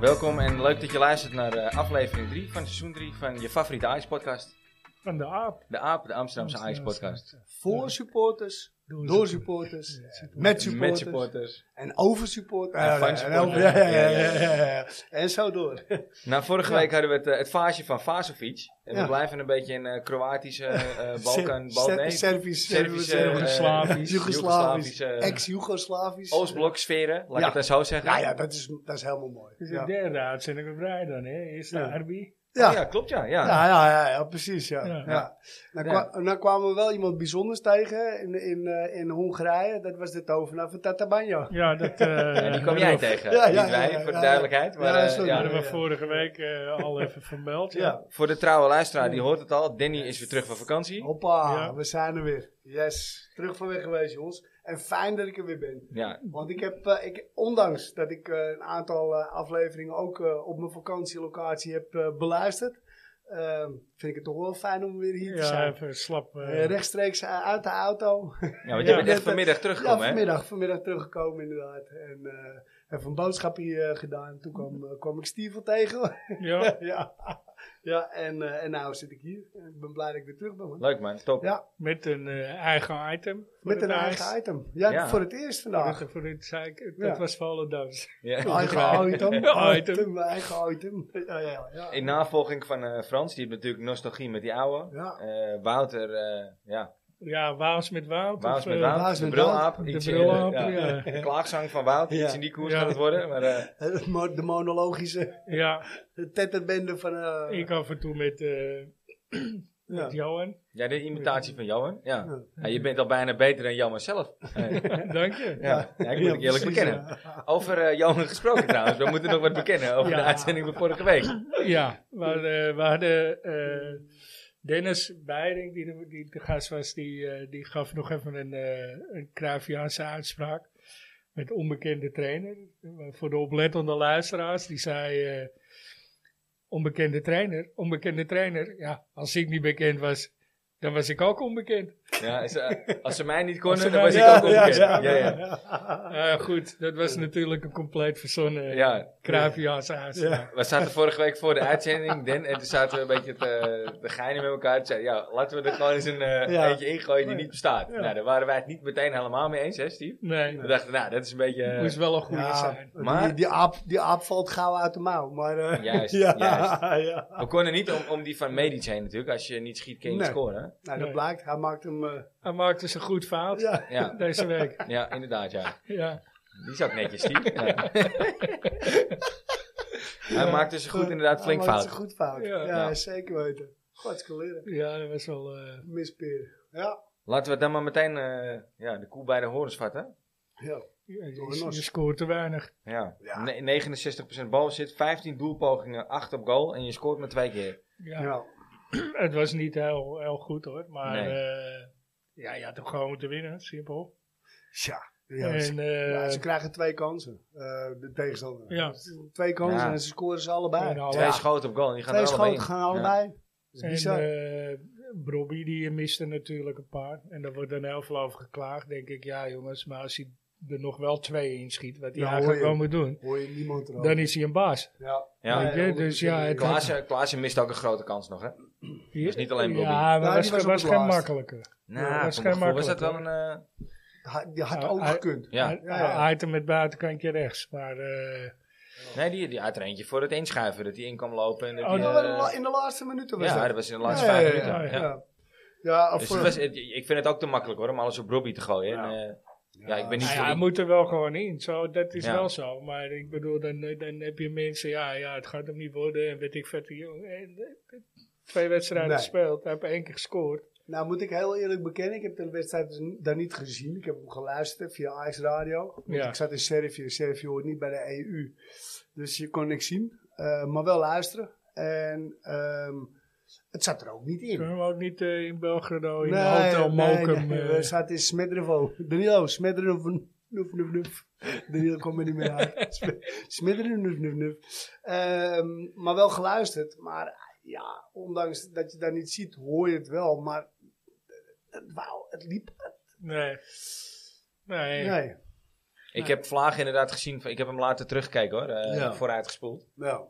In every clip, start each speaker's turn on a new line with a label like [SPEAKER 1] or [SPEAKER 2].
[SPEAKER 1] Welkom en leuk dat je luistert naar eh, aflevering 3 van seizoen 3 van je favoriete Ajax-podcast.
[SPEAKER 2] Van de aap.
[SPEAKER 1] De AAP, de Amsterdamse Ajax-podcast.
[SPEAKER 3] Voor supporters,
[SPEAKER 2] Door
[SPEAKER 3] door
[SPEAKER 2] supporters.
[SPEAKER 3] supporters,
[SPEAKER 2] Ja,
[SPEAKER 3] met supporters.
[SPEAKER 1] Met supporters.
[SPEAKER 3] En over supporters.
[SPEAKER 1] En
[SPEAKER 3] Ah,
[SPEAKER 1] van
[SPEAKER 3] en
[SPEAKER 1] supporters.
[SPEAKER 3] over- ja, ja, ja, ja, ja. En zo door.
[SPEAKER 1] Nou, vorige week hadden we het, eh, het fase van Vasovic. En we
[SPEAKER 3] Ja.
[SPEAKER 1] blijven een beetje in eh, Kroatische, eh, Balkan,
[SPEAKER 3] Ser-
[SPEAKER 1] Bal-
[SPEAKER 3] Ser-
[SPEAKER 1] nee,
[SPEAKER 3] Servische,
[SPEAKER 1] Servische,
[SPEAKER 3] eh,
[SPEAKER 1] eh,
[SPEAKER 2] Joegoslavisch.
[SPEAKER 3] Joegoslavisch,
[SPEAKER 1] Joegoslavische, eh,
[SPEAKER 3] ex-Joegoslavisch.
[SPEAKER 1] Oostblok-sferen, laat ik
[SPEAKER 3] Ja.
[SPEAKER 1] het dan zo zeggen.
[SPEAKER 3] Ja, ja, dat is, dat is helemaal mooi.
[SPEAKER 2] Dus
[SPEAKER 3] Ja.
[SPEAKER 2] de derde uitzending op rij dan, hè? Eerst de
[SPEAKER 3] Ja.
[SPEAKER 2] Arby.
[SPEAKER 3] Ah, Ja.
[SPEAKER 1] Ja, klopt ja. ja.
[SPEAKER 3] Ja, ja, ja, ja, precies. Ja.
[SPEAKER 2] Ja.
[SPEAKER 3] Ja.
[SPEAKER 1] Ja.
[SPEAKER 3] Nou,
[SPEAKER 1] Ja.
[SPEAKER 3] kwa- nou kwamen we wel iemand bijzonders tegen in, in, eh, in Hongarije. Dat was de tovenaar van Tatabanya.
[SPEAKER 2] Ja, dat... eh
[SPEAKER 1] En die kwam jij tegen,
[SPEAKER 3] Ja, ja,
[SPEAKER 1] niet
[SPEAKER 3] ja,
[SPEAKER 1] wij,
[SPEAKER 3] ja,
[SPEAKER 1] voor de
[SPEAKER 3] ja.
[SPEAKER 1] duidelijkheid. Maar,
[SPEAKER 3] Ja,
[SPEAKER 1] eh,
[SPEAKER 3] sorry.
[SPEAKER 1] ja.
[SPEAKER 2] Hadden we
[SPEAKER 3] ja.
[SPEAKER 2] vorige week eh, al even vermeld.
[SPEAKER 3] Ja.
[SPEAKER 1] Voor de trouwe luisteraar, die hoort het al. Danny is weer terug van vakantie.
[SPEAKER 3] Hoppa,
[SPEAKER 2] Ja.
[SPEAKER 3] we zijn er weer. Yes, terug van weg geweest jongens. En fijn dat ik er weer ben.
[SPEAKER 1] Ja,
[SPEAKER 3] Want ik heb, eh, ik, ondanks dat ik eh, een aantal eh, afleveringen ook eh, op mijn vakantielocatie heb eh, beluisterd, eh, vind ik het toch wel fijn om weer hier te
[SPEAKER 2] Ja,
[SPEAKER 3] zijn.
[SPEAKER 2] even slap. eh,
[SPEAKER 3] Eh, rechtstreeks eh, uit de auto.
[SPEAKER 1] ja want
[SPEAKER 2] Ja,
[SPEAKER 1] je bent
[SPEAKER 3] net,
[SPEAKER 1] echt
[SPEAKER 3] eh,
[SPEAKER 1] vanmiddag
[SPEAKER 3] ja,
[SPEAKER 1] teruggekomen, hè?
[SPEAKER 3] vanmiddag, vanmiddag teruggekomen inderdaad. En eh even een boodschapje eh, gedaan. Toen kwam, eh, kwam ik Stievel tegen.
[SPEAKER 2] ja.
[SPEAKER 3] ja. ja, en, eh, en nou zit ik hier. Ik ben blij dat ik weer terug ben. man.
[SPEAKER 1] Leuk man, top.
[SPEAKER 3] Ja,
[SPEAKER 2] Met een eh, eigen item. voor
[SPEAKER 3] Met
[SPEAKER 2] het
[SPEAKER 3] een
[SPEAKER 2] ijs.
[SPEAKER 3] eigen item. Ja,
[SPEAKER 1] Ja.
[SPEAKER 3] voor het eerst vandaag.
[SPEAKER 2] Dat, voor dit zei ik, dat
[SPEAKER 3] Ja.
[SPEAKER 2] was Volendams.
[SPEAKER 1] Ja.
[SPEAKER 3] Eigen item.
[SPEAKER 2] Ja,
[SPEAKER 3] Item, Eigen item. Ja, ja, ja.
[SPEAKER 1] In navolging van eh, Frans, die heeft natuurlijk nostalgie met die oude.
[SPEAKER 3] Ja.
[SPEAKER 1] Eh, Wouter, eh, ja,
[SPEAKER 2] Ja, Waals met Wout.
[SPEAKER 1] Waas
[SPEAKER 2] of,
[SPEAKER 1] met
[SPEAKER 2] eh,
[SPEAKER 1] Wout,
[SPEAKER 3] Waas
[SPEAKER 1] de
[SPEAKER 3] met
[SPEAKER 1] brilaap.
[SPEAKER 2] Wout, de
[SPEAKER 1] iets
[SPEAKER 2] brilaap,
[SPEAKER 1] in, eh,
[SPEAKER 2] ja.
[SPEAKER 1] de klaagzang van Wout,
[SPEAKER 3] Ja.
[SPEAKER 1] iets in die koers
[SPEAKER 2] Ja.
[SPEAKER 1] gaat het worden. Maar, eh,
[SPEAKER 3] Het mo- De monologische
[SPEAKER 2] Ja,
[SPEAKER 3] tetterbende van... eh,
[SPEAKER 2] ik af en toe met, eh,
[SPEAKER 3] ja.
[SPEAKER 2] met Johan.
[SPEAKER 1] ja, de imitatie van Johan, ja.
[SPEAKER 3] Ja.
[SPEAKER 1] Ja, je bent al bijna beter dan Johan zelf. Eh,
[SPEAKER 2] Dank je.
[SPEAKER 1] ja. ja, ik moet
[SPEAKER 3] Ja,
[SPEAKER 1] ik eerlijk
[SPEAKER 3] precies,
[SPEAKER 1] bekennen.
[SPEAKER 3] ja.
[SPEAKER 1] Over eh, Johan gesproken trouwens, we moeten nog wat bekennen over
[SPEAKER 2] Ja.
[SPEAKER 1] de uitzending van vorige week.
[SPEAKER 2] Ja, we hadden, we hadden, eh, Dennis Beiring, die de, die de gast was, die, eh, die gaf nog even een, eh een Cruyffiaanse uitspraak met onbekende trainer. Maar Voor de oplettende luisteraars, die zei, eh, onbekende trainer, onbekende trainer. Ja, als ik niet bekend was, dan was ik ook onbekend.
[SPEAKER 1] Ja, is, eh, als ze mij niet
[SPEAKER 2] Als
[SPEAKER 1] konden,
[SPEAKER 2] ze
[SPEAKER 1] dan
[SPEAKER 2] mij-
[SPEAKER 1] was ik
[SPEAKER 2] Ja,
[SPEAKER 1] ook onbekend. Ja, ja, ja.
[SPEAKER 2] Eh, goed, dat was natuurlijk een compleet verzonnen ja.
[SPEAKER 1] ja.
[SPEAKER 2] Cruyffiaanse uitspraak.
[SPEAKER 3] Ja.
[SPEAKER 1] We zaten vorige week voor de uitzending, Den, en toen zaten we een beetje te, te geinen met elkaar. Toen zei ik, ja, laten we er gewoon eens een eh,
[SPEAKER 3] Ja.
[SPEAKER 1] eentje ingooien die niet bestaat.
[SPEAKER 2] Ja.
[SPEAKER 1] Nou, daar waren wij het niet meteen helemaal mee eens, hè Steve?
[SPEAKER 2] Nee,
[SPEAKER 1] We dachten, nou, dat is een beetje... eh,
[SPEAKER 2] moest wel een goede
[SPEAKER 3] Ja,
[SPEAKER 2] zijn.
[SPEAKER 1] Maar-
[SPEAKER 3] die, die, aap, die aap valt gauw uit de mouw. Maar, eh,
[SPEAKER 1] Juist,
[SPEAKER 3] ja,
[SPEAKER 1] juist.
[SPEAKER 3] ja.
[SPEAKER 1] we konden niet om, om die van Medic heen natuurlijk. Als je niet schiet, kun je niet
[SPEAKER 3] Nee.
[SPEAKER 1] scoren.
[SPEAKER 3] Nou, dat
[SPEAKER 2] Nee.
[SPEAKER 3] blijkt. Hij maakt hem... eh,
[SPEAKER 2] Hij maakte dus een goed fout
[SPEAKER 3] ja.
[SPEAKER 1] Ja,
[SPEAKER 2] deze week.
[SPEAKER 1] ja inderdaad, ja.
[SPEAKER 2] Ja.
[SPEAKER 1] Die is ook netjes, Steve. Ja. Hij maakt dus goed inderdaad
[SPEAKER 3] Hij
[SPEAKER 1] flink
[SPEAKER 3] maakt
[SPEAKER 1] fout.
[SPEAKER 3] ze goed fout.
[SPEAKER 2] Ja.
[SPEAKER 3] Ja,
[SPEAKER 1] Ja.
[SPEAKER 3] zeker weten. Godskeleren. leren.
[SPEAKER 2] Ja, dat was wel. eh,
[SPEAKER 3] Mispeer. Ja.
[SPEAKER 1] Laten we het dan maar meteen eh, ja, de koe bij de horens vatten.
[SPEAKER 3] ja.
[SPEAKER 2] je,
[SPEAKER 3] Door
[SPEAKER 2] je
[SPEAKER 3] Nos.
[SPEAKER 2] scoort te weinig.
[SPEAKER 1] Ja.
[SPEAKER 3] Ja.
[SPEAKER 1] Ne- 69% balbezit, 15 doelpogingen, 8 op goal en je scoort maar twee keer.
[SPEAKER 2] Ja,
[SPEAKER 3] ja.
[SPEAKER 2] Het was niet heel, heel goed hoor, maar
[SPEAKER 1] Nee.
[SPEAKER 2] eh, ja, je had toch gewoon moeten winnen, simpel.
[SPEAKER 3] Tja.
[SPEAKER 2] en,
[SPEAKER 3] Ja, ze,
[SPEAKER 2] eh,
[SPEAKER 3] ja, ze krijgen twee kansen, eh, de tegenstander.
[SPEAKER 2] Ja.
[SPEAKER 3] Twee kansen
[SPEAKER 1] Ja.
[SPEAKER 3] en ze scoren ze
[SPEAKER 2] en
[SPEAKER 3] allebei.
[SPEAKER 2] al-
[SPEAKER 1] Twee
[SPEAKER 2] ja.
[SPEAKER 1] schoten op goal en die gaan
[SPEAKER 3] Oh, twee
[SPEAKER 1] er allebei
[SPEAKER 3] schoten
[SPEAKER 1] in.
[SPEAKER 3] gaan
[SPEAKER 1] Ja.
[SPEAKER 3] allebei. Dat is
[SPEAKER 2] en,
[SPEAKER 3] bizar.
[SPEAKER 2] eh, Brobbey, die miste natuurlijk een paar. En daar wordt dan heel veel over geklaagd, denk ik. Ja jongens, maar als hij er nog wel twee inschiet, wat hij
[SPEAKER 3] Ja,
[SPEAKER 2] eigenlijk
[SPEAKER 3] hoor
[SPEAKER 2] wel
[SPEAKER 3] je.
[SPEAKER 2] moet doen,
[SPEAKER 3] Hoor je niemand erover.
[SPEAKER 2] dan is hij een baas.
[SPEAKER 3] ja.
[SPEAKER 1] Ja.
[SPEAKER 2] Weet je, dus ja, het-
[SPEAKER 1] Klaassen, Klaassen mist ook een grote kans nog, hè? is niet alleen Brobbey.
[SPEAKER 2] Ja, maar
[SPEAKER 3] Ja,
[SPEAKER 2] was,
[SPEAKER 3] die was
[SPEAKER 2] was,
[SPEAKER 3] op het
[SPEAKER 2] geen
[SPEAKER 3] laatst.
[SPEAKER 2] makkelijke.
[SPEAKER 1] Nou,
[SPEAKER 2] dat is
[SPEAKER 1] voor mijn
[SPEAKER 2] geen
[SPEAKER 1] gevoel was dat wel een...
[SPEAKER 2] makkelijk,
[SPEAKER 1] eh,
[SPEAKER 3] Ha- Die had
[SPEAKER 2] Ja,
[SPEAKER 3] ook
[SPEAKER 2] hij-
[SPEAKER 3] gekund.
[SPEAKER 1] ja.
[SPEAKER 3] Ja, ja.
[SPEAKER 2] Item met buitenkantje rechts, maar... eh,
[SPEAKER 1] Nee, die, die had er eentje voor het inschuiven, dat hij in kwam lopen. En dat
[SPEAKER 2] Oh,
[SPEAKER 1] die, eh,
[SPEAKER 3] Dat was in de la- in de laatste minuten was
[SPEAKER 1] ja,
[SPEAKER 3] dat.
[SPEAKER 1] dat was in de laatste
[SPEAKER 3] Ja,
[SPEAKER 1] vijf
[SPEAKER 3] ja,
[SPEAKER 1] minuten.
[SPEAKER 2] ja,
[SPEAKER 1] Ja,
[SPEAKER 3] Ja. Ja, of,
[SPEAKER 1] Dus het was, het- ik vind het ook te makkelijk hoor, om alles op Robbie te gooien. En, eh, ja, ik ben niet voor
[SPEAKER 2] Nou ja, hij
[SPEAKER 1] die-
[SPEAKER 2] moet er wel gewoon in. Zo, dat is
[SPEAKER 1] Ja.
[SPEAKER 2] wel zo. Maar ik bedoel, dan, dan heb je mensen, ja, ja, het gaat hem niet worden. En weet ik vet. joh, en, eh, Twee wedstrijden
[SPEAKER 3] Nee.
[SPEAKER 2] gespeeld, hij heeft één keer gescoord.
[SPEAKER 3] Nou moet ik heel eerlijk bekennen, ik heb de wedstrijd dus n- daar niet gezien. Ik heb hem geluisterd via Ajax Radio. Want
[SPEAKER 2] Ja.
[SPEAKER 3] Ik zat in Servië. Servië hoort niet bij de EU. Dus je kon niks zien. eh, maar wel luisteren. En ehm, het zat er ook niet in.
[SPEAKER 2] Kunnen we hem ook niet eh, in Belgrado, in Hotel Mokum.
[SPEAKER 3] nee,
[SPEAKER 2] eh,
[SPEAKER 3] we zaten in Smedrevo. Danilo, Smedrevo. Nuf, nuf, nuf. Danilo komt er niet meer uit. Smedrevo, nuf, nuf, nuf. Ehm, maar wel geluisterd. Maar ah, ja, ondanks dat je dat niet ziet, hoor je het wel. Maar eh, het, wou- het liep.
[SPEAKER 2] nee. Nee.
[SPEAKER 3] Nee.
[SPEAKER 1] Ik
[SPEAKER 3] Ja.
[SPEAKER 1] heb Vlaag inderdaad gezien. van- Ik heb hem laten terugkijken hoor. eh,
[SPEAKER 3] Ja.
[SPEAKER 1] Vooruitgespoeld.
[SPEAKER 3] Nou,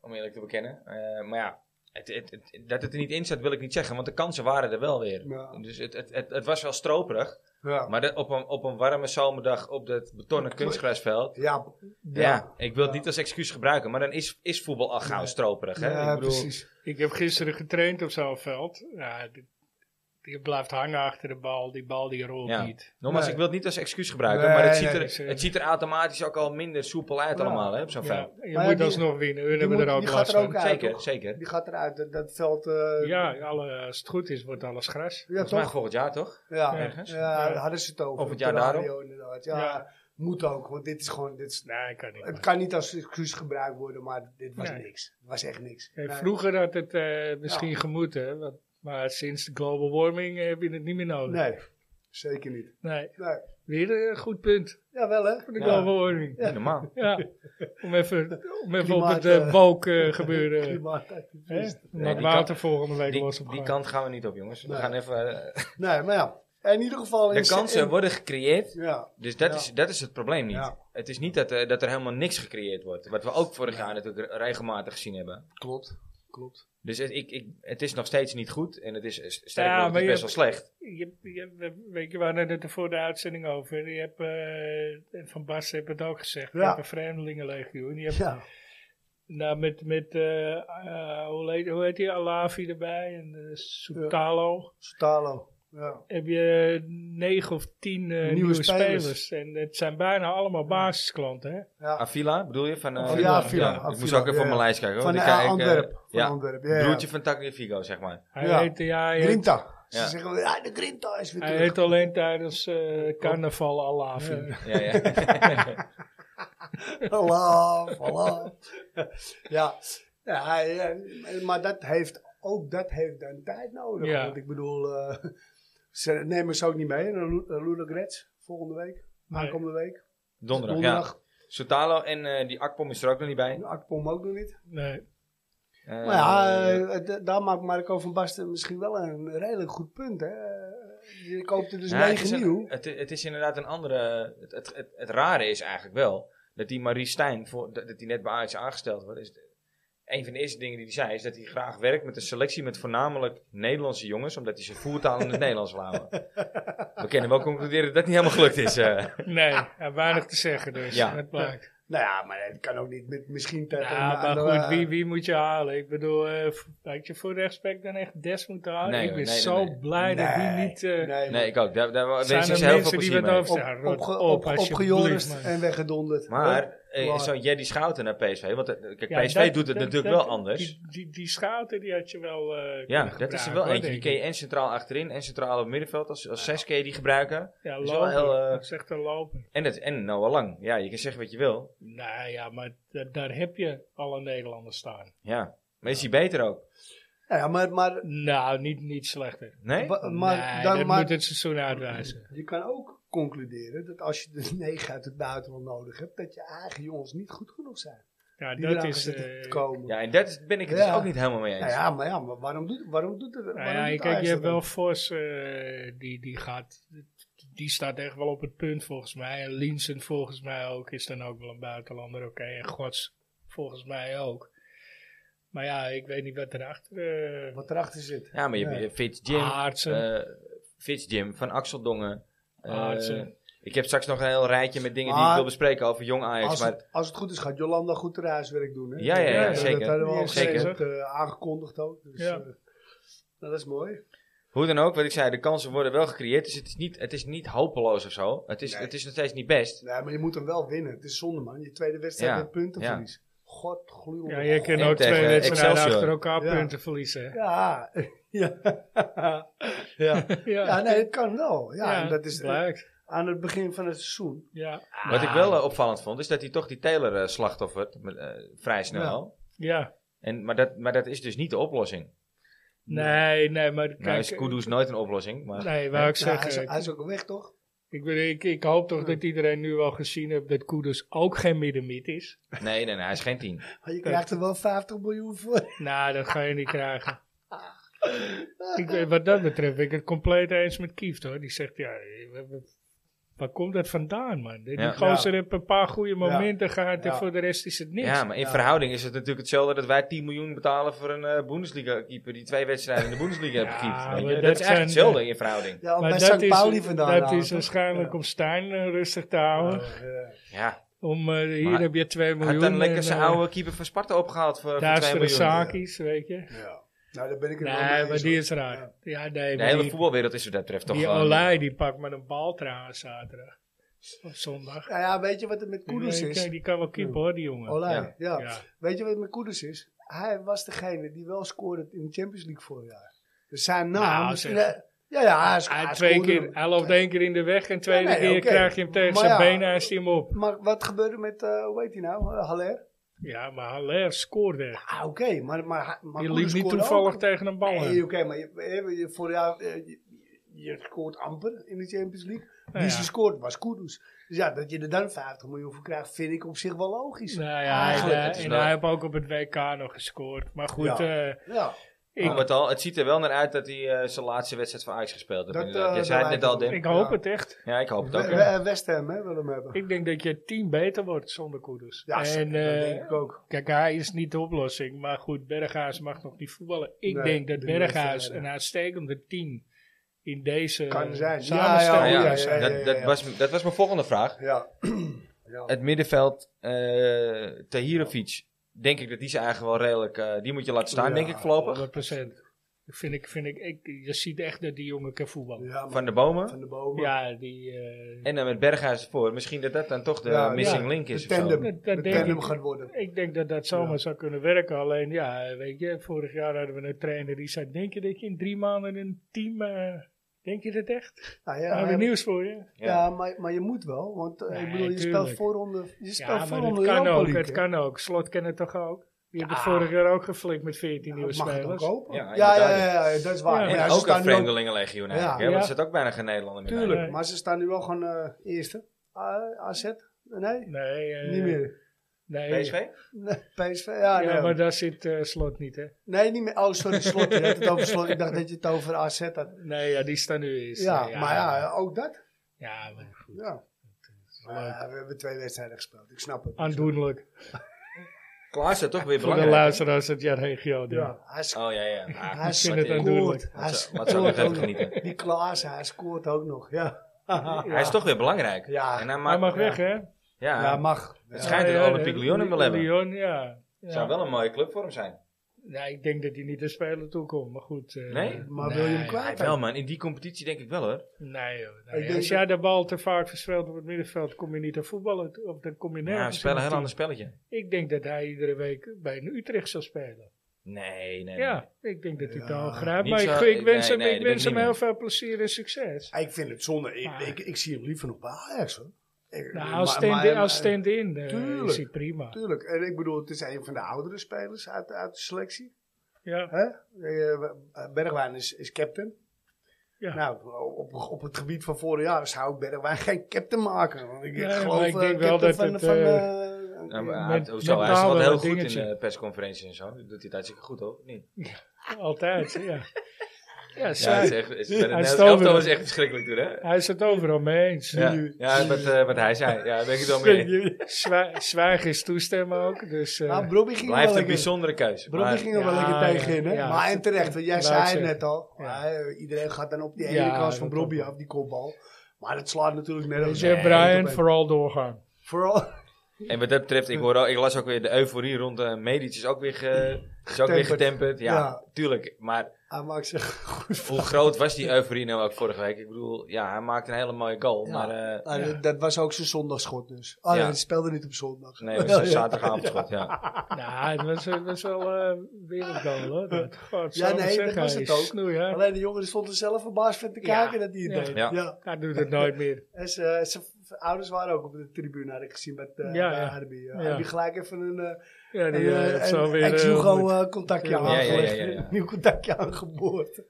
[SPEAKER 1] Om eerlijk te bekennen. Eh, maar ja. Het, het, het- dat het er niet in zat wil ik niet zeggen. Want de kansen waren er wel weer.
[SPEAKER 3] Ja.
[SPEAKER 1] Dus het, het, het, het was wel stroperig.
[SPEAKER 3] ja.
[SPEAKER 1] Maar dat op, een, op een warme zomerdag op dat betonnen kunstgrasveld.
[SPEAKER 3] ja,
[SPEAKER 1] Ja. ik wil het niet als excuus gebruiken. Maar dan is, is voetbal al gauw stroperig. Hè?
[SPEAKER 3] ja,
[SPEAKER 1] ik bedoel,
[SPEAKER 3] precies.
[SPEAKER 2] Ik heb gisteren getraind op zo'n veld. Ja, die, die blijft hangen achter de bal. Die bal die rolt
[SPEAKER 1] Ja.
[SPEAKER 2] niet.
[SPEAKER 1] Nogmaals,
[SPEAKER 3] Nee.
[SPEAKER 1] ik wil het niet als excuus gebruiken,
[SPEAKER 3] Nee,
[SPEAKER 1] maar het
[SPEAKER 3] nee,
[SPEAKER 1] ziet, er,
[SPEAKER 2] nee, zeker.
[SPEAKER 1] het ziet er automatisch ook al minder soepel uit
[SPEAKER 3] Ja.
[SPEAKER 1] allemaal, hè, op zo'n
[SPEAKER 2] Ja,
[SPEAKER 1] veld.
[SPEAKER 2] je
[SPEAKER 3] Maar ja,
[SPEAKER 2] moet
[SPEAKER 3] die-
[SPEAKER 2] alsnog winnen. Hun
[SPEAKER 3] die
[SPEAKER 2] hebben
[SPEAKER 3] moet-
[SPEAKER 2] er ook
[SPEAKER 3] die gaat
[SPEAKER 2] last
[SPEAKER 3] er
[SPEAKER 2] van.
[SPEAKER 3] ook uit.
[SPEAKER 1] Zeker,
[SPEAKER 3] toch?
[SPEAKER 1] zeker.
[SPEAKER 3] Die gaat eruit. Dat, dat veld. eh, ja,
[SPEAKER 2] Ja, alle, als het goed is wordt alles gras.
[SPEAKER 1] Volgens mij
[SPEAKER 3] toch?
[SPEAKER 1] volgend jaar, toch?
[SPEAKER 3] Ja, ja,
[SPEAKER 1] ergens.
[SPEAKER 2] Ja.
[SPEAKER 3] hadden ze het over.
[SPEAKER 1] Of het
[SPEAKER 3] op
[SPEAKER 1] jaar
[SPEAKER 3] de radio
[SPEAKER 1] daarop.
[SPEAKER 3] Inderdaad. Ja,
[SPEAKER 2] Ja.
[SPEAKER 3] moet ook. Want dit is gewoon. Dit is,
[SPEAKER 2] Nee, kan niet.
[SPEAKER 3] het kan niet als excuus gebruikt worden, maar dit was
[SPEAKER 2] Nee.
[SPEAKER 3] niks. Het was echt niks.
[SPEAKER 2] Eh,
[SPEAKER 3] Nee.
[SPEAKER 2] Vroeger had het eh, misschien gemoeten. want- maar sinds de global warming eh, heb je het niet meer nodig.
[SPEAKER 3] Nee, zeker niet.
[SPEAKER 2] Nee.
[SPEAKER 3] Nee.
[SPEAKER 2] Weer een goed punt
[SPEAKER 3] Jawel, hè?
[SPEAKER 2] voor de
[SPEAKER 1] Ja.
[SPEAKER 2] global warming.
[SPEAKER 1] Niet normaal.
[SPEAKER 2] Ja, om even, om even op
[SPEAKER 3] Klimaat,
[SPEAKER 2] het eh,
[SPEAKER 3] eh,
[SPEAKER 2] balk eh, gebeuren. hè?
[SPEAKER 3] Klimaatactivist.
[SPEAKER 1] Nee,
[SPEAKER 2] Omdat
[SPEAKER 1] die
[SPEAKER 2] water volgende week los
[SPEAKER 1] Die,
[SPEAKER 2] op
[SPEAKER 1] die
[SPEAKER 2] gaat.
[SPEAKER 1] kant gaan we niet op, jongens. We
[SPEAKER 3] Nee.
[SPEAKER 1] gaan even... eh,
[SPEAKER 3] Nee, maar ja. In ieder geval...
[SPEAKER 1] De
[SPEAKER 3] is-
[SPEAKER 1] kansen
[SPEAKER 3] in-
[SPEAKER 1] worden gecreëerd,
[SPEAKER 3] Ja,
[SPEAKER 1] dus dat,
[SPEAKER 3] Ja.
[SPEAKER 1] is, dat is het probleem niet.
[SPEAKER 3] Ja.
[SPEAKER 1] Het is niet dat, eh, dat er helemaal niks gecreëerd wordt, wat we ook vorig jaar natuurlijk re- regelmatig gezien hebben.
[SPEAKER 3] klopt. Klopt.
[SPEAKER 1] Dus het, ik, ik, het is nog steeds niet goed en het is eh, sterker
[SPEAKER 2] Ja,
[SPEAKER 1] nog, het
[SPEAKER 2] maar
[SPEAKER 1] is
[SPEAKER 2] je
[SPEAKER 1] best wel
[SPEAKER 2] hebt-
[SPEAKER 1] slecht.
[SPEAKER 2] Je, je, weet je, we hadden het er voor de uitzending over. Je hebt, eh, en Van Basten heeft het ook gezegd. Je
[SPEAKER 3] Ja.
[SPEAKER 2] hebt een vreemdelingenlegioen. Je hebt
[SPEAKER 3] Ja.
[SPEAKER 2] nou, met, met eh, eh, hoe, heet, hoe heet die, Alavi erbij en eh, Soutalo.
[SPEAKER 3] Stalo. Ja.
[SPEAKER 2] Heb je negen of tien eh, nieuwe, spelers.
[SPEAKER 3] spelers.
[SPEAKER 2] En het zijn bijna allemaal basisklanten. Hè?
[SPEAKER 3] ja.
[SPEAKER 1] Avila bedoel je? Van, eh,
[SPEAKER 3] Avila, Oh, Avila,
[SPEAKER 1] Ik
[SPEAKER 3] Avila,
[SPEAKER 1] moest ook even
[SPEAKER 3] ja,
[SPEAKER 1] op mijn
[SPEAKER 3] ja.
[SPEAKER 1] lijst kijken. hoor.
[SPEAKER 3] Van
[SPEAKER 1] Die
[SPEAKER 3] eh,
[SPEAKER 1] kijk ik, eh,
[SPEAKER 3] Antwerpen. Van
[SPEAKER 1] ja.
[SPEAKER 3] Antwerpen. Ja, ja.
[SPEAKER 1] Broertje van Tagliafico, zeg maar.
[SPEAKER 2] Hij,
[SPEAKER 3] Ja.
[SPEAKER 2] heet, ja, hij, heet,
[SPEAKER 3] Grinta. Ze
[SPEAKER 1] Ja.
[SPEAKER 3] zeggen, wel, ja, de Grinta is weer
[SPEAKER 2] hij
[SPEAKER 3] terug.
[SPEAKER 2] heet alleen tijdens eh, carnaval Alavi.
[SPEAKER 1] Ja, ja.
[SPEAKER 3] Hallo, hallo. ja. ja, hij, eh, maar dat heeft, ook dat heeft dan tijd nodig.
[SPEAKER 2] Ja.
[SPEAKER 3] Want ik bedoel, eh, ze nemen ze ook niet mee. Ludo Gretz, volgende week.
[SPEAKER 2] Nee.
[SPEAKER 3] Aankomende week.
[SPEAKER 1] Donderdag, ja.
[SPEAKER 3] Donderdag.
[SPEAKER 1] Sotalo en eh, die Akpom is er ook nog niet bij.
[SPEAKER 3] Akpom ook nog niet.
[SPEAKER 2] Nee.
[SPEAKER 1] Eh,
[SPEAKER 3] Maar ja, eh, d- daar maakt Marco van Basten misschien wel een redelijk goed punt. Hè? Eh, Je koopt er dus
[SPEAKER 1] nou, het is
[SPEAKER 3] negen
[SPEAKER 1] een-
[SPEAKER 3] nieuw.
[SPEAKER 1] Het, het is inderdaad een andere... Het, het, het, het rare is eigenlijk wel dat die Marie Stijn, voor, dat, dat die net bij Ajax aangesteld wordt... Is, een van de eerste dingen die hij zei is dat hij graag werkt met een selectie met voornamelijk Nederlandse jongens, omdat hij zijn voertaal in het Nederlands wil houden. We kunnen wel concluderen dat dat niet helemaal gelukt is. eh.
[SPEAKER 2] Nee, hij heeft weinig te zeggen dus.
[SPEAKER 1] Ja.
[SPEAKER 2] Dat blijkt.
[SPEAKER 3] Nou ja, maar het kan ook niet met misschien tegen
[SPEAKER 2] Ja,
[SPEAKER 3] een
[SPEAKER 2] maar
[SPEAKER 3] andere-
[SPEAKER 2] goed, wie, wie moet je halen? Ik bedoel, eh, v- had je voor rechtsback dan echt Des moeten halen?
[SPEAKER 1] Nee,
[SPEAKER 2] ik
[SPEAKER 1] hoor,
[SPEAKER 2] ben
[SPEAKER 1] nee,
[SPEAKER 2] zo
[SPEAKER 1] nee, nee.
[SPEAKER 2] blij dat die
[SPEAKER 3] Nee,
[SPEAKER 2] niet... eh,
[SPEAKER 3] nee,
[SPEAKER 1] Nee, ik ook. Daar, daar
[SPEAKER 2] Zijn
[SPEAKER 1] wens
[SPEAKER 2] er
[SPEAKER 1] ik ze heel veel
[SPEAKER 2] mensen die
[SPEAKER 1] plezier
[SPEAKER 2] wat
[SPEAKER 1] mee.
[SPEAKER 2] over-
[SPEAKER 3] op,
[SPEAKER 2] Ja, rot op,
[SPEAKER 3] opge, op,
[SPEAKER 2] alsjeblieft,
[SPEAKER 3] opgejorst
[SPEAKER 2] man.
[SPEAKER 3] en weggedonderd.
[SPEAKER 1] Maar eh,
[SPEAKER 3] Klaar.
[SPEAKER 1] zo'n Jerry Schouten naar PSV, want eh, kijk,
[SPEAKER 2] ja,
[SPEAKER 1] PSV
[SPEAKER 2] dat-
[SPEAKER 1] doet het
[SPEAKER 2] dat-
[SPEAKER 1] natuurlijk
[SPEAKER 2] dat-
[SPEAKER 1] wel anders.
[SPEAKER 2] Die, die, die schouten die had je wel eh, kunnen
[SPEAKER 1] ja, dat is er
[SPEAKER 2] gebruiken,
[SPEAKER 1] wel
[SPEAKER 2] hoor,
[SPEAKER 1] eentje. Die
[SPEAKER 2] denk
[SPEAKER 1] kun je
[SPEAKER 2] ik.
[SPEAKER 1] en centraal achterin en centraal op middenveld als, als zes kun je die gebruiken.
[SPEAKER 2] Ja,
[SPEAKER 1] is wel heel, eh,
[SPEAKER 2] lopen. Dat is echt een lopen.
[SPEAKER 1] En, het, en Noah Lang. Ja, je kan zeggen wat je wil.
[SPEAKER 2] Nou ja, maar da- daar heb je alle Nederlanders staan.
[SPEAKER 1] Ja. Maar is hij beter ook?
[SPEAKER 3] Ja, ja, maar, maar,
[SPEAKER 2] Nou, niet, niet slechter.
[SPEAKER 1] Nee?
[SPEAKER 3] wa- maar,
[SPEAKER 2] nee,
[SPEAKER 3] dan,
[SPEAKER 2] dat
[SPEAKER 3] maar
[SPEAKER 2] moet het seizoen uitwijzen.
[SPEAKER 3] je kan ook concluderen dat als je de negen uit het buitenland nodig hebt, dat je eigen jongens niet goed genoeg zijn.
[SPEAKER 2] Ja,
[SPEAKER 3] Die
[SPEAKER 2] dat
[SPEAKER 3] eraan
[SPEAKER 2] is...
[SPEAKER 3] zitten te
[SPEAKER 2] eh,
[SPEAKER 3] komen. Ja.
[SPEAKER 1] Ja, en dat is- ben ik het dus
[SPEAKER 3] Ja.
[SPEAKER 1] ook niet helemaal mee eens.
[SPEAKER 3] Nou ja, maar, ja, maar waarom doet, waarom doet het?
[SPEAKER 2] nou
[SPEAKER 3] waarom
[SPEAKER 2] ja,
[SPEAKER 3] doet
[SPEAKER 2] kijk,
[SPEAKER 3] Ajax
[SPEAKER 2] je hebt
[SPEAKER 3] dat
[SPEAKER 2] wel
[SPEAKER 3] dan?
[SPEAKER 2] Fors, eh, die, die gaat... Die staat echt wel op het punt volgens mij. En Linsen volgens mij ook. Is dan ook wel een buitenlander, oké. En Gods volgens mij ook. Maar ja, ik weet niet wat erachter... eh
[SPEAKER 3] Wat erachter zit.
[SPEAKER 1] Ja, maar je hebt
[SPEAKER 3] Ja. Ah,
[SPEAKER 1] eh, Fitz Jim,
[SPEAKER 2] Aartsen.
[SPEAKER 1] eh Fitz Jim van Axel Dongen. eh,
[SPEAKER 2] Aartsen.
[SPEAKER 1] ik heb straks nog een heel rijtje met dingen die ik
[SPEAKER 3] Ah, Maar-
[SPEAKER 1] wil bespreken over jong Ajax.
[SPEAKER 3] Als
[SPEAKER 1] maar
[SPEAKER 3] het, als het goed is, gaat Jolanda goed haar huiswerk doen. Hè?
[SPEAKER 1] Ja, ja,
[SPEAKER 2] ja,
[SPEAKER 3] dat-
[SPEAKER 1] zeker.
[SPEAKER 3] Dat hebben we
[SPEAKER 2] Ja,
[SPEAKER 3] al gezegd,
[SPEAKER 2] zeker.
[SPEAKER 3] eh, aangekondigd ook. Dus,
[SPEAKER 2] Ja.
[SPEAKER 3] eh, nou, dat is mooi.
[SPEAKER 1] Hoe dan ook, wat ik zei, de kansen worden wel gecreëerd. Dus het is niet, het is niet hopeloos of zo. Het is,
[SPEAKER 3] Nee.
[SPEAKER 1] het is nog steeds niet best.
[SPEAKER 3] Nee, maar je moet hem wel winnen. Het is zonde, man. Je tweede wedstrijd
[SPEAKER 1] Ja,
[SPEAKER 3] met puntenverlies. God, gloeiend.
[SPEAKER 2] ja, je kan
[SPEAKER 1] en
[SPEAKER 2] ook twee
[SPEAKER 1] tegen
[SPEAKER 2] wedstrijden
[SPEAKER 1] Excelsior.
[SPEAKER 2] achter elkaar
[SPEAKER 3] Ja.
[SPEAKER 2] punten verliezen. hè.
[SPEAKER 3] Ja, ja. ja. ja, nee, het kan wel. Ja, en dat is eh,
[SPEAKER 2] blijkt.
[SPEAKER 3] aan het begin van het seizoen.
[SPEAKER 2] Ja,
[SPEAKER 1] Wat ik wel eh, opvallend vond, is dat hij toch die Taylor eh, slachtoffert met, eh, vrij snel.
[SPEAKER 2] ja.
[SPEAKER 1] En, maar, dat, maar dat is dus niet de oplossing.
[SPEAKER 2] Nee, nee, maar kijk...
[SPEAKER 1] nou is
[SPEAKER 3] eh,
[SPEAKER 1] Kudus nooit een oplossing. Maar,
[SPEAKER 2] Nee, wou ik eh,
[SPEAKER 3] Ja, hij, is,
[SPEAKER 2] zeggen.
[SPEAKER 3] hij is ook weg, toch?
[SPEAKER 2] ik, bedoel, ik, ik hoop toch dat iedereen nu al gezien heeft dat Kudus ook geen middenmid is.
[SPEAKER 1] nee, nee, nee, hij is geen tien.
[SPEAKER 3] Maar je krijgt er wel 50 miljoen voor.
[SPEAKER 2] Nou, dat ga je niet krijgen. Ik, eh, wat dat betreft ben ik het compleet eens met Kieft hoor. Die zegt, ja, we hebben Waar komt dat vandaan, man? Die
[SPEAKER 1] Ja.
[SPEAKER 2] gozer
[SPEAKER 3] Ja.
[SPEAKER 2] heeft een paar goede momenten gehad en
[SPEAKER 3] Ja.
[SPEAKER 2] voor de rest is het niks.
[SPEAKER 1] Ja, maar in
[SPEAKER 3] Ja.
[SPEAKER 1] verhouding is het natuurlijk hetzelfde dat wij 10 miljoen betalen voor een eh Bundesliga-keeper die twee wedstrijden in de Bundesliga heeft
[SPEAKER 2] Ja,
[SPEAKER 1] gekiept.
[SPEAKER 2] maar
[SPEAKER 1] weet je.
[SPEAKER 2] dat
[SPEAKER 1] Dat, is
[SPEAKER 2] zijn
[SPEAKER 1] echt hetzelfde in verhouding.
[SPEAKER 3] Ja,
[SPEAKER 2] Maar
[SPEAKER 3] bij St. Pauli
[SPEAKER 2] is,
[SPEAKER 3] vandaan.
[SPEAKER 2] dat
[SPEAKER 3] halen,
[SPEAKER 2] is
[SPEAKER 3] toch?
[SPEAKER 2] waarschijnlijk
[SPEAKER 3] Ja.
[SPEAKER 2] om Stijn eh, rustig te houden.
[SPEAKER 3] Ja.
[SPEAKER 1] Ja,
[SPEAKER 2] Om, eh, hier
[SPEAKER 1] Maar
[SPEAKER 2] heb je 2 miljoen.
[SPEAKER 1] had dan lekker
[SPEAKER 2] en,
[SPEAKER 1] zijn
[SPEAKER 2] eh,
[SPEAKER 1] oude keeper van Sparta opgehaald voor, voor 2
[SPEAKER 2] Duistere
[SPEAKER 1] miljoen.
[SPEAKER 3] eh.
[SPEAKER 2] zaakjes, weet je.
[SPEAKER 3] Ja. Nou, daar ben ik er wel mee
[SPEAKER 2] Nee,
[SPEAKER 3] eens,
[SPEAKER 2] maar die
[SPEAKER 3] hoor.
[SPEAKER 2] is raar. Ja, nee,
[SPEAKER 1] De
[SPEAKER 2] maar
[SPEAKER 1] hele
[SPEAKER 2] die,
[SPEAKER 1] voetbalwereld is wat dat betreft toch eh,
[SPEAKER 2] die
[SPEAKER 1] gewoon-
[SPEAKER 3] eh.
[SPEAKER 2] Olij die pakt met een bal trouwens zaterdag. Of zondag.
[SPEAKER 3] Nou ja, weet je wat het met Koeders
[SPEAKER 2] Die-
[SPEAKER 3] is?
[SPEAKER 2] die kan wel keeper hoor, die jongen.
[SPEAKER 3] Olij,
[SPEAKER 1] Ja.
[SPEAKER 3] ja.
[SPEAKER 2] Ja.
[SPEAKER 3] Weet je wat het met Koeders is? Hij was degene die wel scoorde in de Champions League vorig jaar. Dus zijn naam...
[SPEAKER 2] Nou, zeg.
[SPEAKER 3] ja, ja, ja, hij, sco-
[SPEAKER 2] Hij,
[SPEAKER 3] hij
[SPEAKER 2] twee
[SPEAKER 3] scoorde
[SPEAKER 2] keer,
[SPEAKER 3] hem.
[SPEAKER 2] hij loopt één keer in de weg en tweede
[SPEAKER 3] nee,
[SPEAKER 2] keer
[SPEAKER 3] oké.
[SPEAKER 2] krijg je hem tegen
[SPEAKER 3] Maar
[SPEAKER 2] zijn
[SPEAKER 3] ja.
[SPEAKER 2] benen en hij hem op.
[SPEAKER 3] Maar wat gebeurde met, eh hoe heet hij nou? Eh, Haller?
[SPEAKER 2] Ja, maar Haller scoorde. echt.
[SPEAKER 3] Ah, oké. Maar, maar, maar
[SPEAKER 2] Die liep
[SPEAKER 3] Koeders
[SPEAKER 2] niet
[SPEAKER 3] scoorde
[SPEAKER 2] toevallig
[SPEAKER 3] ook.
[SPEAKER 2] tegen een bal. aan.
[SPEAKER 3] Nee, oké, maar je, je, je- vorig jaar, eh, je, je scoort amper in de Champions League. Die
[SPEAKER 2] ja.
[SPEAKER 3] is gescoord was Kudus. Dus ja, dat je er dan 50 miljoen voor krijgt, vind ik op zich wel logisch.
[SPEAKER 2] Nou ja, en,
[SPEAKER 1] Eigenlijk,
[SPEAKER 2] eh,
[SPEAKER 1] het is
[SPEAKER 2] en
[SPEAKER 1] wel-
[SPEAKER 2] hij heeft ook op het WK nog gescoord. Maar goed,
[SPEAKER 3] Ja. Oh,
[SPEAKER 2] eh,
[SPEAKER 3] Ja,
[SPEAKER 1] Al
[SPEAKER 2] ik,
[SPEAKER 1] met al, Oh, het ziet er wel naar uit dat hij eh, zijn laatste wedstrijd voor Ajax gespeeld heeft.
[SPEAKER 3] Dat,
[SPEAKER 1] inderdaad.
[SPEAKER 3] eh,
[SPEAKER 1] Jij zei het net
[SPEAKER 3] dat
[SPEAKER 1] al, Dim.
[SPEAKER 2] ik hoop
[SPEAKER 3] Ja.
[SPEAKER 2] het echt.
[SPEAKER 1] Ja, ik hoop het ook.
[SPEAKER 3] We-
[SPEAKER 1] hè.
[SPEAKER 3] we- eh, West Ham hè, wil hem hebben.
[SPEAKER 2] Ik denk dat je team beter wordt zonder Koeders.
[SPEAKER 3] Ja,
[SPEAKER 2] en,
[SPEAKER 3] zeker, dat
[SPEAKER 2] eh,
[SPEAKER 3] denk ik ook.
[SPEAKER 2] Kijk, hij is niet de oplossing. Maar goed, Berghuis mag nog niet voetballen. Ik
[SPEAKER 3] Nee,
[SPEAKER 2] denk dat
[SPEAKER 3] de
[SPEAKER 2] Berghuis
[SPEAKER 3] wedstrijd, ja.
[SPEAKER 2] een uitstekende team in deze
[SPEAKER 3] Kan zijn. Ja,
[SPEAKER 1] Nou
[SPEAKER 2] samenstelling
[SPEAKER 1] ja,
[SPEAKER 2] zou
[SPEAKER 3] ja, ja,
[SPEAKER 2] zijn.
[SPEAKER 1] dat, dat,
[SPEAKER 3] ja.
[SPEAKER 1] was, dat was mijn volgende vraag.
[SPEAKER 3] Ja. ja.
[SPEAKER 1] Het middenveld, eh Tahirovic, denk ik dat die zijn eigenlijk wel redelijk... eh, die moet je laten staan,
[SPEAKER 3] Ja,
[SPEAKER 1] denk ik, voorlopig.
[SPEAKER 2] 100%. Vind ik, vind ik, ik, je ziet echt dat die jongen kan voetballen.
[SPEAKER 3] Ja, maar
[SPEAKER 1] Van de bomen.
[SPEAKER 3] van de bomen.
[SPEAKER 2] Ja, die... eh,
[SPEAKER 1] En dan met Berghuis ervoor. Misschien dat dat dan toch de
[SPEAKER 3] Ja,
[SPEAKER 1] missing
[SPEAKER 2] ja.
[SPEAKER 1] link is
[SPEAKER 3] De
[SPEAKER 1] of zo.
[SPEAKER 3] tandem.
[SPEAKER 2] dat- dat
[SPEAKER 3] de
[SPEAKER 2] denk
[SPEAKER 3] tandem
[SPEAKER 2] ik.
[SPEAKER 3] gaat worden.
[SPEAKER 2] Ik denk dat dat zomaar
[SPEAKER 3] Ja.
[SPEAKER 2] zou kunnen werken. Alleen ja, weet je, vorig jaar hadden we een trainer die zei: Denk je dat je in drie maanden een team. eh, denk je dat echt?
[SPEAKER 3] Nou
[SPEAKER 2] We
[SPEAKER 3] ja,
[SPEAKER 2] hebben
[SPEAKER 3] ja,
[SPEAKER 2] nieuws voor je.
[SPEAKER 1] Ja.
[SPEAKER 3] ja. maar, maar je moet wel, want eh,
[SPEAKER 2] Nee,
[SPEAKER 3] ik bedoel, je
[SPEAKER 2] tuurlijk.
[SPEAKER 3] speelt voorronde. Je speelt
[SPEAKER 2] Ja, maar
[SPEAKER 3] voorronde
[SPEAKER 2] het kan
[SPEAKER 3] Europa
[SPEAKER 2] ook.
[SPEAKER 3] League,
[SPEAKER 2] Het
[SPEAKER 3] hè.
[SPEAKER 2] kan ook. Slot kent het toch ook? Die hebben
[SPEAKER 3] Ja.
[SPEAKER 2] vorig jaar ook geflikt met 14
[SPEAKER 3] Ja,
[SPEAKER 2] nieuwe
[SPEAKER 3] dat mag het
[SPEAKER 2] spelers.
[SPEAKER 3] ook hopen.
[SPEAKER 1] Ja,
[SPEAKER 3] Ja, ja, ja,
[SPEAKER 1] inderdaad.
[SPEAKER 3] ja, dat is waar.
[SPEAKER 2] Ja.
[SPEAKER 3] Maar
[SPEAKER 1] En
[SPEAKER 3] ja, ze
[SPEAKER 1] ook
[SPEAKER 3] staan
[SPEAKER 1] een
[SPEAKER 3] nu
[SPEAKER 1] vreemdelingenlegioen eigenlijk.
[SPEAKER 3] Ja.
[SPEAKER 1] hè, want
[SPEAKER 2] Ja.
[SPEAKER 1] er zit ook bijna geen Nederlander meer
[SPEAKER 3] Tuurlijk,
[SPEAKER 2] Nee.
[SPEAKER 3] maar ze staan nu wel gewoon eh, eerste. Ah, AZ? Nee,
[SPEAKER 2] Nee, eh,
[SPEAKER 3] niet meer.
[SPEAKER 1] bij.
[SPEAKER 2] Nee.
[SPEAKER 1] PSV?
[SPEAKER 3] Nee, PSV? Ja,
[SPEAKER 2] Ja,
[SPEAKER 3] nee.
[SPEAKER 2] maar daar zit eh, Slot niet, hè?
[SPEAKER 3] nee, niet meer. Oh, sorry, slot. Je had het over slot. Ik dacht dat je het over AZ had.
[SPEAKER 2] Nee, ja, die staan nu eerst.
[SPEAKER 3] Ja,
[SPEAKER 2] Eh,
[SPEAKER 3] maar ja, ook dat.
[SPEAKER 2] Ja, maar goed.
[SPEAKER 3] Ja.
[SPEAKER 2] leuk.
[SPEAKER 3] Maar we hebben twee wedstrijden gespeeld. Ik snap het.
[SPEAKER 2] Aandoenlijk.
[SPEAKER 1] Klaassen toch weer
[SPEAKER 2] Voor de
[SPEAKER 1] belangrijk.
[SPEAKER 2] luisteraars het jaar regio. denk ik.
[SPEAKER 3] Ja, hij scoort.
[SPEAKER 1] Oh ja, ja. Ah,
[SPEAKER 3] Hij
[SPEAKER 1] goed, wat-
[SPEAKER 2] vindt het een-
[SPEAKER 3] Hij
[SPEAKER 2] aandoenlijk.
[SPEAKER 1] Laat ze- laat
[SPEAKER 3] scoort
[SPEAKER 1] ze nog even
[SPEAKER 3] ook
[SPEAKER 1] genieten.
[SPEAKER 3] nog. Die Klaas, hij scoort ook nog. Ja.
[SPEAKER 1] Hij is toch weer belangrijk.
[SPEAKER 3] Ja.
[SPEAKER 1] En hij
[SPEAKER 2] Hij
[SPEAKER 1] maakt,
[SPEAKER 2] mag
[SPEAKER 3] ja.
[SPEAKER 2] weg, hè?
[SPEAKER 1] ja,
[SPEAKER 3] Ja, mag.
[SPEAKER 1] het
[SPEAKER 3] Ja.
[SPEAKER 1] schijnt dat
[SPEAKER 2] Ja,
[SPEAKER 1] de
[SPEAKER 2] ja,
[SPEAKER 1] Olympique Lyon hem wil
[SPEAKER 2] Lyon,
[SPEAKER 1] hebben.
[SPEAKER 2] ja. ja.
[SPEAKER 1] Zou wel een mooie club voor hem zijn.
[SPEAKER 2] Ja, ik denk dat hij niet te spelen toekomt, maar goed. eh,
[SPEAKER 1] Nee?
[SPEAKER 3] Maar wil je hem
[SPEAKER 1] Ja,
[SPEAKER 3] kwijt?
[SPEAKER 1] wel man, in die competitie denk ik wel hoor.
[SPEAKER 2] Nee, joh.
[SPEAKER 3] Ik
[SPEAKER 2] Nee,
[SPEAKER 3] denk
[SPEAKER 2] Als jij de bal te vaak verspeelt op het middenveld, kom je niet aan voetballen. t- Of dan kom je
[SPEAKER 1] Ja,
[SPEAKER 2] nergens.
[SPEAKER 1] we spelen een
[SPEAKER 2] in
[SPEAKER 1] heel
[SPEAKER 2] het
[SPEAKER 1] ander spelletje.
[SPEAKER 2] team. Ik denk dat hij iedere week bij een Utrecht zal spelen.
[SPEAKER 1] Nee, nee.
[SPEAKER 2] Ja, ik denk dat hij
[SPEAKER 3] Ja.
[SPEAKER 2] daar al grijpt.
[SPEAKER 1] Niet
[SPEAKER 2] Maar ik,
[SPEAKER 1] zo-
[SPEAKER 2] ik
[SPEAKER 1] nee,
[SPEAKER 2] wens hem,
[SPEAKER 1] nee,
[SPEAKER 2] ik
[SPEAKER 1] daar ben
[SPEAKER 2] wens
[SPEAKER 1] ik
[SPEAKER 2] hem
[SPEAKER 1] niet
[SPEAKER 2] heel
[SPEAKER 1] mee.
[SPEAKER 2] veel plezier en succes.
[SPEAKER 3] Ik vind het zonde. Ik,
[SPEAKER 2] Maar-
[SPEAKER 3] ik, ik zie hem liever nog bij Ajax hoor. Ik-
[SPEAKER 2] Nou,
[SPEAKER 3] maar-
[SPEAKER 2] als stand-
[SPEAKER 3] maar-
[SPEAKER 2] als stand-in eh,
[SPEAKER 3] tuurlijk.
[SPEAKER 2] is hij prima.
[SPEAKER 3] Tuurlijk. En ik bedoel, het is een van de oudere spelers uit, uit de selectie.
[SPEAKER 2] Ja,
[SPEAKER 3] Hè? Eh, Bergwijn is, is captain.
[SPEAKER 2] Ja.
[SPEAKER 3] Nou, op, op het gebied van vorig jaar zou ik Bergwijn geen captain maken. Want ik
[SPEAKER 2] Nee,
[SPEAKER 3] geloof
[SPEAKER 2] maar ik
[SPEAKER 3] eh,
[SPEAKER 2] denk wel
[SPEAKER 3] captain
[SPEAKER 2] dat
[SPEAKER 3] van,
[SPEAKER 2] het,
[SPEAKER 3] van,
[SPEAKER 2] eh,
[SPEAKER 3] eh,
[SPEAKER 1] Ja, Nou, maar
[SPEAKER 2] Met-
[SPEAKER 1] hij- hoezo,
[SPEAKER 2] met
[SPEAKER 1] hij is
[SPEAKER 2] nou
[SPEAKER 1] wel
[SPEAKER 2] wel
[SPEAKER 1] heel
[SPEAKER 2] een
[SPEAKER 1] goed in
[SPEAKER 2] dingetje.
[SPEAKER 1] eh, persconferenties en zo. Dat doet hij het hartstikke goed hoor. of Niet.
[SPEAKER 2] altijd. ja. Ja,
[SPEAKER 1] Ja, het is
[SPEAKER 2] zij-
[SPEAKER 1] echt, het is, bij de
[SPEAKER 2] Hij
[SPEAKER 1] Nederlandse
[SPEAKER 2] is
[SPEAKER 1] elftal
[SPEAKER 2] toveren.
[SPEAKER 1] was echt verschrikkelijk toen hè.
[SPEAKER 2] hij is het overal mee eens.
[SPEAKER 1] Ja, ja wat, eh, wat hij zei. Ja, daar ben ik het wel mee. eens.
[SPEAKER 2] Zwa- zwijgen is toestemmen ook. Dus, eh,
[SPEAKER 3] nou, Bobby ging er
[SPEAKER 1] Blijft
[SPEAKER 3] wel
[SPEAKER 1] een
[SPEAKER 3] lekker,
[SPEAKER 1] bijzondere keuze.
[SPEAKER 3] Bobby
[SPEAKER 1] maar-
[SPEAKER 3] ging er
[SPEAKER 2] Ja,
[SPEAKER 3] wel lekker tegen in. Hè?
[SPEAKER 2] ja,
[SPEAKER 3] maar
[SPEAKER 2] ja.
[SPEAKER 3] en terecht, want jij
[SPEAKER 2] Wou
[SPEAKER 3] zei
[SPEAKER 2] ik
[SPEAKER 3] het
[SPEAKER 2] zeggen.
[SPEAKER 3] net al.
[SPEAKER 2] Ja.
[SPEAKER 3] Ja, iedereen gaat dan op die ene
[SPEAKER 2] Ja,
[SPEAKER 3] kans van
[SPEAKER 2] dat
[SPEAKER 3] Bobby
[SPEAKER 2] ook.
[SPEAKER 3] af, die kopbal. Maar dat slaat natuurlijk nergens
[SPEAKER 2] Dus
[SPEAKER 3] op.
[SPEAKER 2] eh, Brian,
[SPEAKER 3] Nee.
[SPEAKER 2] vooral doorgaan.
[SPEAKER 3] Vooral
[SPEAKER 1] En wat dat betreft, ik, hoor al, ik las ook weer de euforie rond eh Medic is ook weer, ge- is ook weer
[SPEAKER 3] Getemperd.
[SPEAKER 1] getemperd. Ja,
[SPEAKER 3] Ja.
[SPEAKER 1] tuurlijk. Maar
[SPEAKER 3] Hij maakt zich goed voor.
[SPEAKER 1] hoe groot was die euforie nou ook vorige week? Ik bedoel, ja, hij maakte een hele mooie goal. Maar eh,
[SPEAKER 3] Nou, dat- Dat was ook zijn zondagschot dus. Oh,
[SPEAKER 1] Ja.
[SPEAKER 3] nee, die speelde niet op zondag.
[SPEAKER 1] nee, het was een zaterdagavondschot, ja.
[SPEAKER 2] Nou, het was, het was wel eh wereldgoal hoor. Dat, God,
[SPEAKER 3] Ja,
[SPEAKER 2] zo
[SPEAKER 3] nee,
[SPEAKER 2] zeggen,
[SPEAKER 3] dat was
[SPEAKER 2] hij
[SPEAKER 3] het
[SPEAKER 2] is
[SPEAKER 3] ook.
[SPEAKER 2] Snoei, hè?
[SPEAKER 3] Alleen de jongen stond er zelf verbaasd van te
[SPEAKER 2] Ja.
[SPEAKER 3] kijken dat hij het
[SPEAKER 2] Ja.
[SPEAKER 3] deed.
[SPEAKER 1] Ja.
[SPEAKER 3] Ja.
[SPEAKER 2] Hij doet het nooit meer.
[SPEAKER 3] En zijn, zijn v- ouders waren ook op de tribune, had ik gezien met eh
[SPEAKER 2] Ja,
[SPEAKER 3] bij
[SPEAKER 2] ja.
[SPEAKER 3] Harby. Ja.
[SPEAKER 2] Ja.
[SPEAKER 3] Heb je gelijk even een, eh,
[SPEAKER 2] Ja, die
[SPEAKER 3] een,
[SPEAKER 2] eh, heeft
[SPEAKER 3] eh,
[SPEAKER 2] zo
[SPEAKER 3] een
[SPEAKER 2] weer... eh,
[SPEAKER 3] ex-Hugo
[SPEAKER 2] ontmoet.
[SPEAKER 3] eh, contactje
[SPEAKER 2] Ja, ja, ja,
[SPEAKER 3] aangelegd.
[SPEAKER 1] ja, ja.
[SPEAKER 3] Een nieuw contactje aangeboord.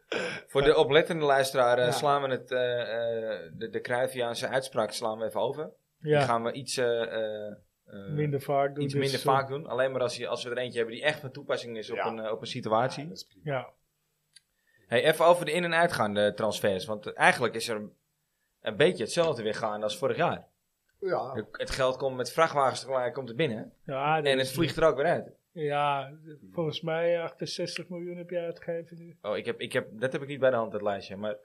[SPEAKER 1] Voor de oplettende luisteraar eh,
[SPEAKER 3] Ja.
[SPEAKER 1] slaan we het, eh, eh, de, de Cruyffiaanse uitspraak slaan we even over. Die
[SPEAKER 2] Ja,
[SPEAKER 1] gaan we iets, eh, eh, eh,
[SPEAKER 2] minder vaak doen. dus, eh,
[SPEAKER 1] iets
[SPEAKER 2] dit
[SPEAKER 1] minder
[SPEAKER 2] seizoen.
[SPEAKER 1] vaak doen. Alleen maar als, je, als we er eentje hebben die echt van toepassing is op,
[SPEAKER 3] Ja.
[SPEAKER 1] een, eh, op een situatie.
[SPEAKER 2] Ja. dus-
[SPEAKER 1] Hey, even over de in- en uitgaande transfers. Want eh, eigenlijk is er een beetje hetzelfde weer gaan als vorig jaar.
[SPEAKER 3] Ja,
[SPEAKER 1] Het geld komt met vrachtwagens tegelijk komt er binnen.
[SPEAKER 2] Oh. Ja, dat
[SPEAKER 1] En het
[SPEAKER 2] is-
[SPEAKER 1] vliegt er ook weer uit.
[SPEAKER 2] Ja, volgens mij 68 miljoen heb je uitgegeven nu.
[SPEAKER 1] Oh, ik heb, ik heb, dat heb ik niet bij de hand, dat lijstje. Maar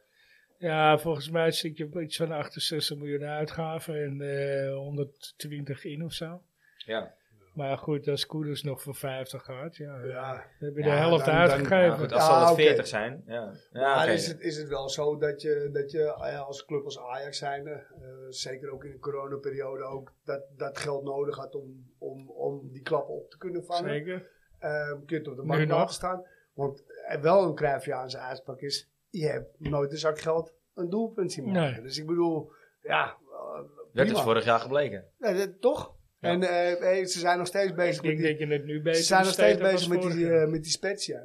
[SPEAKER 2] Ja, volgens mij zit je op iets van 68 miljoen uitgaven en eh, 120 in of zo.
[SPEAKER 1] ja,
[SPEAKER 2] Maar goed, als Koeders nog voor 50 gaat, ja,
[SPEAKER 3] Ja.
[SPEAKER 2] dan heb je de
[SPEAKER 3] Ja,
[SPEAKER 2] helft
[SPEAKER 3] dan- dan-
[SPEAKER 1] nou
[SPEAKER 2] uitgegeven.
[SPEAKER 1] goed,
[SPEAKER 3] Ja,
[SPEAKER 1] als
[SPEAKER 2] Ah,
[SPEAKER 1] zal het
[SPEAKER 3] oké.
[SPEAKER 1] 40 zijn. Ja, ja
[SPEAKER 3] maar
[SPEAKER 1] Ah, oké.
[SPEAKER 3] is, het, is het wel zo dat je, dat je eh, als club als Ajax zijnde, eh, zeker ook in de coronaperiode, ook dat, dat geld nodig had om, om, om die klappen op te kunnen vangen?
[SPEAKER 2] Zeker.
[SPEAKER 3] Ehm, kun je het op de
[SPEAKER 2] Nu
[SPEAKER 3] markt
[SPEAKER 2] nog.
[SPEAKER 3] afstaan. Want er wel een Cruijffiaanse uitspraak is, je hebt nooit een zak geld een doelpunt zien maken.
[SPEAKER 2] Nee.
[SPEAKER 3] Dus ik bedoel, ja, eh,
[SPEAKER 1] dat
[SPEAKER 3] prima.
[SPEAKER 1] is vorig jaar gebleken.
[SPEAKER 3] Ja, dat- toch?
[SPEAKER 1] Ja.
[SPEAKER 3] En eh, eh, ze zijn nog steeds bezig
[SPEAKER 2] Ik
[SPEAKER 3] met
[SPEAKER 2] denk
[SPEAKER 3] die,
[SPEAKER 2] dat je het nu
[SPEAKER 3] ze
[SPEAKER 2] beter
[SPEAKER 3] zijn nog steeds
[SPEAKER 2] besteedt dan
[SPEAKER 3] bezig met
[SPEAKER 2] vorig
[SPEAKER 3] die,
[SPEAKER 2] jaar.
[SPEAKER 3] eh, met die Spezia.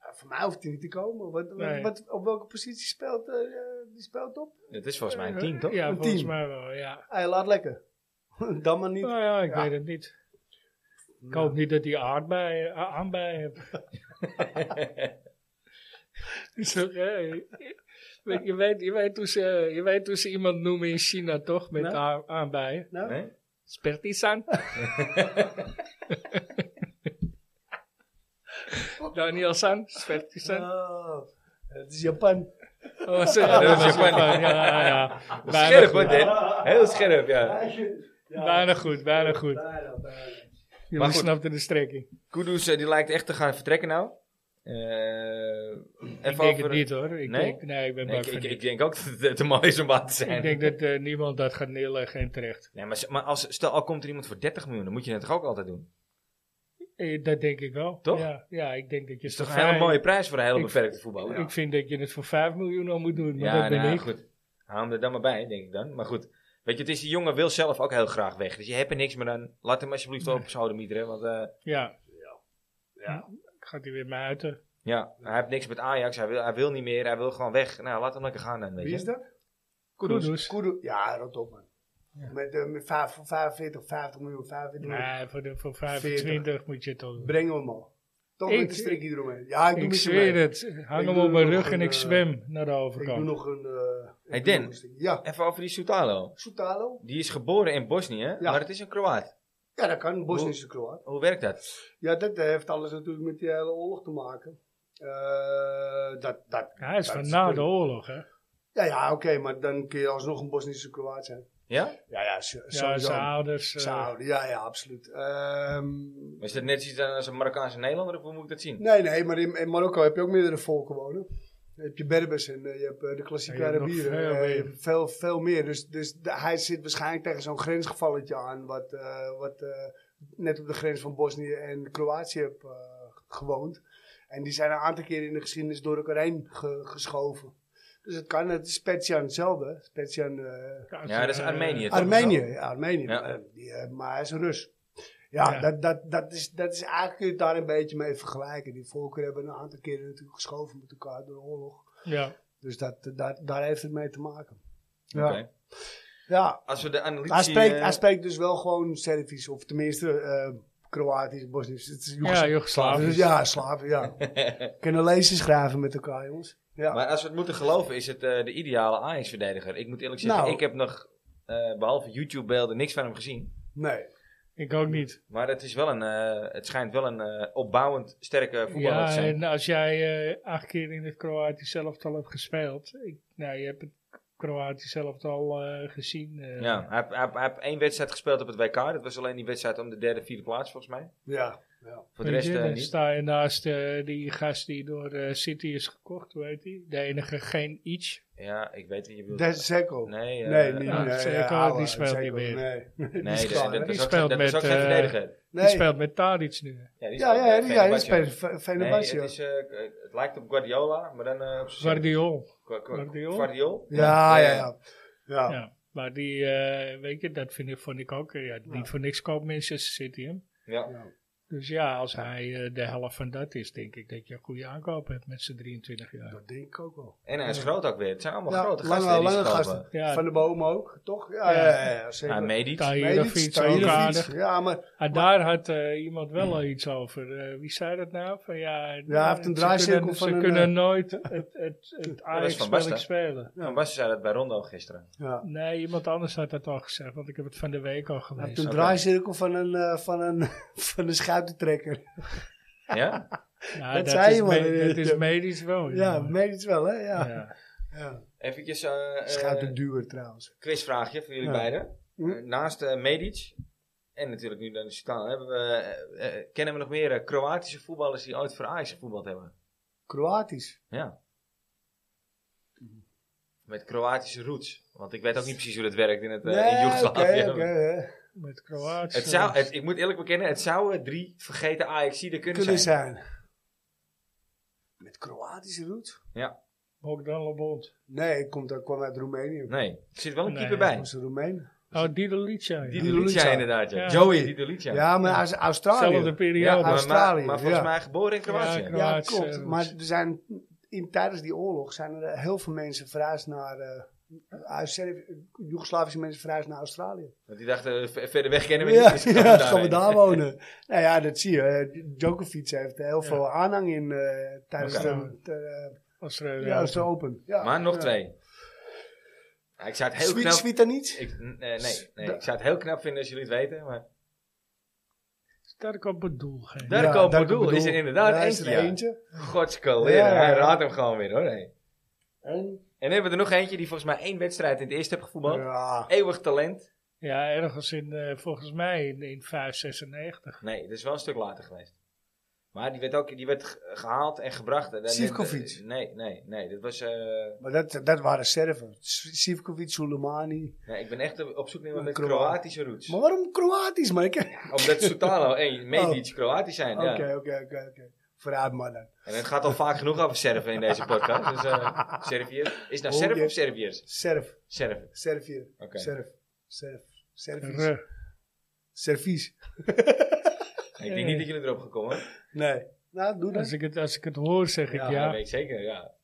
[SPEAKER 3] Ja, voor mij hoeft hij niet te komen. Wat, wat-
[SPEAKER 2] Nee.
[SPEAKER 3] wat, op welke positie speelt eh, die speelt op?
[SPEAKER 1] Het is volgens mij een 10, toch?
[SPEAKER 2] Ja,
[SPEAKER 3] Een
[SPEAKER 2] volgens
[SPEAKER 3] tien.
[SPEAKER 2] mij wel, ja.
[SPEAKER 3] Hij laat lekker. Dan maar niet.
[SPEAKER 2] Nou ja, ik
[SPEAKER 3] Ja.
[SPEAKER 2] weet het niet. Ik hoop
[SPEAKER 1] Nou.
[SPEAKER 2] niet dat die eh, aardbeien, a- aanbeien hebben. Is toch, hè? Weet- je, weet, je, weet hoe ze, je weet hoe ze iemand noemen in China, toch? Met
[SPEAKER 3] Nou.
[SPEAKER 2] a- aanbeien.
[SPEAKER 3] Nou,
[SPEAKER 1] Nee?
[SPEAKER 2] Spertisan. Daniel-san, Spertisan.
[SPEAKER 3] oh, het is Japan.
[SPEAKER 2] Oh, sorry,
[SPEAKER 1] Ja,
[SPEAKER 2] dat
[SPEAKER 1] dat
[SPEAKER 2] was
[SPEAKER 1] is
[SPEAKER 2] Japan.
[SPEAKER 1] Japan.
[SPEAKER 2] Ja, ja. Bijna
[SPEAKER 1] Scherp,
[SPEAKER 2] goed.
[SPEAKER 1] hoor, Den. Heel scherp, ja.
[SPEAKER 3] Ja.
[SPEAKER 2] Bijna goed, bijna goed.
[SPEAKER 3] Bijna, bijna.
[SPEAKER 2] Jullie
[SPEAKER 1] goed.
[SPEAKER 2] snapten de strekking.
[SPEAKER 1] Kudus, eh, die lijkt echt te gaan vertrekken nou. Eh, even
[SPEAKER 2] ik denk
[SPEAKER 1] over-
[SPEAKER 2] het niet hoor. Ik
[SPEAKER 1] Nee?
[SPEAKER 2] denk, nee, ik ben
[SPEAKER 1] Nee, ik,
[SPEAKER 2] bang voor
[SPEAKER 1] ik,
[SPEAKER 2] niet.
[SPEAKER 1] ik denk ook dat het een mooi is om aan te zijn.
[SPEAKER 2] Ik denk dat eh, niemand dat gaat neerleggen en terecht.
[SPEAKER 1] Nee, maar, maar als, stel, al komt er iemand voor 30 miljoen, dan moet je dat toch ook altijd doen?
[SPEAKER 2] Eh, Dat denk ik wel.
[SPEAKER 1] Toch?
[SPEAKER 2] Ja, ja ik denk dat je
[SPEAKER 1] Het is toch
[SPEAKER 2] voor
[SPEAKER 1] een hele
[SPEAKER 2] vijf-
[SPEAKER 1] mooie prijs voor een hele
[SPEAKER 2] Ik-
[SPEAKER 1] beperkte voetballer.
[SPEAKER 2] Ik vind dat je het voor 5 miljoen al moet doen. Maar
[SPEAKER 1] ja,
[SPEAKER 2] dat ben
[SPEAKER 1] nou,
[SPEAKER 2] ik.
[SPEAKER 1] goed. Hou hem er dan maar bij, denk ik dan. Maar goed, weet je, het is die jongen wil zelf ook heel graag weg. Dus je hebt er niks meer aan. Laat hem alsjeblieft op zijn houden, mieteren. Want eh,
[SPEAKER 2] Ja. Hm?
[SPEAKER 3] Ja.
[SPEAKER 2] Gaat hij weer mij uiten.
[SPEAKER 1] ja, hij heeft niks met Ajax. Hij wil, hij wil niet meer. Hij wil gewoon weg. Nou, laat hem lekker gaan dan, weet
[SPEAKER 3] Wie
[SPEAKER 1] je.
[SPEAKER 3] is dat?
[SPEAKER 2] Kudus.
[SPEAKER 3] Kudu. Ja, rot op man. Met, eh, met vijf- voor 45, 50 miljoen, 45 miljoen.
[SPEAKER 2] Nee, voor, de, voor 25 moet je het al doen.
[SPEAKER 3] Breng hem al. Toch
[SPEAKER 2] Ik-
[SPEAKER 3] met een strikje eromheen. Ja, ik doe
[SPEAKER 2] Ik
[SPEAKER 3] met je
[SPEAKER 2] zweer
[SPEAKER 3] mee.
[SPEAKER 2] het. Hang
[SPEAKER 3] Ik
[SPEAKER 2] hem
[SPEAKER 3] doe
[SPEAKER 2] op mijn
[SPEAKER 3] nog
[SPEAKER 2] rug en
[SPEAKER 3] een,
[SPEAKER 2] ik
[SPEAKER 3] eh,
[SPEAKER 2] zwem naar de
[SPEAKER 3] Ik doe
[SPEAKER 2] overkant.
[SPEAKER 3] nog een... eh, ik
[SPEAKER 1] Hey,
[SPEAKER 3] doe
[SPEAKER 1] Den.
[SPEAKER 3] nog een strikje. Ja,
[SPEAKER 1] Even over die Soutalo.
[SPEAKER 3] Soutalo.
[SPEAKER 1] Die is geboren in Bosnië,
[SPEAKER 3] Ja.
[SPEAKER 1] maar het is een Kroaat.
[SPEAKER 3] Ja, dat kan. Bosnische Kroaat.
[SPEAKER 1] Hoe werkt dat?
[SPEAKER 3] Ja, dat eh, heeft alles natuurlijk met die hele oorlog te maken. Eh, dat, dat,
[SPEAKER 2] Hij is
[SPEAKER 3] dat
[SPEAKER 2] van na de
[SPEAKER 3] natuurlijk-
[SPEAKER 2] oorlog, hè?
[SPEAKER 3] Ja, ja, oké, maar dan kun je alsnog een Bosnische Kroaat zijn.
[SPEAKER 1] Ja?
[SPEAKER 3] Ja, ja, zo-
[SPEAKER 2] Ja,
[SPEAKER 3] sowieso.
[SPEAKER 2] zijn ouders. eh,
[SPEAKER 3] Saudi, ja, ja, absoluut. Ehm,
[SPEAKER 1] Is dat net iets als een Marokkaanse Nederlander of hoe moet ik dat zien?
[SPEAKER 3] nee, nee, maar in, in Marokko heb je ook meerdere volken wonen. Dan heb je Berbers en eh, je hebt eh, de klassieke
[SPEAKER 2] Ja, je hebt nog
[SPEAKER 3] Arabieren.
[SPEAKER 2] veel
[SPEAKER 3] eh,
[SPEAKER 2] meer.
[SPEAKER 3] veel, veel meer. Dus, dus de- hij zit waarschijnlijk tegen zo'n grensgevalletje aan, wat, eh, wat eh, net op de grens van Bosnië en Kroatië heb eh, gewoond. En die zijn een aantal keer in de geschiedenis door elkaar heen ge- geschoven. Dus het kan, het is Specian hetzelfde. Specian eh,
[SPEAKER 1] Ja, dat is
[SPEAKER 2] eh,
[SPEAKER 1] Armenië. toch?
[SPEAKER 3] Armenië, ja, Armenië.
[SPEAKER 1] Ja.
[SPEAKER 3] Eh, die, eh, maar hij is een Rus. Ja,
[SPEAKER 2] Ja.
[SPEAKER 3] Dat, dat, dat, is, dat is eigenlijk kun je het daar een beetje mee vergelijken. Die volken hebben een aantal keren natuurlijk geschoven met elkaar door de oorlog.
[SPEAKER 2] Ja.
[SPEAKER 3] Dus dat, eh, daar, daar heeft het mee te maken.
[SPEAKER 1] Oké.
[SPEAKER 3] Ja. ja.
[SPEAKER 1] Als we de analytici...
[SPEAKER 3] Hij, spreekt,
[SPEAKER 1] eh,
[SPEAKER 3] hij spreekt dus wel gewoon Servisch, of tenminste eh, Kroatisch, Bosnisch. Het is Joegoslavisch.
[SPEAKER 2] Ja, Joegoslavisch.
[SPEAKER 3] Dus ja, slaven, ja. Kunnen lezen schrijven met elkaar, jongens. Ja.
[SPEAKER 1] Maar als we het moeten geloven, is het eh, de ideale Ajax-verdediger. Ik moet eerlijk zeggen,
[SPEAKER 3] Nou.
[SPEAKER 1] ik heb nog, eh, behalve YouTube-beelden, niks van hem gezien.
[SPEAKER 3] nee.
[SPEAKER 2] Ik ook niet.
[SPEAKER 1] Maar het, is wel een, eh, het schijnt wel een eh, opbouwend sterke voetballer te
[SPEAKER 2] Ja,
[SPEAKER 1] zijn.
[SPEAKER 2] en als jij eh, acht keer in het Kroatisch elftal hebt gespeeld. Ik, nou, je hebt het Kroatisch elftal eh gezien. eh.
[SPEAKER 1] Ja, hij, heeft- hij, heeft- hij heeft één wedstrijd gespeeld op het WK. Dat was alleen die wedstrijd om de derde, vierde plaats, volgens mij.
[SPEAKER 3] Ja. ja.
[SPEAKER 1] Voor de
[SPEAKER 2] Weet
[SPEAKER 1] rest
[SPEAKER 2] je,
[SPEAKER 1] eh,
[SPEAKER 2] dan
[SPEAKER 1] niet.
[SPEAKER 2] sta je naast eh, die gast die door eh, City is gekocht, hoe heet die? De enige geen iets.
[SPEAKER 1] Ja, ik weet wie je bedoelt.
[SPEAKER 3] Dat is Seko.
[SPEAKER 1] Nee, eh,
[SPEAKER 3] Nee, niet
[SPEAKER 2] ja,
[SPEAKER 3] nee,
[SPEAKER 2] Seko,
[SPEAKER 3] ja, ouwe,
[SPEAKER 2] die speelt
[SPEAKER 3] Seko,
[SPEAKER 2] niet meer.
[SPEAKER 3] Nee, Die
[SPEAKER 1] Nee,
[SPEAKER 3] is
[SPEAKER 1] dat-
[SPEAKER 3] klaar,
[SPEAKER 1] dat,
[SPEAKER 3] hè?
[SPEAKER 1] dat
[SPEAKER 2] Die
[SPEAKER 1] is ook,
[SPEAKER 2] speelt
[SPEAKER 1] dat is ook
[SPEAKER 2] met,
[SPEAKER 1] geen
[SPEAKER 2] eh,
[SPEAKER 1] verdediger.
[SPEAKER 2] Die
[SPEAKER 3] Nee.
[SPEAKER 2] speelt met Tadic nu.
[SPEAKER 1] Ja, die speelt
[SPEAKER 3] Ja, ja, ja,
[SPEAKER 1] bij
[SPEAKER 3] ja, dat
[SPEAKER 1] Fenerbahce.
[SPEAKER 3] speelt Fe-
[SPEAKER 1] Nee,
[SPEAKER 3] Fenerbahce.
[SPEAKER 1] het, is, eh, het lijkt op Guardiola, maar dan eh op zijn-
[SPEAKER 2] Guardiol.
[SPEAKER 1] Qua- qua-
[SPEAKER 2] Guardiol?
[SPEAKER 1] Guardiol?
[SPEAKER 3] ja, ja,
[SPEAKER 1] eh, Ja,
[SPEAKER 3] ja. ja.
[SPEAKER 2] Ja. Maar die, eh, weet je, dat vind ik, vond ik ook. eh, Ja, Niet voor niks koopt Manchester City hem.
[SPEAKER 1] Ja.
[SPEAKER 3] Ja.
[SPEAKER 2] Dus ja, als hij eh, de helft van dat is, denk ik dat je een goede aankoop hebt met z'n 23 jaar.
[SPEAKER 3] Dat denk ik ook wel.
[SPEAKER 1] En hij is groot ook weer. Het zijn allemaal
[SPEAKER 3] Ja,
[SPEAKER 1] grote
[SPEAKER 3] lange-
[SPEAKER 1] gasten. die
[SPEAKER 3] lange
[SPEAKER 1] ze kopen.
[SPEAKER 3] gasten.
[SPEAKER 2] Ja,
[SPEAKER 3] Van de boom ook, toch? Ja,
[SPEAKER 2] Ja.
[SPEAKER 3] ja, ja, ja, zeker.
[SPEAKER 1] Ja, Medic.
[SPEAKER 3] Medici,
[SPEAKER 2] Tahirovic ook
[SPEAKER 3] Tahirovic.
[SPEAKER 2] aardig.
[SPEAKER 3] Ja, maar
[SPEAKER 2] Ah, daar had eh, iemand wel al iets over. Eh, wie zei dat nou? Van, ja,
[SPEAKER 3] hij heeft een
[SPEAKER 2] Ze
[SPEAKER 3] draaicirkel
[SPEAKER 2] kunnen,
[SPEAKER 3] van
[SPEAKER 2] ze
[SPEAKER 3] een, eh,
[SPEAKER 2] kunnen nooit het, het, het
[SPEAKER 1] Van
[SPEAKER 2] Ajax-spel
[SPEAKER 1] Basten.
[SPEAKER 2] spelen.
[SPEAKER 1] Van Basten zei dat bij Rondo gisteren.
[SPEAKER 3] ja.
[SPEAKER 2] Nee, iemand anders had dat al gezegd, want ik heb het van de week al
[SPEAKER 3] hij heeft
[SPEAKER 2] gelezen.
[SPEAKER 3] een
[SPEAKER 1] Oké.
[SPEAKER 3] draaicirkel van een, eh, van een, van een schuitentrekker.
[SPEAKER 1] Ja?
[SPEAKER 2] Nou,
[SPEAKER 3] dat zei
[SPEAKER 2] is
[SPEAKER 3] je maar.
[SPEAKER 2] me- Dat is medisch wel.
[SPEAKER 3] Ja, medisch wel, hè? Ja. ja.
[SPEAKER 2] Ja.
[SPEAKER 1] Eventjes eh eh
[SPEAKER 3] Schouderduwer trouwens.
[SPEAKER 1] quizvraagje voor jullie
[SPEAKER 3] Ja.
[SPEAKER 1] beiden.
[SPEAKER 3] Hm?
[SPEAKER 1] Eh, naast eh, Medic en natuurlijk nu dan Sitan, hebben we, eh, eh, kennen we nog meer eh, Kroatische voetballers die ooit voor Ajax gevoetbald hebben.
[SPEAKER 3] Kroatisch.
[SPEAKER 1] Ja. Met Kroatische roots. Want ik weet ook niet precies hoe dat werkt in, het, eh, in Joegoslavië.
[SPEAKER 3] oké, oké, hè.
[SPEAKER 2] Met Kroatië.
[SPEAKER 1] Het zou, het, ik moet eerlijk bekennen, het zouden drie vergeten Ajaxiden kunnen,
[SPEAKER 3] kunnen
[SPEAKER 1] zijn.
[SPEAKER 3] zijn. Met Kroatische roots?
[SPEAKER 2] Bogdan Labont.
[SPEAKER 3] Nee, ik kom, dat kwam uit Roemenië.
[SPEAKER 1] Nee, er zit wel een
[SPEAKER 2] Nee,
[SPEAKER 1] keeper
[SPEAKER 3] Dat
[SPEAKER 1] bij.
[SPEAKER 3] was een Roemeen.
[SPEAKER 2] Oh, Didelica. Ja.
[SPEAKER 1] Die
[SPEAKER 3] Didelica.
[SPEAKER 1] Delicia inderdaad, ja.
[SPEAKER 2] Ja.
[SPEAKER 1] Joey. Die Delicia.
[SPEAKER 3] Ja, maar Aus- Australië.
[SPEAKER 2] Zelfde
[SPEAKER 1] Ja,
[SPEAKER 2] periode.
[SPEAKER 1] maar,
[SPEAKER 3] Australië,
[SPEAKER 1] maar volgens
[SPEAKER 3] ja.
[SPEAKER 1] mij geboren in Kroatië.
[SPEAKER 2] Ja,
[SPEAKER 3] Ja,
[SPEAKER 2] Kroatische
[SPEAKER 1] eh,
[SPEAKER 3] klopt.
[SPEAKER 2] roots.
[SPEAKER 3] Maar
[SPEAKER 1] dus-
[SPEAKER 3] er zijn, in, tijdens die oorlog zijn er eh, heel veel mensen verhuisd naar... eh uit Servië- eh, Joegoslavische mensen verhuisd naar Australië.
[SPEAKER 1] Want die dachten, eh, ver- verder weg kennen we niet.
[SPEAKER 3] ja,
[SPEAKER 1] dus
[SPEAKER 3] ja,
[SPEAKER 1] we
[SPEAKER 3] gaan we
[SPEAKER 1] heen.
[SPEAKER 3] daar wonen. nou ja, dat zie je. eh, Djokovic heeft eh, heel
[SPEAKER 2] Ja.
[SPEAKER 3] veel aanhang in eh, tijdens
[SPEAKER 1] Oké.
[SPEAKER 3] de, de, eh,
[SPEAKER 2] Australië.
[SPEAKER 3] ja, de Open. Ja,
[SPEAKER 1] Maar nog
[SPEAKER 3] ja.
[SPEAKER 1] twee. Ja, ik zou het heel
[SPEAKER 3] Swi-
[SPEAKER 1] knap...
[SPEAKER 3] Svitanic?
[SPEAKER 1] Ik, n- eh, nee, nee, ik zou het heel knap vinden als jullie het weten. Maar
[SPEAKER 2] Sterk op het doel. geen.
[SPEAKER 1] Daar- Darko Boudou is er inderdaad
[SPEAKER 3] Ja, is er
[SPEAKER 1] eentje, ja.
[SPEAKER 3] eentje.
[SPEAKER 1] godskaleer,
[SPEAKER 3] Ja, ja,
[SPEAKER 1] hij
[SPEAKER 3] ja.
[SPEAKER 1] raadt hem gewoon weer hoor. hé.
[SPEAKER 3] En?
[SPEAKER 1] En dan hebben we er nog eentje die volgens mij één wedstrijd in het eerst heeft gevoetbald.
[SPEAKER 3] Ja.
[SPEAKER 1] Eeuwig talent.
[SPEAKER 2] Ja, ergens in, eh, volgens mij in, in 596.
[SPEAKER 1] Nee, dat is wel een stuk later geweest. Maar die werd ook die werd ge- gehaald en gebracht. En- en-
[SPEAKER 3] Sivkovic.
[SPEAKER 1] Nee, nee, nee. Dat was, eh,
[SPEAKER 3] Maar dat, dat waren Serven. S- Sivkovic, Soleimani.
[SPEAKER 1] nee, ik ben echt op op zoek naar iemand met
[SPEAKER 3] Kroaat.
[SPEAKER 1] Kroatische roots.
[SPEAKER 3] Maar waarom Kroatisch, man? Ik-
[SPEAKER 1] Omdat Soutalo en Medic Kroatisch zijn. ja.
[SPEAKER 3] Oh. Oké, oké, oké. oké. Vooruit, man. dan.
[SPEAKER 1] En het gaat al vaak genoeg over Serven in deze podcast. Dus eh Serviërs. Is het nou
[SPEAKER 3] Oh,
[SPEAKER 1] Serven
[SPEAKER 3] jee.
[SPEAKER 1] of Serviërs?
[SPEAKER 3] Serf.
[SPEAKER 1] Serven.
[SPEAKER 3] Servië.
[SPEAKER 1] Oké.
[SPEAKER 3] Serf. Serf. Servies.
[SPEAKER 2] R.
[SPEAKER 3] Servies.
[SPEAKER 1] Ik denk niet dat jullie erop gekomen.
[SPEAKER 3] Nee. Nou, doe
[SPEAKER 2] Als ik,
[SPEAKER 3] dat.
[SPEAKER 2] het, als ik het hoor, zeg ik
[SPEAKER 1] Ja, dat
[SPEAKER 2] ja.
[SPEAKER 1] weet ik zeker, ja.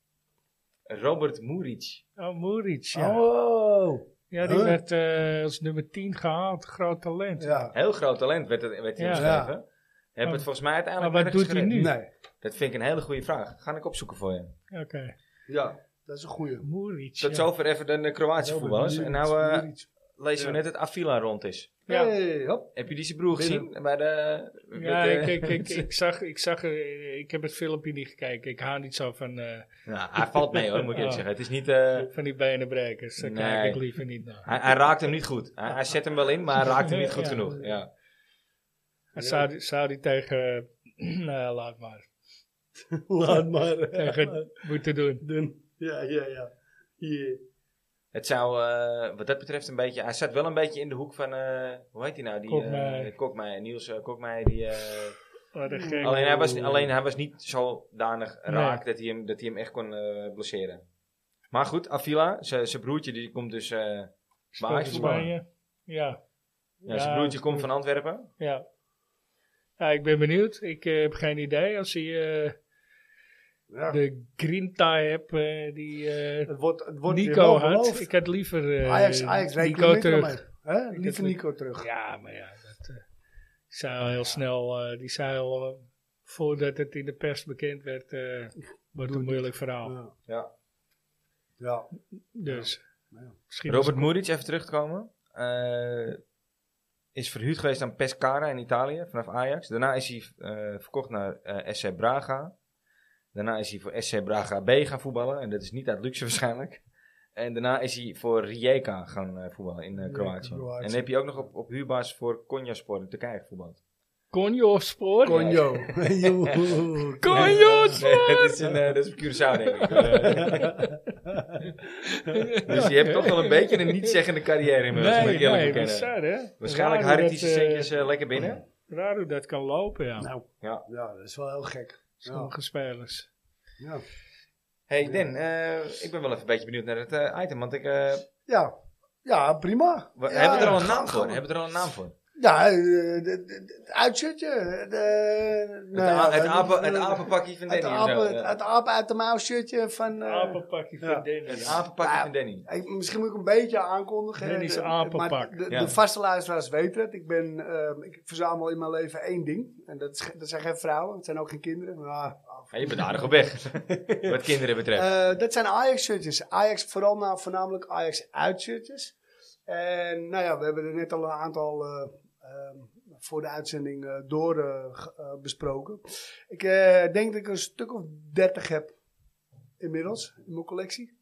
[SPEAKER 1] Robert Muric.
[SPEAKER 2] Oh, Muric, ja.
[SPEAKER 3] Oh.
[SPEAKER 2] ja, die
[SPEAKER 3] Huh?
[SPEAKER 2] werd eh, als nummer 10 gehaald. Groot talent.
[SPEAKER 3] Ja.
[SPEAKER 1] Heel groot talent werd, het, werd hij
[SPEAKER 2] Ja.
[SPEAKER 1] omschreven. Heb
[SPEAKER 2] Maar-
[SPEAKER 1] het volgens mij uiteindelijk
[SPEAKER 2] maar wat
[SPEAKER 1] nergens
[SPEAKER 2] doet hij
[SPEAKER 1] gered.
[SPEAKER 2] nu?
[SPEAKER 3] Nee.
[SPEAKER 1] Dat vind ik een hele goede vraag. Ga ik opzoeken voor je.
[SPEAKER 2] Oké.
[SPEAKER 1] Ja.
[SPEAKER 3] Dat is een goeie.
[SPEAKER 2] Muric.
[SPEAKER 1] Tot
[SPEAKER 2] ja.
[SPEAKER 1] zover even de eh, Kroatische voetballers. En nou eh, lezen we
[SPEAKER 3] Ja.
[SPEAKER 1] net dat Avila rond is.
[SPEAKER 2] Ja.
[SPEAKER 3] Hey, hop.
[SPEAKER 1] Heb je die zijn broer
[SPEAKER 3] Binnen.
[SPEAKER 1] gezien? Bij de,
[SPEAKER 2] Ja,
[SPEAKER 1] met,
[SPEAKER 2] ik,
[SPEAKER 1] eh,
[SPEAKER 2] ik, ik, ik zag, ik zag, eh, ik heb het filmpje niet gekeken. Ik haal niet zo van, eh,
[SPEAKER 1] Nou, hij valt mee hoor, moet ik eerlijk
[SPEAKER 2] Oh.
[SPEAKER 1] zeggen. Het is niet... eh,
[SPEAKER 2] van die benenbrekers. Daar
[SPEAKER 1] Nee.
[SPEAKER 2] kijk ik liever niet naar.
[SPEAKER 1] Hij, hij raakt hem niet goed. Hij, hij zet hem wel in, maar hij raakt hem niet goed
[SPEAKER 2] Ja.
[SPEAKER 1] genoeg. Ja.
[SPEAKER 2] En Saudi, Saudi tegen, nou, laat maar,
[SPEAKER 3] Laat maar.
[SPEAKER 2] tegen moeten doen.
[SPEAKER 3] Doen. Ja, ja, ja. Hier.
[SPEAKER 1] Het zou eh, wat dat betreft een beetje... Hij zat wel een beetje in de hoek van... eh, hoe heet hij nou? Die,
[SPEAKER 2] Kokmeijer.
[SPEAKER 1] eh, Kokmeijer, Niels eh, Kokmeijer. Die, eh,
[SPEAKER 2] Wat een gek.
[SPEAKER 1] alleen, hij was, alleen hij was niet zodanig
[SPEAKER 2] Oh. Nee.
[SPEAKER 1] raak dat, hij hem, dat hij hem echt kon eh, blesseren. Maar goed, Avila, zijn broertje, die komt dus... eh, bij
[SPEAKER 2] Speelt in
[SPEAKER 1] Ajax voetballen.
[SPEAKER 2] Spanje. Ja.
[SPEAKER 1] ja, zijn broertje komt van Antwerpen.
[SPEAKER 2] Ja. Ja, ik ben benieuwd. Ik eh, heb geen idee. Als hij eh,
[SPEAKER 3] Ja.
[SPEAKER 2] de grinta hebt, eh, die eh,
[SPEAKER 3] Het wordt, het wordt weer
[SPEAKER 2] Nico
[SPEAKER 3] wel
[SPEAKER 2] had.
[SPEAKER 3] beloofd.
[SPEAKER 2] Ik had liever eh,
[SPEAKER 3] Ajax, Ajax,
[SPEAKER 2] Nico
[SPEAKER 3] Nico
[SPEAKER 2] terug.
[SPEAKER 3] terug. Hè? Liever
[SPEAKER 2] heb-
[SPEAKER 3] Nico terug.
[SPEAKER 2] Ja, maar ja, dat eh, zou heel snel, eh, die zei al, eh, voordat het in de pers bekend werd, eh, wordt een moeilijk verhaal.
[SPEAKER 3] Ja.
[SPEAKER 1] Ja.
[SPEAKER 3] ja.
[SPEAKER 2] Dus,
[SPEAKER 3] Ja.
[SPEAKER 2] misschien
[SPEAKER 1] Robert
[SPEAKER 2] is-
[SPEAKER 1] Muric, even terugkomen. eh, is verhuurd geweest aan Pescara in Italië vanaf Ajax. Daarna is hij eh, verkocht naar eh, SC Braga. Daarna is hij voor SC Braga B gaan voetballen. En dat is niet uit luxe waarschijnlijk. En daarna is hij voor Rijeka gaan eh, voetballen in eh,
[SPEAKER 3] Rijeka,
[SPEAKER 1] Kroatië.
[SPEAKER 3] Kroatië.
[SPEAKER 1] En dan heb je ook nog op, op huurbasis voor Konjaspor in Turkije gevoetbald.
[SPEAKER 2] Konjospoor.
[SPEAKER 3] Conjo. Joe.
[SPEAKER 2] Konjospoor!
[SPEAKER 1] Nee, dat, is in, eh, dat is op Curaçao denk ik. Eh, dus je hebt toch wel een beetje een niet-zeggende carrière inmiddels. moet
[SPEAKER 2] Nee,
[SPEAKER 1] ik eerlijk
[SPEAKER 2] nee,
[SPEAKER 1] bekennen.
[SPEAKER 2] bizar, hè?
[SPEAKER 1] Waarschijnlijk
[SPEAKER 2] Raar hoe
[SPEAKER 1] harkt hij zijn
[SPEAKER 2] dat, eh,
[SPEAKER 1] centjes eh, lekker binnen.
[SPEAKER 2] Raar hoe dat kan lopen, ja.
[SPEAKER 3] Nou,
[SPEAKER 1] Ja.
[SPEAKER 3] ja, dat is wel heel gek. Ja.
[SPEAKER 2] Sommige spelers.
[SPEAKER 3] Ja.
[SPEAKER 1] Hey Den, eh, ik ben wel even een beetje benieuwd naar het eh, item, want ik, eh,
[SPEAKER 3] Ja. ja, prima.
[SPEAKER 1] we
[SPEAKER 3] Ja,
[SPEAKER 1] hebben we er al een
[SPEAKER 3] gaan-
[SPEAKER 1] naam voor.
[SPEAKER 3] gaan we-
[SPEAKER 1] Hebben we er al een naam voor?
[SPEAKER 3] Ja, eh, de- de- de- het uitshirtje. De,
[SPEAKER 1] Het, a- het, apen, het apenpakje van
[SPEAKER 3] Het
[SPEAKER 1] Danny. of zo,
[SPEAKER 3] apen-
[SPEAKER 1] ja.
[SPEAKER 3] het apen uit de mouw shirtje van... eh,
[SPEAKER 2] Apenpakje
[SPEAKER 3] ja.
[SPEAKER 2] van Dennis.
[SPEAKER 1] Het apenpakje
[SPEAKER 3] Ja.
[SPEAKER 1] van Danny.
[SPEAKER 3] ik- misschien moet ik een beetje aankondigen.
[SPEAKER 2] Dennis
[SPEAKER 3] Eh,
[SPEAKER 2] Apenpak.
[SPEAKER 3] maar De,
[SPEAKER 1] Ja.
[SPEAKER 3] de vaste luisteraars weten het. Ik, ben, ehm, ik verzamel in mijn leven één ding. En dat, is, ge- dat zijn geen vrouwen. Het zijn ook geen kinderen. Maar, ah,
[SPEAKER 1] Ja, je bent aardig op weg. wat kinderen betreft.
[SPEAKER 3] Eh, dat zijn Ajax-shirtjes. Ajax, vooral nou, voornamelijk Ajax-uitshirtjes. En nou ja, we hebben er net al een aantal eh, ehm, voor de uitzending eh, door eh, ge- eh, besproken. Ik eh, denk dat ik een stuk of 30 heb inmiddels in mijn collectie.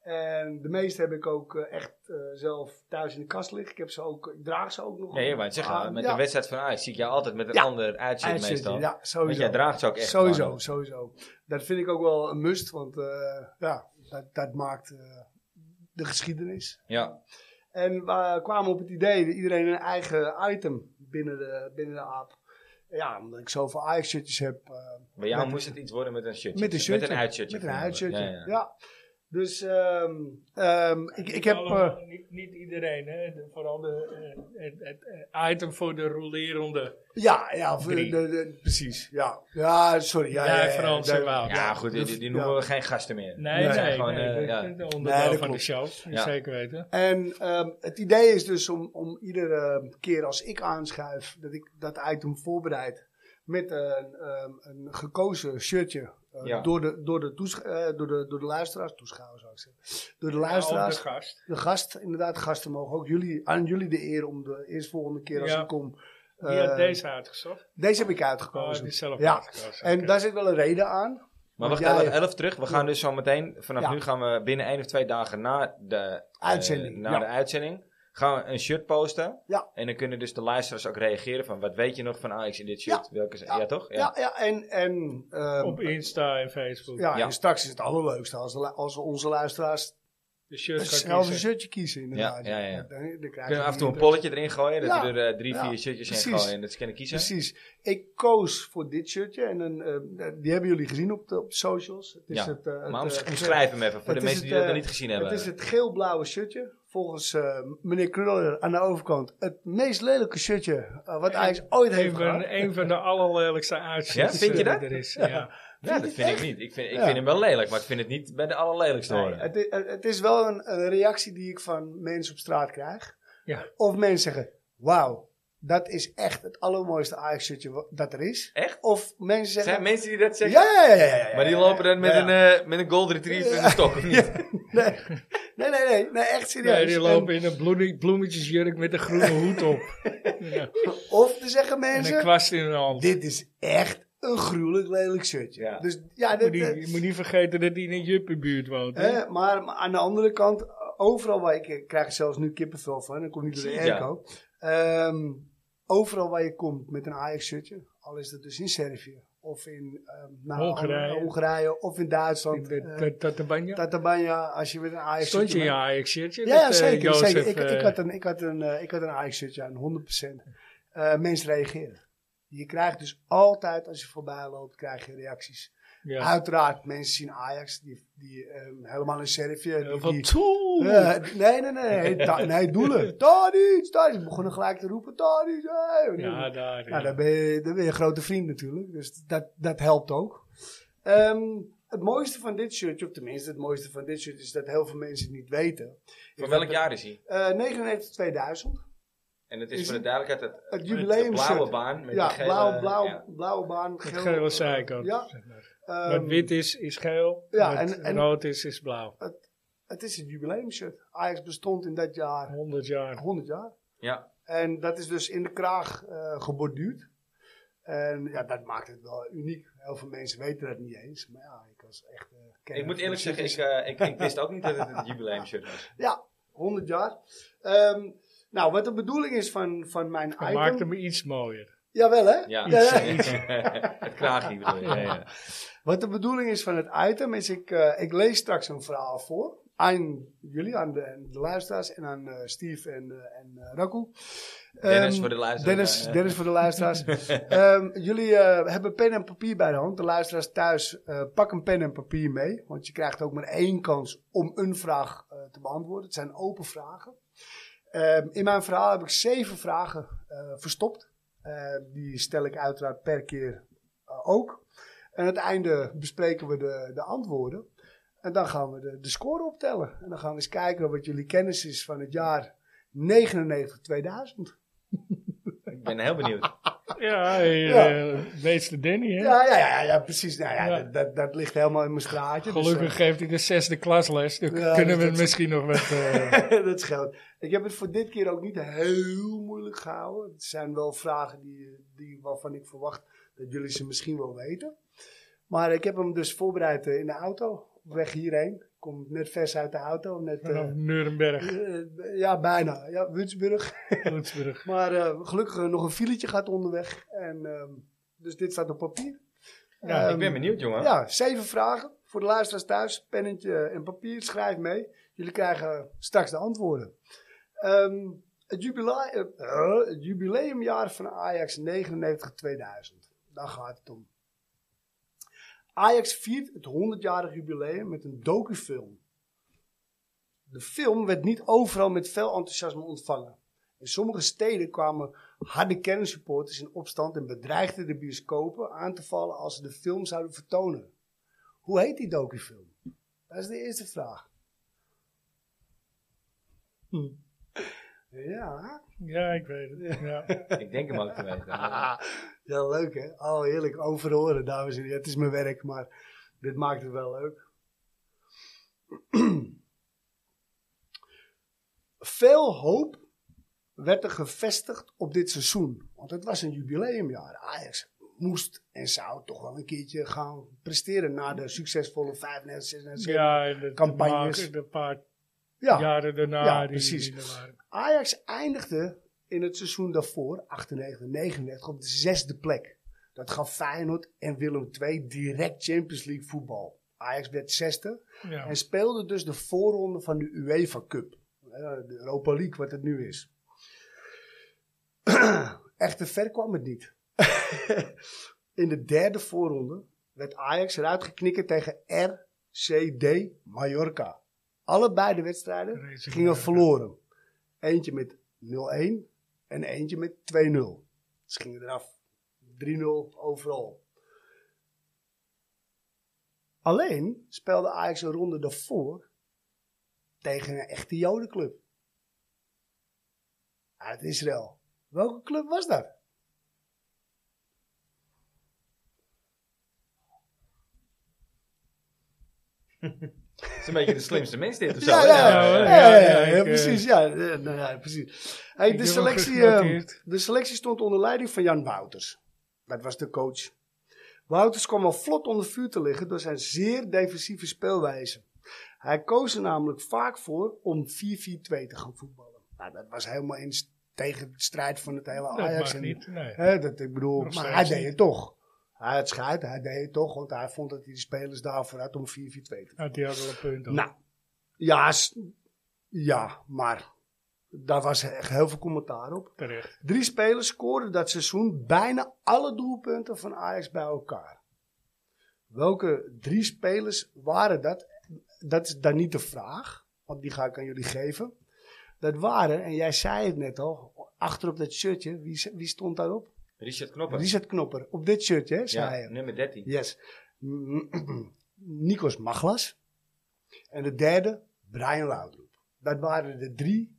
[SPEAKER 3] En de meeste heb ik ook eh, echt eh, zelf thuis in de kast liggen. Ik, heb ze ook, ik draag ze ook nog.
[SPEAKER 1] nee, maar zeg,
[SPEAKER 3] aan.
[SPEAKER 1] met
[SPEAKER 3] Ja,
[SPEAKER 1] de wedstrijd van Ajax zie ik jou altijd met een
[SPEAKER 3] Ja.
[SPEAKER 1] ander ah, uitzicht
[SPEAKER 3] uitshirtje,
[SPEAKER 1] meestal.
[SPEAKER 3] Ja,
[SPEAKER 1] Want
[SPEAKER 3] sowieso.
[SPEAKER 1] jij draagt ze ook echt.
[SPEAKER 3] Sowieso,
[SPEAKER 1] gewoon.
[SPEAKER 3] sowieso. Dat vind ik ook wel een must, want eh, ja, dat, dat maakt eh, de geschiedenis.
[SPEAKER 1] Ja.
[SPEAKER 3] En we eh, kwamen op het idee dat iedereen een eigen item binnen de, binnen de aap. Ja, omdat ik zoveel Ajax-shirtjes heb. eh,
[SPEAKER 1] Bij jou
[SPEAKER 3] Met-
[SPEAKER 1] moest het iets worden met een shirtje.
[SPEAKER 3] met een shirtje.
[SPEAKER 1] Met een uitshirtje.
[SPEAKER 3] Met een
[SPEAKER 1] voornamelijk.
[SPEAKER 3] uitshirtje, ja.
[SPEAKER 1] Ja, ja.
[SPEAKER 3] Dus ehm, ehm, ik, ik heb... eh,
[SPEAKER 2] Allemaal, niet, niet iedereen, hè. De- vooral de, eh, het, het, eh, item voor de rolerende.
[SPEAKER 3] ja, ja of, eh,
[SPEAKER 2] Drie.
[SPEAKER 3] de- de- precies. Ja, ja sorry. Ja,
[SPEAKER 2] Jij,
[SPEAKER 3] ja, ja,
[SPEAKER 2] Frans
[SPEAKER 3] ja,
[SPEAKER 2] en Wout.
[SPEAKER 1] Ja,
[SPEAKER 3] ja,
[SPEAKER 1] goed, die, die- die
[SPEAKER 3] ja.
[SPEAKER 1] noemen we geen gasten meer.
[SPEAKER 2] Nee,
[SPEAKER 1] Dat
[SPEAKER 2] nee,
[SPEAKER 1] zijn
[SPEAKER 2] nee,
[SPEAKER 1] gewoon, eh,
[SPEAKER 2] dat-
[SPEAKER 1] ja.
[SPEAKER 2] dat- de
[SPEAKER 3] Nee,
[SPEAKER 2] onderdeel
[SPEAKER 3] dat
[SPEAKER 2] van de
[SPEAKER 3] klopt.
[SPEAKER 2] show.
[SPEAKER 1] Ja.
[SPEAKER 2] Zeker weten.
[SPEAKER 3] En ehm, het idee is dus om, om iedere keer als ik aanschuif, dat ik dat item voorbereid met een, ehm, een gekozen shirtje. eh,
[SPEAKER 1] Ja.
[SPEAKER 3] door, de, door, de toesch- eh, door, de, door de luisteraars, toeschouwers zou ik zeggen. Door de luisteraars,
[SPEAKER 2] Ja, ook de gast.
[SPEAKER 3] de gast, inderdaad, gasten mogen ook jullie, aan jullie de eer om de eerstvolgende keer als
[SPEAKER 2] Ja.
[SPEAKER 3] ik kom.
[SPEAKER 2] Die
[SPEAKER 3] eh,
[SPEAKER 2] had deze uitgezocht.
[SPEAKER 3] deze heb ik
[SPEAKER 2] Oh,
[SPEAKER 3] uitgekozen.
[SPEAKER 2] heb je zelf
[SPEAKER 3] ja.
[SPEAKER 2] uitgekozen.
[SPEAKER 3] en
[SPEAKER 2] Oké.
[SPEAKER 3] daar zit wel een reden aan.
[SPEAKER 1] Maar
[SPEAKER 3] Want
[SPEAKER 1] wacht
[SPEAKER 3] jij-
[SPEAKER 1] even, elf terug. We gaan dus zo meteen, vanaf
[SPEAKER 3] Ja.
[SPEAKER 1] nu gaan we binnen één of twee dagen na de eh,
[SPEAKER 3] Uitzending,
[SPEAKER 1] na
[SPEAKER 3] ja.
[SPEAKER 1] de uitzending gaan we een shirt posten.
[SPEAKER 3] Ja.
[SPEAKER 1] En dan kunnen dus de luisteraars ook reageren van wat weet je nog van Ajax in dit shirt? Welke, ja.
[SPEAKER 3] Ja.
[SPEAKER 1] ja, toch?
[SPEAKER 3] Ja, ja, en, en ehm,
[SPEAKER 2] Op Insta en Facebook.
[SPEAKER 3] ja,
[SPEAKER 1] Ja.
[SPEAKER 3] en straks is het allerleukste als, de lu- als we onze luisteraars
[SPEAKER 2] De shirt kan
[SPEAKER 3] zelf een
[SPEAKER 2] kiezen.
[SPEAKER 3] shirtje kiezen, inderdaad.
[SPEAKER 1] Ja, ja, ja.
[SPEAKER 3] Dan, dan krijg je eh,
[SPEAKER 1] Kunnen we af en toe een
[SPEAKER 3] niet-
[SPEAKER 1] polletje erin gooien? Dat
[SPEAKER 3] Ja.
[SPEAKER 1] we er eh, drie,
[SPEAKER 3] Ja.
[SPEAKER 1] vier shirtjes in
[SPEAKER 3] Precies.
[SPEAKER 1] gooien en dat ze kunnen kiezen?
[SPEAKER 3] Precies. Ik koos voor dit shirtje. En een, eh, die hebben jullie gezien op de op de socials. Het is
[SPEAKER 1] Ja,
[SPEAKER 3] het, eh, het,
[SPEAKER 1] Maar om-
[SPEAKER 3] eh,
[SPEAKER 1] omschrijf hem even voor
[SPEAKER 3] het
[SPEAKER 1] de
[SPEAKER 3] is
[SPEAKER 1] mensen
[SPEAKER 3] het,
[SPEAKER 1] die dat
[SPEAKER 3] eh,
[SPEAKER 1] nog niet gezien hebben.
[SPEAKER 3] Het is het geel-blauwe shirtje. Volgens eh, meneer Kruller aan de overkant. Het meest lelijke shirtje eh, wat Ajax ooit heeft
[SPEAKER 2] Een van,
[SPEAKER 3] gehad.
[SPEAKER 2] een van de allerlelijkste uitzichten
[SPEAKER 1] Ja, vind je
[SPEAKER 2] die
[SPEAKER 1] dat?
[SPEAKER 2] er is. Ja.
[SPEAKER 1] ja, dat vind ik niet. Ik vind, ik
[SPEAKER 3] Ja.
[SPEAKER 1] vind hem wel lelijk, maar ik vind het niet bij de allerlelijkste
[SPEAKER 3] Nee,
[SPEAKER 1] horen.
[SPEAKER 3] het, i- het- het is wel een, een reactie die ik van mensen op straat krijg.
[SPEAKER 2] Ja.
[SPEAKER 3] Of mensen zeggen, wauw, dat is echt het allermooiste Ajax shirtje wa- dat er is.
[SPEAKER 1] Echt?
[SPEAKER 3] Of mensen zeggen,
[SPEAKER 1] Zijn mensen die dat zeggen?
[SPEAKER 3] Ja, ja, ja, ja, ja, ja.
[SPEAKER 1] Maar die lopen dan met,
[SPEAKER 3] Ja, ja.
[SPEAKER 1] een, eh, met een golden retriever in de stok, of niet?
[SPEAKER 3] Nee, nee, nee, nee, nee, echt serieus.
[SPEAKER 2] eh, Nee, die lopen in een bloemie- bloemetjesjurk met een groene hoed op. Ja.
[SPEAKER 3] En- of te zeggen
[SPEAKER 2] En een
[SPEAKER 3] mensen,
[SPEAKER 2] kwast in hun hand.
[SPEAKER 3] dit is echt een gruwelijk lelijk shirtje.
[SPEAKER 1] Ja.
[SPEAKER 3] Dus ja,
[SPEAKER 2] Je
[SPEAKER 3] dit,
[SPEAKER 2] moet, niet, je moet niet vergeten dat hij in een juppenbuurt woont. hè?
[SPEAKER 3] hè, maar, maar aan de andere kant, overal waar ik, ik krijg er zelfs nu kippenvel van, dat komt niet door de
[SPEAKER 1] Zie je,
[SPEAKER 3] airco. Ehm, overal waar je komt met een Ajax shirtje, al is dat dus in Servië of in ehm, nou,
[SPEAKER 2] Hongarije.
[SPEAKER 3] alle- Hongarije of in Duitsland.
[SPEAKER 2] De-
[SPEAKER 3] eh,
[SPEAKER 2] de- dat de banja.
[SPEAKER 3] Tatabanya, als je met een Ajax
[SPEAKER 2] Stond je in
[SPEAKER 3] shirtje
[SPEAKER 2] je Ajax-shirtje?
[SPEAKER 3] Ja,
[SPEAKER 2] dat, eh,
[SPEAKER 3] zeker. zeker. Ik,
[SPEAKER 2] eh,
[SPEAKER 3] ik had een, ik had een, eh, ik had een Ajax shirtje aan, 100%. Eh, mensen reageren. Je krijgt dus altijd, als je voorbij loopt, krijg je reacties.
[SPEAKER 2] ja.
[SPEAKER 3] Uiteraard, mensen zien Ajax, die, die ehm, helemaal in Servië. die-
[SPEAKER 2] Van
[SPEAKER 3] die-
[SPEAKER 2] toe!
[SPEAKER 3] eh, nee, nee, nee, nee, ta- nee, doelen. Tadic, Tadic. Ze begonnen gelijk te roepen, Tadic, hey.
[SPEAKER 2] ja, daar. Ja.
[SPEAKER 3] Nou, dan ben, je, dan ben je een grote vriend natuurlijk. Dus dat, dat helpt ook. Ehm, het mooiste van dit shirtje, of tenminste het mooiste van dit shirt, is dat heel veel mensen het niet weten.
[SPEAKER 1] Van welk jaar is hij?
[SPEAKER 3] Eh, 99 2000.
[SPEAKER 1] En het is,
[SPEAKER 3] Is
[SPEAKER 1] voor de
[SPEAKER 3] het-
[SPEAKER 1] duidelijkheid het,
[SPEAKER 3] Het
[SPEAKER 1] de
[SPEAKER 3] jubileum
[SPEAKER 1] blauwe
[SPEAKER 3] shirt.
[SPEAKER 1] baan. Met
[SPEAKER 3] Ja,
[SPEAKER 1] de gele,
[SPEAKER 3] blauw, blauw,
[SPEAKER 1] ja.
[SPEAKER 3] blauwe baan.
[SPEAKER 2] Het geel was
[SPEAKER 3] zij
[SPEAKER 2] eigenlijk ook.
[SPEAKER 3] eh, Ja.
[SPEAKER 2] zeg maar.
[SPEAKER 3] ehm,
[SPEAKER 2] Wat wit is, is geel.
[SPEAKER 3] ja,
[SPEAKER 2] Wat
[SPEAKER 3] en- en-
[SPEAKER 2] rood is, is blauw.
[SPEAKER 3] Het is het jubileum shirt. Ajax bestond in dat jaar
[SPEAKER 2] 100 jaar.
[SPEAKER 3] 100 jaar.
[SPEAKER 1] Ja.
[SPEAKER 3] En dat is dus in de kraag eh, geborduurd. En ja, dat maakt het wel uniek. Heel veel mensen weten dat niet eens. Maar ja, ik was echt... eh, kenner
[SPEAKER 1] Ik moet
[SPEAKER 3] van
[SPEAKER 1] eerlijk zeggen, ik,
[SPEAKER 3] shirtjes.
[SPEAKER 1] eh, ik, ik wist ook niet dat het het jubileum shirt was.
[SPEAKER 3] Ja, 100 jaar. Ehm, nou, wat de bedoeling is van, van mijn
[SPEAKER 2] Dat
[SPEAKER 3] item...
[SPEAKER 2] maakt hem iets mooier.
[SPEAKER 3] Jawel, hè?
[SPEAKER 1] Ja,
[SPEAKER 3] ja.
[SPEAKER 1] het kraagje bedoel je. Ja, ja.
[SPEAKER 3] Wat de bedoeling is van het item is, ik, eh, ik lees straks een verhaal voor aan jullie, aan de, aan de luisteraars en aan eh, Steve en, eh, en eh, Rakko.
[SPEAKER 1] Dennis
[SPEAKER 3] Ehm,
[SPEAKER 1] voor de luisteraars.
[SPEAKER 3] Dennis,
[SPEAKER 1] Ja, ja.
[SPEAKER 3] Dennis voor de luisteraars. Ehm, jullie eh, hebben pen en papier bij de hand. De luisteraars thuis, eh, pak een pen en papier mee. Want je krijgt ook maar één kans om een vraag eh, te beantwoorden. Het zijn open vragen. Ehm, in mijn verhaal heb ik zeven vragen eh, verstopt. Eh, die stel ik uiteraard per keer eh, ook. En aan het einde bespreken we de, de antwoorden. En dan gaan we de, de score optellen. En dan gaan we eens kijken wat jullie kennis is van het jaar 99-2000.
[SPEAKER 1] Ik ben heel benieuwd.
[SPEAKER 2] Ja, hey,
[SPEAKER 3] Ja.
[SPEAKER 2] eh, meester Danny, hè?
[SPEAKER 3] Ja, ja, ja, ja, precies. Nou, ja,
[SPEAKER 2] Ja.
[SPEAKER 3] Dat, dat, dat ligt helemaal in mijn straatje. dus,
[SPEAKER 2] Gelukkig geeft hij de zesde klasles. Dan kunnen
[SPEAKER 3] Ja, dus
[SPEAKER 2] we
[SPEAKER 3] dat-
[SPEAKER 2] het misschien nog wat... eh,
[SPEAKER 3] eh, dat scheelt. Ik heb het voor dit keer ook niet heel moeilijk gehouden. Het zijn wel vragen die, die, waarvan ik verwacht dat jullie ze misschien wel weten. Maar ik heb hem dus voorbereid eh, in de auto, op weg hierheen. Ik kom net vers uit de auto. Net, eh,
[SPEAKER 2] vanaf Nuremberg,
[SPEAKER 3] eh, ja, bijna. Ja, Würzburg.
[SPEAKER 2] Lutzburg.
[SPEAKER 3] Maar eh, gelukkig eh, nog een filetje gaat onderweg. En, ehm, dus dit staat op papier.
[SPEAKER 2] Ja,
[SPEAKER 3] Ehm,
[SPEAKER 1] ik ben benieuwd, jongen.
[SPEAKER 3] Ja, zeven vragen voor de luisteraars thuis. Pennetje en papier, schrijf mee. Jullie krijgen straks de antwoorden. Ehm, het, jubila- eh, eh, het jubileumjaar van Ajax 99-2000. Daar gaat het om. Ajax viert het 100-jarig jubileum met een docufilm. De film werd niet overal met veel enthousiasme ontvangen. In sommige steden kwamen harde kernsupporters in opstand en bedreigden de bioscopen aan te vallen als ze de film zouden vertonen. Hoe heet die docufilm? Dat is de eerste vraag. Hm. Ja.
[SPEAKER 2] Ja, ik weet het. Ja.
[SPEAKER 1] Ik denk hem ook te weten. Maar
[SPEAKER 3] ja, leuk hè? Oh, heerlijk. Overhoren, dames en heren. Het is mijn werk, maar dit maakt het wel leuk. Veel hoop werd er gevestigd op dit seizoen. Want het was een jubileumjaar. Ajax moest en zou toch wel een keertje gaan presteren na de succesvolle 95, 96.
[SPEAKER 2] ja, en de
[SPEAKER 3] Campagnes.
[SPEAKER 2] De, maak- de paar
[SPEAKER 3] Ja,
[SPEAKER 2] jaren daarna.
[SPEAKER 3] Ja,
[SPEAKER 2] die-
[SPEAKER 3] precies.
[SPEAKER 2] die er waren.
[SPEAKER 3] Ajax eindigde in het seizoen daarvoor, 98-99, op de zesde plek. Dat gaf Feyenoord en Willem II direct Champions League voetbal. Ajax werd zesde
[SPEAKER 2] Ja.
[SPEAKER 3] en speelde dus de voorronde van de UEFA Cup. Eh, De Europa League, wat het nu is. Echter ver kwam het niet. in de derde voorronde werd Ajax eruit geknikkerd tegen RCD Mallorca. Allebei de wedstrijden
[SPEAKER 2] Racing
[SPEAKER 3] gingen
[SPEAKER 2] Mallorca.
[SPEAKER 3] verloren. Eentje met 0-1 en eentje met 2-0. Ze gingen eraf. 3-0 overal. Alleen speelde Ajax een ronde daarvoor tegen een echte Jodenclub. Uit Israël. Welke club was dat?
[SPEAKER 1] Het is een beetje de slimste mens dit of zo.
[SPEAKER 3] Ja,
[SPEAKER 1] hè?
[SPEAKER 3] ja,
[SPEAKER 2] Ja,
[SPEAKER 3] ja,
[SPEAKER 2] hoor.
[SPEAKER 3] ja,
[SPEAKER 2] Ja, ja,
[SPEAKER 3] ja,
[SPEAKER 2] ik, eh,
[SPEAKER 3] precies. Ja, ja, nou ja, precies. Hey,
[SPEAKER 2] Ik
[SPEAKER 3] de,
[SPEAKER 2] heb hem
[SPEAKER 3] selectie,
[SPEAKER 2] goed
[SPEAKER 3] ehm,
[SPEAKER 2] genoteerd.
[SPEAKER 3] de selectie stond onder leiding van Jan Wouters. Dat was de coach. Wouters kwam al vlot onder vuur te liggen door zijn zeer defensieve speelwijze. Hij koos er namelijk vaak voor om 4-4-2 te gaan voetballen. Nou, dat was helemaal in s- tegen het strijd van het hele
[SPEAKER 2] Dat
[SPEAKER 3] Ajax.
[SPEAKER 2] mag
[SPEAKER 3] en-
[SPEAKER 2] niet. Nee.
[SPEAKER 3] Hè, dat, ik bedoel,
[SPEAKER 2] Nog
[SPEAKER 3] maar
[SPEAKER 2] steeds
[SPEAKER 3] hij deed
[SPEAKER 2] niet.
[SPEAKER 3] het toch. Hij had schijt, hij deed het toch, want hij vond dat hij de spelers daarvoor had om 4-4-2 te gaan.
[SPEAKER 2] Nou, die had wel een punt. hoor.
[SPEAKER 3] Nou, ja, s- ja, maar daar was echt heel veel commentaar op.
[SPEAKER 2] Terecht.
[SPEAKER 3] Drie spelers scoorden dat seizoen bijna alle doelpunten van Ajax bij elkaar. Welke drie spelers waren dat? Dat is dan niet de vraag, want die ga ik aan jullie geven. Dat waren, en jij zei het net al, achter op dat shirtje, wie, s- wie stond daarop?
[SPEAKER 1] Richard Knoppen.
[SPEAKER 3] Richard Knopper, op dit shirtje, hè, zei
[SPEAKER 1] ja,
[SPEAKER 3] hij.
[SPEAKER 1] nummer 13.
[SPEAKER 3] Yes. Nikos Maglas. En de derde, Brian Laudrup. Dat waren de drie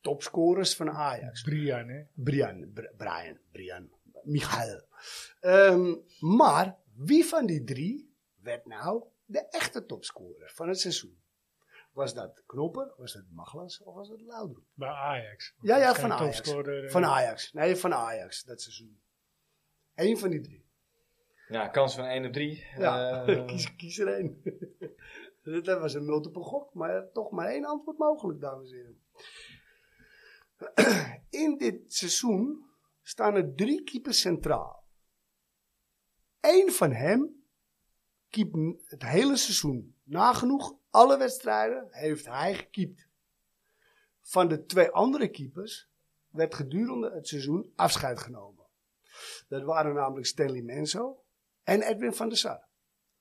[SPEAKER 3] topscorers van Ajax.
[SPEAKER 2] Brian, hè?
[SPEAKER 3] Brian, Br- Brian, Brian, Michael. Ehm, maar wie van die drie werd nou de echte topscorer van het seizoen? Was dat Knopper, was dat Maglas of was dat Laudrup?
[SPEAKER 2] Bij Ajax.
[SPEAKER 3] Ja, ja,
[SPEAKER 2] Dat is
[SPEAKER 3] van
[SPEAKER 2] geen
[SPEAKER 3] Ajax.
[SPEAKER 2] topscorer, eh.
[SPEAKER 3] Van Ajax. Nee, van Ajax, dat seizoen. Eén van die drie.
[SPEAKER 1] Ja, Nou, kans van 1 op Ehm, 3.
[SPEAKER 3] Ja,
[SPEAKER 1] Eh,
[SPEAKER 3] kies, kies er één. Dat was een multiple gok, maar toch maar één antwoord mogelijk, dames en heren. In dit seizoen staan er drie keepers centraal. Eén van hem keept n- het hele seizoen. Nagenoeg alle wedstrijden heeft hij gekiept. Van de twee andere keepers werd gedurende het seizoen afscheid genomen. Dat waren namelijk Stanley Menzo en Edwin van der Sar.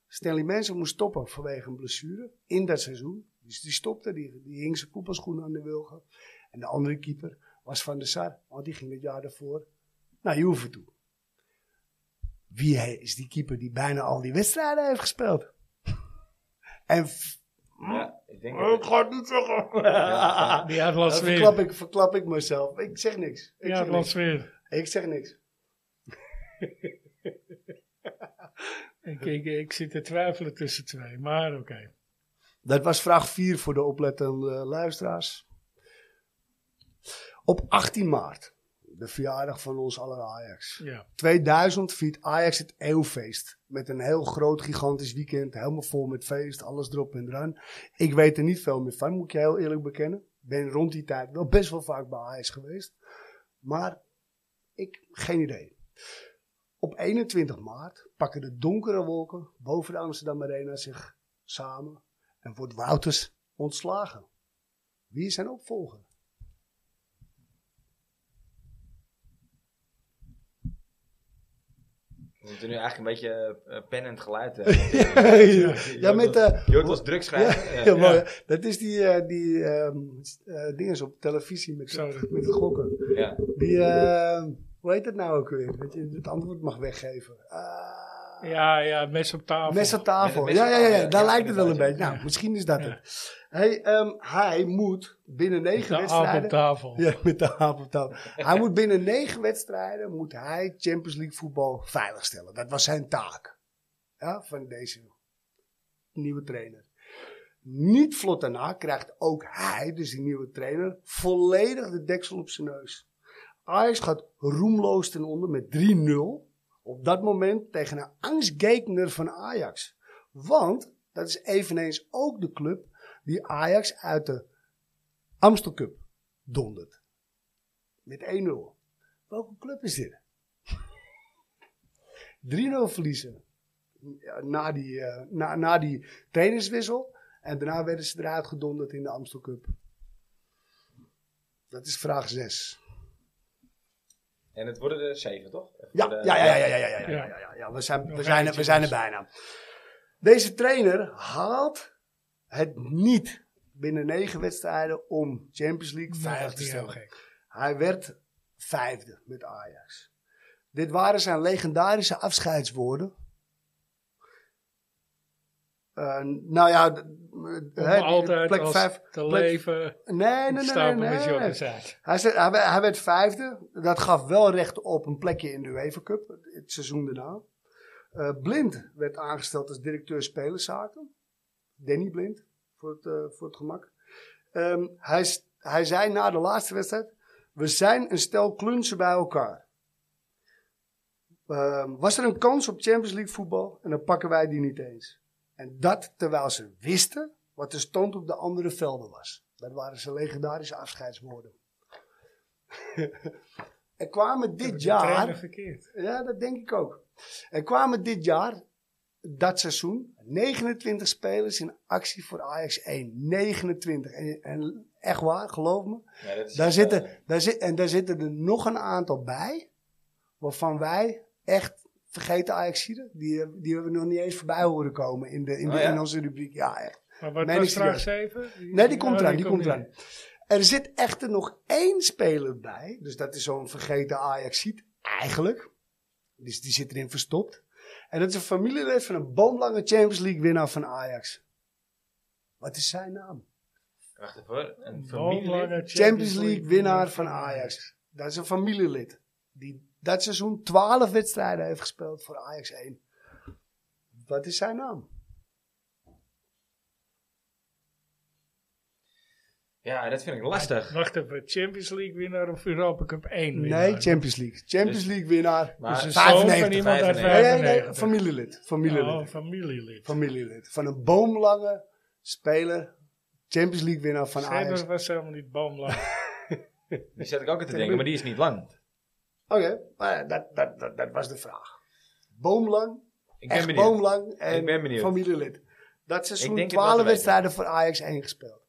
[SPEAKER 3] Stanley Mensen moest stoppen vanwege een blessure in dat seizoen. Dus die stopte, die, die hing zijn voetbalschoenen aan de wilgen. En de andere keeper was Van der Sar, want die ging het jaar daarvoor naar Juve toe. Wie he- is die keeper die bijna al die wedstrijden heeft gespeeld? en f-
[SPEAKER 1] Ja, ik denk
[SPEAKER 3] ik
[SPEAKER 1] dat...
[SPEAKER 3] ga het niet zeggen.
[SPEAKER 1] Ja,
[SPEAKER 2] Die had
[SPEAKER 3] Dan
[SPEAKER 2] last
[SPEAKER 3] verklap
[SPEAKER 2] weer.
[SPEAKER 3] ik, verklap ik mezelf. Ik zeg niks. Ik,
[SPEAKER 2] Die had
[SPEAKER 3] zeg, niks.
[SPEAKER 2] last weer.
[SPEAKER 3] ik zeg niks.
[SPEAKER 2] Ik, ik, ik zit te twijfelen tussen twee, maar oké.
[SPEAKER 3] Dat was vraag 4 voor de oplettende luisteraars. Op 18 maart, de verjaardag van ons aller Ajax.
[SPEAKER 2] Ja.
[SPEAKER 3] 2000 viert Ajax het eeuwfeest. Met een heel groot, gigantisch weekend. Helemaal vol met feest, alles erop en eraan. Ik weet er niet veel meer van, moet ik je heel eerlijk bekennen. Ben rond die tijd wel best wel vaak bij Ajax geweest. Maar ik, geen idee. Op 21 maart pakken de donkere wolken boven de Amsterdam Arena zich samen. En wordt Wouters ontslagen. Wie is zijn opvolger?
[SPEAKER 1] We moeten nu eigenlijk een beetje eh, pen en geluid eh, hebben.
[SPEAKER 3] ja, met... eh,
[SPEAKER 1] Jort als drugschrijver.
[SPEAKER 3] Ja,
[SPEAKER 1] Ja,
[SPEAKER 3] ja, mooi. Dat is die, eh, die ehm eh, dinges op televisie met,
[SPEAKER 2] Zo.
[SPEAKER 3] met het gokken.
[SPEAKER 1] ja.
[SPEAKER 3] Die, eh, hoe heet dat nou ook weer? Dat je het antwoord mag weggeven. Ah,
[SPEAKER 2] Ja, ja, mes op tafel.
[SPEAKER 3] Mes op tafel.
[SPEAKER 1] Met het mes
[SPEAKER 3] Ja,
[SPEAKER 1] op
[SPEAKER 3] ja, ja,
[SPEAKER 1] tafel, ja.
[SPEAKER 3] daar
[SPEAKER 1] Ja,
[SPEAKER 3] lijkt het wel een
[SPEAKER 1] inderdaad,
[SPEAKER 3] beetje.
[SPEAKER 1] ja.
[SPEAKER 3] Nou, misschien is dat
[SPEAKER 2] Ja.
[SPEAKER 3] het. Hij, ehm, hij moet binnen negen
[SPEAKER 2] de aap op
[SPEAKER 3] wedstrijden...
[SPEAKER 2] tafel.
[SPEAKER 3] Ja, met de aap op tafel. Hij moet binnen negen wedstrijden moet hij Champions League voetbal veiligstellen. Dat was zijn taak. Ja, van deze nieuwe trainer. Niet vlot daarna krijgt ook hij, dus die nieuwe trainer, volledig de deksel op zijn neus. Ajax gaat roemloos ten onder met 3-0. Op dat moment tegen een angstgekner van Ajax. Want dat is eveneens ook de club die Ajax uit de Amstel Cup dondert. Met 1-0. Welke club is dit? 3-0 verliezen. Ja, Na die, eh, na, na die trainerswissel. En daarna werden ze eruit gedonderd in de Amstel Cup. Dat is vraag 6.
[SPEAKER 1] En het worden er zeven, toch? Even
[SPEAKER 3] Ja,
[SPEAKER 1] voor de-
[SPEAKER 3] ja, ja, ja, ja, ja, ja, ja, ja, ja, ja. We zijn, we
[SPEAKER 2] Nog
[SPEAKER 3] zijn, er- we
[SPEAKER 2] eentje
[SPEAKER 3] zijn er
[SPEAKER 2] dus.
[SPEAKER 3] bijna. Deze trainer haalt het niet binnen negen wedstrijden om Champions League
[SPEAKER 2] Nou,
[SPEAKER 3] veilig
[SPEAKER 2] dat
[SPEAKER 3] te
[SPEAKER 2] is heel
[SPEAKER 3] stellen.
[SPEAKER 2] gek.
[SPEAKER 3] Hij werd vijfde met Ajax. Dit waren zijn legendarische afscheidswoorden. Eh, nou ja, d-
[SPEAKER 2] Om
[SPEAKER 3] hè,
[SPEAKER 2] altijd
[SPEAKER 3] plek
[SPEAKER 2] als
[SPEAKER 3] vijf.
[SPEAKER 2] te
[SPEAKER 3] plek-
[SPEAKER 2] leven
[SPEAKER 3] Nee, nee, nee, nee.
[SPEAKER 2] stapel met
[SPEAKER 3] nee,
[SPEAKER 2] Jokke
[SPEAKER 3] nee.
[SPEAKER 2] zijn.
[SPEAKER 3] Hij, zei- hij, werd- hij werd vijfde. Dat gaf wel recht op een plekje in de UEFA Cup. Het seizoen daarna. Eh, Blind werd aangesteld als directeur spelerszaken. Danny Blind, voor het, eh, voor het gemak. Ehm, hij, s- hij zei na de laatste wedstrijd... We zijn een stel klunsen bij elkaar. Ehm, was er een kans op Champions League voetbal? En dan pakken wij die niet eens. En dat terwijl ze wisten wat de stand op de andere velden was. Dat waren zijn legendarische afscheidswoorden. er kwamen
[SPEAKER 2] Heb ik
[SPEAKER 3] dit
[SPEAKER 2] de trainer
[SPEAKER 3] jaar...
[SPEAKER 2] verkeerd.
[SPEAKER 3] Ja, dat denk ik ook. Er kwamen dit jaar, dat seizoen, 29 spelers in actie voor Ajax 1. 29. En, en echt waar, geloof me.
[SPEAKER 1] Ja, dat is
[SPEAKER 3] Daar
[SPEAKER 1] echt, eh,
[SPEAKER 3] zitten, daar zit, en daar zitten er nog een aantal bij, waarvan wij echt vergeten Ajaxiden. Die, eh, die hebben we nog niet eens voorbij horen komen in, de, in, de,
[SPEAKER 1] Oh ja?
[SPEAKER 3] in onze rubriek. Ja, echt.
[SPEAKER 2] Maar wat
[SPEAKER 3] Nee,
[SPEAKER 2] was
[SPEAKER 3] niet
[SPEAKER 2] vraag Oh,
[SPEAKER 3] serieus.
[SPEAKER 2] 7?
[SPEAKER 3] Nee, die komt eraan, Oh, die komt eraan. Er zit echter nog één speler bij. Dus dat is zo'n vergeten Ajaxiet eigenlijk. Dus die zit erin verstopt. En dat is een familielid van een boomlange Champions League winnaar van Ajax. Wat is zijn naam?
[SPEAKER 1] Wacht even hoor. Een familie.
[SPEAKER 2] Champions,
[SPEAKER 3] Champions League winnaar van Ajax. Dat is een familielid. Die dat seizoen 12 wedstrijden heeft gespeeld voor Ajax 1. Wat is zijn naam?
[SPEAKER 1] Ja, dat vind ik lastig.
[SPEAKER 2] Wacht even, Champions League winnaar of Europa Cup 1 winnaar?
[SPEAKER 3] Nee, Champions League. Champions
[SPEAKER 1] Dus-
[SPEAKER 3] League winnaar.
[SPEAKER 1] Maar
[SPEAKER 2] Dus een zoon van
[SPEAKER 3] 95.
[SPEAKER 2] iemand uit
[SPEAKER 1] 95.
[SPEAKER 3] Nee, nee, nee,
[SPEAKER 2] 95.
[SPEAKER 3] familielid.
[SPEAKER 2] Oh,
[SPEAKER 3] Familielid.
[SPEAKER 2] familielid.
[SPEAKER 3] Familielid. Van een boomlange speler. Champions League winnaar van Ajax.
[SPEAKER 2] Zeber
[SPEAKER 3] Oké,
[SPEAKER 2] was helemaal niet boomlang.
[SPEAKER 1] die zet ik ook aan te denken, maar die is niet lang.
[SPEAKER 3] maar ja, dat, dat, dat, dat was de vraag. Boomlang.
[SPEAKER 1] Ik ben
[SPEAKER 3] Echt
[SPEAKER 1] benieuwd.
[SPEAKER 3] boomlang. En
[SPEAKER 1] Ik ben benieuwd.
[SPEAKER 3] familielid. Dat
[SPEAKER 1] Ik
[SPEAKER 3] seizoen
[SPEAKER 1] denk het wel te
[SPEAKER 3] 12
[SPEAKER 1] weten.
[SPEAKER 3] wedstrijden voor Ajax 1 gespeeld.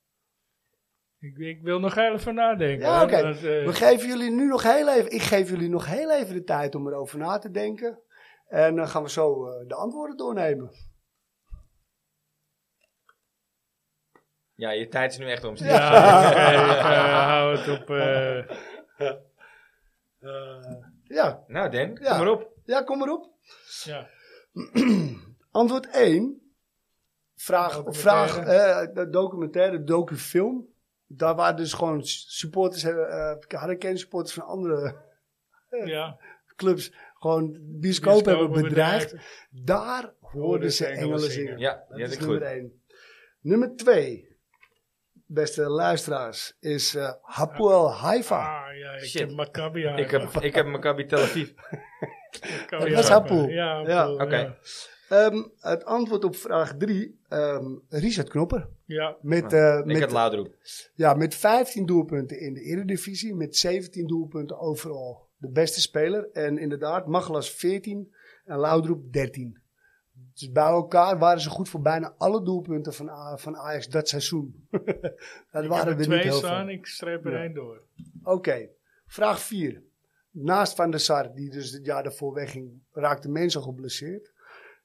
[SPEAKER 2] ik, ik wil nog even nadenken.
[SPEAKER 3] Ja,
[SPEAKER 2] hoor,
[SPEAKER 3] oké.
[SPEAKER 2] want, eh,
[SPEAKER 3] We geven jullie nu nog heel even. Ik geef jullie nog heel even de tijd om erover na te denken. En dan gaan we zo eh, de antwoorden doornemen.
[SPEAKER 1] Ja, je tijd is nu echt om. Steve.
[SPEAKER 2] Ja, oké. eh, hou het op. eh,
[SPEAKER 3] Ja,
[SPEAKER 1] Nou, Den,
[SPEAKER 3] Ja.
[SPEAKER 1] kom maar op.
[SPEAKER 3] ja, kom maar op.
[SPEAKER 2] ja.
[SPEAKER 3] Antwoord 1. Vraag,
[SPEAKER 2] Documentaire.
[SPEAKER 3] vraag eh, documentaire, docufilm. Daar waren dus gewoon supporters, eh Hurricane supporters van andere
[SPEAKER 2] ja.
[SPEAKER 3] clubs, gewoon bioscoop hebben
[SPEAKER 2] Bioscopen
[SPEAKER 3] bedreigd. Daar hoorden ze engelen zingen.
[SPEAKER 1] Ja,
[SPEAKER 3] Dat
[SPEAKER 1] die had
[SPEAKER 3] is
[SPEAKER 1] ik
[SPEAKER 3] nummer
[SPEAKER 1] goed.
[SPEAKER 3] 1. Nummer 2, beste luisteraars, is eh Hapoel Haifa.
[SPEAKER 2] Ah, ja, ik
[SPEAKER 1] Shit.
[SPEAKER 2] heb Maccabi aan.
[SPEAKER 1] Ik heb, ik heb Maccabi Tel Aviv.
[SPEAKER 2] Maccabi
[SPEAKER 3] Dat was
[SPEAKER 2] aan.
[SPEAKER 3] Hapoel.
[SPEAKER 2] Ja,
[SPEAKER 3] Ja,
[SPEAKER 2] Hapoel, ja.
[SPEAKER 1] oké.
[SPEAKER 3] Ehm, het antwoord op vraag 3, ehm Richard Knopper.
[SPEAKER 2] Ja,
[SPEAKER 3] Met, eh,
[SPEAKER 1] Ik
[SPEAKER 3] met
[SPEAKER 1] had Laudroep.
[SPEAKER 3] Ja, met 15 doelpunten in de Eredivisie, met 17 doelpunten overal. De beste speler. En inderdaad, Magelas 14 en Laudrup 13. Dus bij elkaar waren ze goed voor bijna alle doelpunten van, A- van Ajax dat seizoen. dat
[SPEAKER 2] ik heb
[SPEAKER 3] waren
[SPEAKER 2] er
[SPEAKER 3] er niet
[SPEAKER 2] twee
[SPEAKER 3] heel
[SPEAKER 2] staan,
[SPEAKER 3] veel.
[SPEAKER 2] ik streep er
[SPEAKER 3] Ja.
[SPEAKER 2] één door.
[SPEAKER 3] Oké, vraag 4. Naast Van der Sar, die dus het jaar daarvoor wegging, raakte Mensel geblesseerd.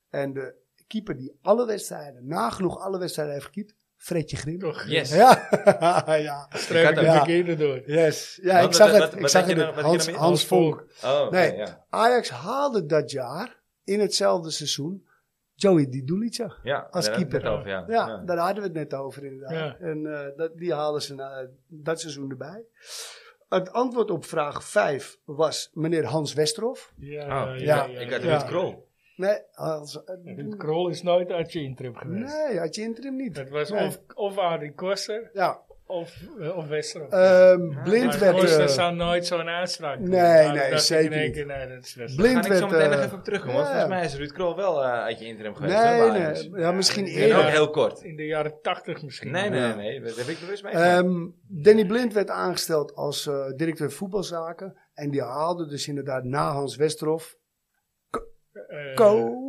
[SPEAKER 3] En de keeper die alle wedstrijden, nagenoeg alle wedstrijden heeft gekiept, Fredje Grim.
[SPEAKER 2] Toch,
[SPEAKER 1] Yes.
[SPEAKER 3] Ja, ja.
[SPEAKER 2] streep
[SPEAKER 1] had
[SPEAKER 2] ik
[SPEAKER 1] ook-
[SPEAKER 2] de
[SPEAKER 3] Ja.
[SPEAKER 2] verkeerde door.
[SPEAKER 3] Yes. Ja,
[SPEAKER 1] Wat-
[SPEAKER 3] ik
[SPEAKER 1] wat-
[SPEAKER 3] zag
[SPEAKER 1] wat-
[SPEAKER 3] het.
[SPEAKER 1] wat
[SPEAKER 3] ik zag
[SPEAKER 1] had je
[SPEAKER 3] het.
[SPEAKER 1] nou- wat had je
[SPEAKER 3] Hans,
[SPEAKER 1] nou meer?
[SPEAKER 3] Hans Vonk.
[SPEAKER 1] Oh, oké,
[SPEAKER 3] Nee.
[SPEAKER 1] ja.
[SPEAKER 3] Ajax haalde dat jaar, in hetzelfde seizoen, Joey Didulica.
[SPEAKER 1] ja.
[SPEAKER 3] Als
[SPEAKER 1] daar had ik het
[SPEAKER 3] keeper.
[SPEAKER 1] Over, ja.
[SPEAKER 3] Ja,
[SPEAKER 1] Ja.
[SPEAKER 3] daar hadden we het net over inderdaad.
[SPEAKER 2] Ja.
[SPEAKER 3] En eh, dat, die haalden ze na, dat seizoen erbij. Het antwoord op vraag 5 was meneer Hans Westerhof.
[SPEAKER 2] Ja,
[SPEAKER 1] Oh,
[SPEAKER 3] ja,
[SPEAKER 1] Ik had
[SPEAKER 3] ja.
[SPEAKER 1] Ruud Krol.
[SPEAKER 3] Nee, Hans, eh,
[SPEAKER 2] Ruud Krol is nooit uit je interim geweest.
[SPEAKER 3] nee, had je interim niet.
[SPEAKER 2] Het was
[SPEAKER 3] Nee.
[SPEAKER 2] of, of Arie Koster
[SPEAKER 3] Ja,
[SPEAKER 2] of, eh, of Westerhof.
[SPEAKER 3] ehm, blind
[SPEAKER 2] Maar
[SPEAKER 3] werd...
[SPEAKER 2] Koster
[SPEAKER 3] eh,
[SPEAKER 2] zou nooit zo'n aanspraak doen.
[SPEAKER 3] Nee,
[SPEAKER 2] Daarom
[SPEAKER 3] nee,
[SPEAKER 2] dacht ik
[SPEAKER 3] zeker
[SPEAKER 2] in één
[SPEAKER 3] niet.
[SPEAKER 2] keer, nee, dat is Westerhof.
[SPEAKER 1] Daar
[SPEAKER 3] blind
[SPEAKER 1] ga ik zo
[SPEAKER 3] werd...
[SPEAKER 1] meteen nog
[SPEAKER 3] eh,
[SPEAKER 1] even op terugkomen. want
[SPEAKER 3] ja.
[SPEAKER 1] Volgens mij is Ruud Krol wel eh, uit je interim geweest. hè,
[SPEAKER 3] Nee,
[SPEAKER 1] bij Ajax.
[SPEAKER 3] nee. Ja, misschien
[SPEAKER 2] Ja,
[SPEAKER 1] En
[SPEAKER 3] eerder.
[SPEAKER 1] ook heel kort.
[SPEAKER 2] In de jaren tachtig misschien. Eh,
[SPEAKER 1] Nee, nee,
[SPEAKER 3] Ja.
[SPEAKER 1] nee. Dat heb ik bewust meegemaakt.
[SPEAKER 3] Ehm, Danny Blind werd aangesteld als eh, directeur voetbalzaken. En die haalde dus inderdaad na Hans Westerhof.
[SPEAKER 2] Eh,
[SPEAKER 3] Co.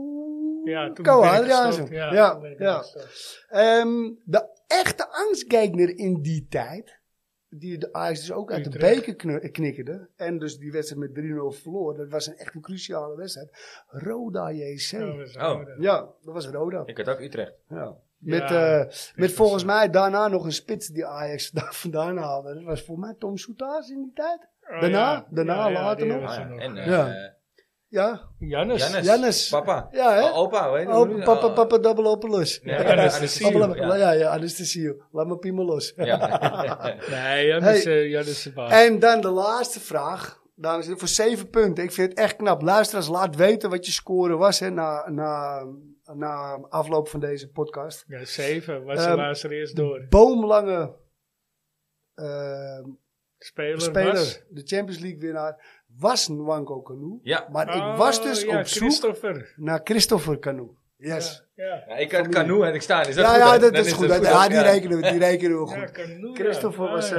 [SPEAKER 2] Ja, toen
[SPEAKER 3] Co
[SPEAKER 2] ben ik
[SPEAKER 3] Adriaansen.
[SPEAKER 2] gestopt. Ja,
[SPEAKER 3] Ja,
[SPEAKER 2] toen ben
[SPEAKER 3] ja.
[SPEAKER 2] ik gestopt.
[SPEAKER 3] Ehm, de echte angstgekner in die tijd. Die de Ajax dus ook uit de
[SPEAKER 2] Utrecht.
[SPEAKER 3] beker knu- knikkerde. En dus die wedstrijd met 3-0 verloor. Dat was een echt een cruciale wedstrijd. Roda JC.
[SPEAKER 2] Ja,
[SPEAKER 3] Ja,
[SPEAKER 2] we zijn
[SPEAKER 1] Oh.
[SPEAKER 2] er.
[SPEAKER 3] dat was Roda.
[SPEAKER 1] Ik had ook Utrecht.
[SPEAKER 3] Ja. Met,
[SPEAKER 2] Ja,
[SPEAKER 3] eh, met
[SPEAKER 2] was,
[SPEAKER 3] volgens
[SPEAKER 2] eh,
[SPEAKER 3] mij daarna nog een spits die Ajax daar vandaan haalde. Dat was voor mij Tom Soutaas in die tijd.
[SPEAKER 2] Oh,
[SPEAKER 3] Daarna?
[SPEAKER 2] ja.
[SPEAKER 3] Daarna,
[SPEAKER 2] Ja, ja,
[SPEAKER 3] later
[SPEAKER 2] die
[SPEAKER 3] nog?
[SPEAKER 1] Ah,
[SPEAKER 2] was er
[SPEAKER 1] ja.
[SPEAKER 2] nog.
[SPEAKER 1] En eh
[SPEAKER 3] Ja. Ja,
[SPEAKER 2] Jannes.
[SPEAKER 1] Jannes.
[SPEAKER 3] Jannes.
[SPEAKER 1] Papa.
[SPEAKER 3] Ja, hè?
[SPEAKER 1] Oh, opa, weet je hoe
[SPEAKER 3] Oh,
[SPEAKER 1] nu-
[SPEAKER 3] papa,
[SPEAKER 1] oh,
[SPEAKER 3] papa, double open los.
[SPEAKER 1] Nee,
[SPEAKER 3] Ja,
[SPEAKER 1] ja,
[SPEAKER 2] Jannes,
[SPEAKER 1] anesthesie,
[SPEAKER 3] Double open-
[SPEAKER 1] ja.
[SPEAKER 3] ja, ja, anesthesie. Laat me piemel los.
[SPEAKER 1] Ja.
[SPEAKER 2] Nee, Jannes,
[SPEAKER 3] Hey.
[SPEAKER 2] eh, Jannes de baas.
[SPEAKER 3] En dan de laatste vraag. Dames en heren, voor zeven punten. Ik vind het echt knap. Luisteraars, laat weten wat je score was hè, na, na, na afloop van deze podcast.
[SPEAKER 2] Ja, zeven. Was
[SPEAKER 3] Ehm,
[SPEAKER 2] de laatste er eerst door.
[SPEAKER 3] Boomlange eh,
[SPEAKER 2] Speler,
[SPEAKER 3] speler,
[SPEAKER 2] was...
[SPEAKER 3] de Champions League winnaar, was Nwanko Kanu.
[SPEAKER 1] Ja.
[SPEAKER 3] Maar ik
[SPEAKER 2] Oh,
[SPEAKER 3] was dus
[SPEAKER 2] ja,
[SPEAKER 3] op zoek
[SPEAKER 2] Christopher.
[SPEAKER 3] naar Christopher Kanu. Yes.
[SPEAKER 2] Ja, ja.
[SPEAKER 1] Ja, ik had Canoe en ik sta. Is dat
[SPEAKER 3] Ja,
[SPEAKER 1] goed?
[SPEAKER 3] ja,
[SPEAKER 1] hè?
[SPEAKER 3] dat
[SPEAKER 1] Dan
[SPEAKER 3] is goed.
[SPEAKER 1] het
[SPEAKER 3] Ja, die
[SPEAKER 1] Ja.
[SPEAKER 3] rekenen we, die rekenen we
[SPEAKER 2] Ja,
[SPEAKER 3] goed.
[SPEAKER 2] Canoe,
[SPEAKER 3] Christopher
[SPEAKER 2] ja.
[SPEAKER 3] was,
[SPEAKER 2] Ah,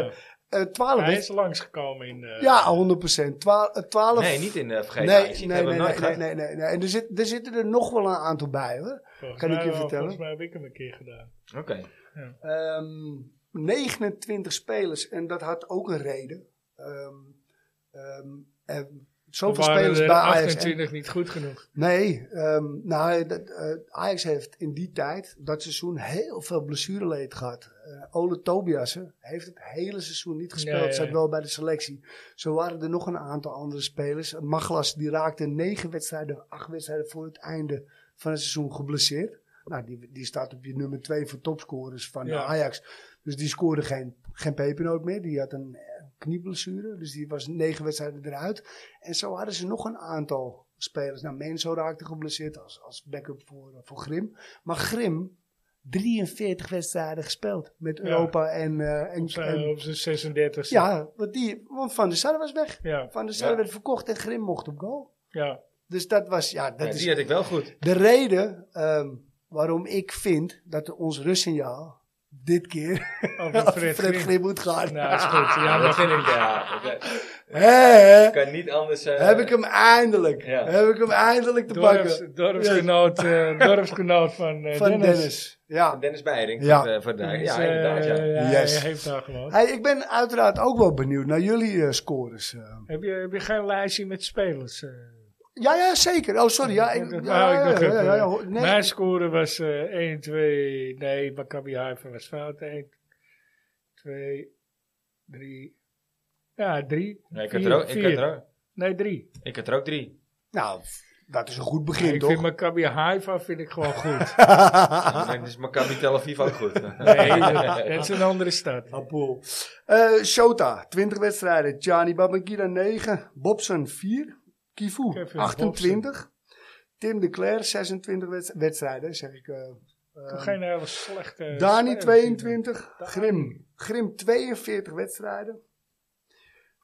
[SPEAKER 3] eh, eh, 12,
[SPEAKER 2] Hij
[SPEAKER 3] hè?
[SPEAKER 2] is langsgekomen in... eh,
[SPEAKER 3] Ja, 100%. 12, eh, 12
[SPEAKER 1] Nee, niet in de
[SPEAKER 3] Nee,
[SPEAKER 1] vergeten. Ah,
[SPEAKER 3] nee,
[SPEAKER 1] Ajax. Ik
[SPEAKER 3] nee,
[SPEAKER 1] heb hem
[SPEAKER 3] nee,
[SPEAKER 1] nooit
[SPEAKER 3] nee,
[SPEAKER 1] gehad.
[SPEAKER 3] nee, nee, nee. En er, zit, er zitten er nog wel een aantal bij, hoor.
[SPEAKER 2] volgens
[SPEAKER 3] kan ik
[SPEAKER 2] mij
[SPEAKER 3] je
[SPEAKER 2] wel.
[SPEAKER 3] vertellen?
[SPEAKER 2] Volgens mij heb ik hem een keer gedaan.
[SPEAKER 1] Oké.
[SPEAKER 3] Ehm, 29 spelers, en dat had ook een reden. Ehm, ehm, en zoveel
[SPEAKER 2] Er waren
[SPEAKER 3] spelers
[SPEAKER 2] er
[SPEAKER 3] bij Ajax. en-
[SPEAKER 2] 28 niet goed genoeg.
[SPEAKER 3] Nee, ehm, nou, dat, eh, Ajax heeft in die tijd, dat seizoen, heel veel blessureleed gehad. Eh, Ole Tobiasen heeft het hele seizoen niet gespeeld,
[SPEAKER 2] Nee.
[SPEAKER 3] zat wel bij de selectie. Zo waren er nog een aantal andere spelers. Maglas, die raakte negen wedstrijden, acht wedstrijden voor het einde van het seizoen geblesseerd. Nou, die, die staat op je nummer twee voor topscorers van
[SPEAKER 2] Ja.
[SPEAKER 3] Ajax. Dus die scoorde geen, geen pepernoot meer. Die had een eh, knieblessure, dus die was negen wedstrijden eruit. En zo hadden ze nog een aantal spelers. Nou, Menzo raakte geblesseerd als, als backup voor, eh, voor Grim. Maar Grim, 43 wedstrijden gespeeld met
[SPEAKER 2] Ja.
[SPEAKER 3] Europa en... eh en,
[SPEAKER 2] Op zijn-
[SPEAKER 3] en-
[SPEAKER 2] Op zijn 36.
[SPEAKER 3] ja, want, die, want Van der Sar was weg.
[SPEAKER 2] Ja,
[SPEAKER 3] Van der Sar
[SPEAKER 1] Ja.
[SPEAKER 3] werd verkocht en Grim mocht op goal.
[SPEAKER 2] ja.
[SPEAKER 3] Dus dat was, ja, dat
[SPEAKER 1] Ja,
[SPEAKER 3] is
[SPEAKER 1] Die had ik wel goed.
[SPEAKER 3] de reden ehm, waarom ik vind dat ons rustsignaal dit keer
[SPEAKER 2] Over
[SPEAKER 3] op
[SPEAKER 2] Fred
[SPEAKER 3] Fred
[SPEAKER 2] Grim.
[SPEAKER 3] Grim moet gaan.
[SPEAKER 2] Nou, is goed. Ja,
[SPEAKER 1] Ja, dat
[SPEAKER 2] maar
[SPEAKER 1] vind ik, ja. Dat-
[SPEAKER 3] Hé, hè?
[SPEAKER 1] Ik kan niet anders... eh,
[SPEAKER 3] heb ik hem eindelijk.
[SPEAKER 1] Ja.
[SPEAKER 3] Heb ik hem eindelijk te
[SPEAKER 2] dorps,
[SPEAKER 3] pakken.
[SPEAKER 2] dorpsgenoot, eh, dorpsgenoot van, eh,
[SPEAKER 3] Van
[SPEAKER 2] Dennis.
[SPEAKER 3] Dennis. Ja.
[SPEAKER 1] Dennis Beiring.
[SPEAKER 3] Ja.
[SPEAKER 1] Van, eh, van Dijk.
[SPEAKER 2] Dus,
[SPEAKER 1] Ja,
[SPEAKER 2] eh,
[SPEAKER 1] inderdaad, ja.
[SPEAKER 2] Hij
[SPEAKER 3] Yes.
[SPEAKER 2] heeft daar gewoon.
[SPEAKER 3] Hey, ik ben uiteraard ook wel benieuwd naar jullie eh, scores. eh.
[SPEAKER 2] Heb je, heb je geen lijstje met spelers? eh?
[SPEAKER 3] Ja, ja, zeker. Oh, sorry. Ja, ik, ja, ja, ja, ja, ja, ho- nee,
[SPEAKER 2] Mijn score was eh, 1, 2, nee, Maccabi Haifa was fout. 1, 2, 3, ja, 3.
[SPEAKER 1] Nee, ik, had er ook, ik, had er ook,
[SPEAKER 2] Nee, 3.
[SPEAKER 1] ik had er ook drie.
[SPEAKER 3] Nou, dat is een goed begin,
[SPEAKER 2] Ik
[SPEAKER 3] toch?
[SPEAKER 2] vind Maccabi Haifa vind ik gewoon goed.
[SPEAKER 3] Ah.
[SPEAKER 1] Dus Dan is Maccabi Tel Aviv ook goed.
[SPEAKER 2] nee, dat dat is een andere stad.
[SPEAKER 3] Appel. Eh Shota, 20 wedstrijden. Gianni Babankira, 9. Bobson, 4. Kifu,
[SPEAKER 2] Kevin
[SPEAKER 3] 28. Tim de Cler, 26 wedst- wedstrijden, zeg ik. eh
[SPEAKER 2] Toch
[SPEAKER 3] eh,
[SPEAKER 2] geen hele slechte...
[SPEAKER 3] Dani,
[SPEAKER 2] speler.
[SPEAKER 3] 22.
[SPEAKER 2] Dani.
[SPEAKER 3] Grim, Grim, 42 wedstrijden.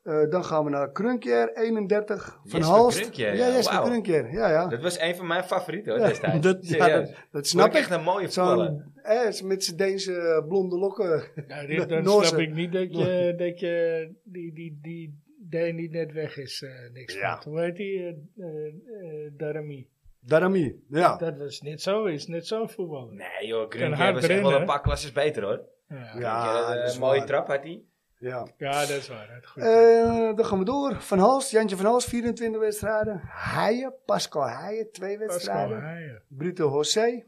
[SPEAKER 3] Eh, dan gaan we naar Krunkjer, 31. Van
[SPEAKER 1] Jesper
[SPEAKER 3] Halst.
[SPEAKER 1] Krunkjer,
[SPEAKER 3] ja,
[SPEAKER 1] ja,
[SPEAKER 3] Jesper
[SPEAKER 1] wauw.
[SPEAKER 3] Krunkjer. Ja, ja.
[SPEAKER 1] Dat was een van mijn favorieten hoor,
[SPEAKER 3] Ja,
[SPEAKER 1] destijds.
[SPEAKER 3] dat- ja,
[SPEAKER 1] Serieus.
[SPEAKER 3] dat, dat
[SPEAKER 1] Vond
[SPEAKER 3] snap
[SPEAKER 1] ik echt
[SPEAKER 3] ik.
[SPEAKER 1] een mooie voetballer.
[SPEAKER 3] Zo'n, eh, met zijn Deense eh, blonde lokken.
[SPEAKER 2] Nou, dit, dan
[SPEAKER 3] Noorse.
[SPEAKER 2] snap ik niet dat je, dat je die, die, die Deen die net weg is, eh, niks
[SPEAKER 3] Ja.
[SPEAKER 2] maakt. Hoe heet die? eh, eh, eh, Darami.
[SPEAKER 3] Darami, ja.
[SPEAKER 2] Dat was net zo, is net zo'n voetballer.
[SPEAKER 1] Nee joh,
[SPEAKER 2] Kan
[SPEAKER 1] Grunke
[SPEAKER 2] hard
[SPEAKER 1] was echt
[SPEAKER 2] rennen,
[SPEAKER 1] wel
[SPEAKER 2] hè?
[SPEAKER 1] een paar klasses beter hoor.
[SPEAKER 2] Ja, ja.
[SPEAKER 3] Ja,
[SPEAKER 1] Grunke, eh,
[SPEAKER 3] dat is
[SPEAKER 1] mooie
[SPEAKER 3] waar.
[SPEAKER 1] trap had hij.
[SPEAKER 3] ja.
[SPEAKER 2] dat is waar. Dat is goed.
[SPEAKER 3] Eh, dan gaan we door. Van Hals, Jantje van Hals, 24 wedstrijden. Heijen, Pascal Heijen, 2
[SPEAKER 2] Pascal
[SPEAKER 3] wedstrijden.
[SPEAKER 2] Haaien.
[SPEAKER 3] Brito José,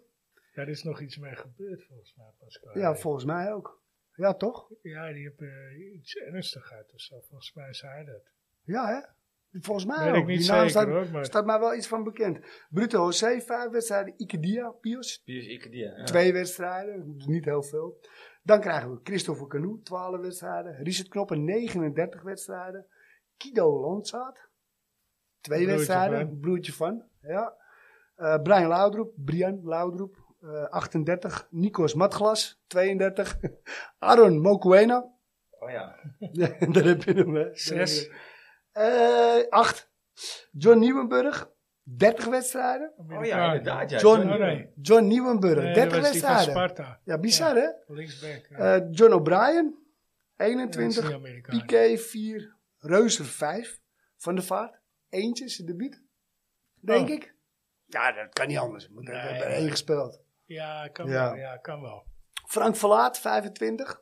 [SPEAKER 2] Daar is nog iets mee gebeurd volgens mij, Pascal.
[SPEAKER 3] ja,
[SPEAKER 2] Haaien.
[SPEAKER 3] volgens mij ook. Ja, toch?
[SPEAKER 2] ja die heeft eh, iets ernstigs uit of zo. Volgens mij zei hij dat.
[SPEAKER 3] Ja, hè? Volgens mij
[SPEAKER 2] Weet
[SPEAKER 3] ook.
[SPEAKER 2] ik niet
[SPEAKER 3] Nou, Die
[SPEAKER 2] zeker
[SPEAKER 3] naam staat,
[SPEAKER 2] hoor, maar
[SPEAKER 3] staat mij wel iets van bekend. Brito José, 5 wedstrijden. Ikedia, Pios,
[SPEAKER 1] Pius Ikedia. Ja.
[SPEAKER 3] 2 wedstrijden. dus Niet heel veel. Dan krijgen we Christopher Canoe, 12 wedstrijden. Richard Knoppen, 39 wedstrijden. Kido Landzaat, 2
[SPEAKER 2] Broertje
[SPEAKER 3] wedstrijden.
[SPEAKER 2] van.
[SPEAKER 3] Broertje van, ja. Eh, Brian Laudroep, Brian Laudroep, eh, 38. Nikos Matglas, 32. Aaron Mokuena,
[SPEAKER 1] Oh ja.
[SPEAKER 3] daar heb je hem, hè.
[SPEAKER 2] zes.
[SPEAKER 3] Eh, 8. John Nieuwenburg, 30 wedstrijden.
[SPEAKER 1] Oh ja, inderdaad. Ja.
[SPEAKER 3] John,
[SPEAKER 2] Oh, nee.
[SPEAKER 3] John Nieuwenburg,
[SPEAKER 2] Nee, dat
[SPEAKER 3] 30
[SPEAKER 2] was die van
[SPEAKER 3] wedstrijden.
[SPEAKER 2] Sparta.
[SPEAKER 3] Ja, bizar hè?
[SPEAKER 2] Linksback. ja.
[SPEAKER 3] Eh, John O'Brien,
[SPEAKER 2] Dat is
[SPEAKER 3] 21.
[SPEAKER 2] niet Amerikaan.
[SPEAKER 3] Piqué, 4. Reuser, 5. Van de Vaart, eentje zijn debuut. Denk
[SPEAKER 2] Oh.
[SPEAKER 3] ik. Ja, dat kan niet anders. Moet er
[SPEAKER 2] Nee.
[SPEAKER 3] hebben één gespeeld.
[SPEAKER 2] Ja, kan
[SPEAKER 3] Ja.
[SPEAKER 2] wel. Ja, kan wel.
[SPEAKER 3] Frank Verlaat, 25.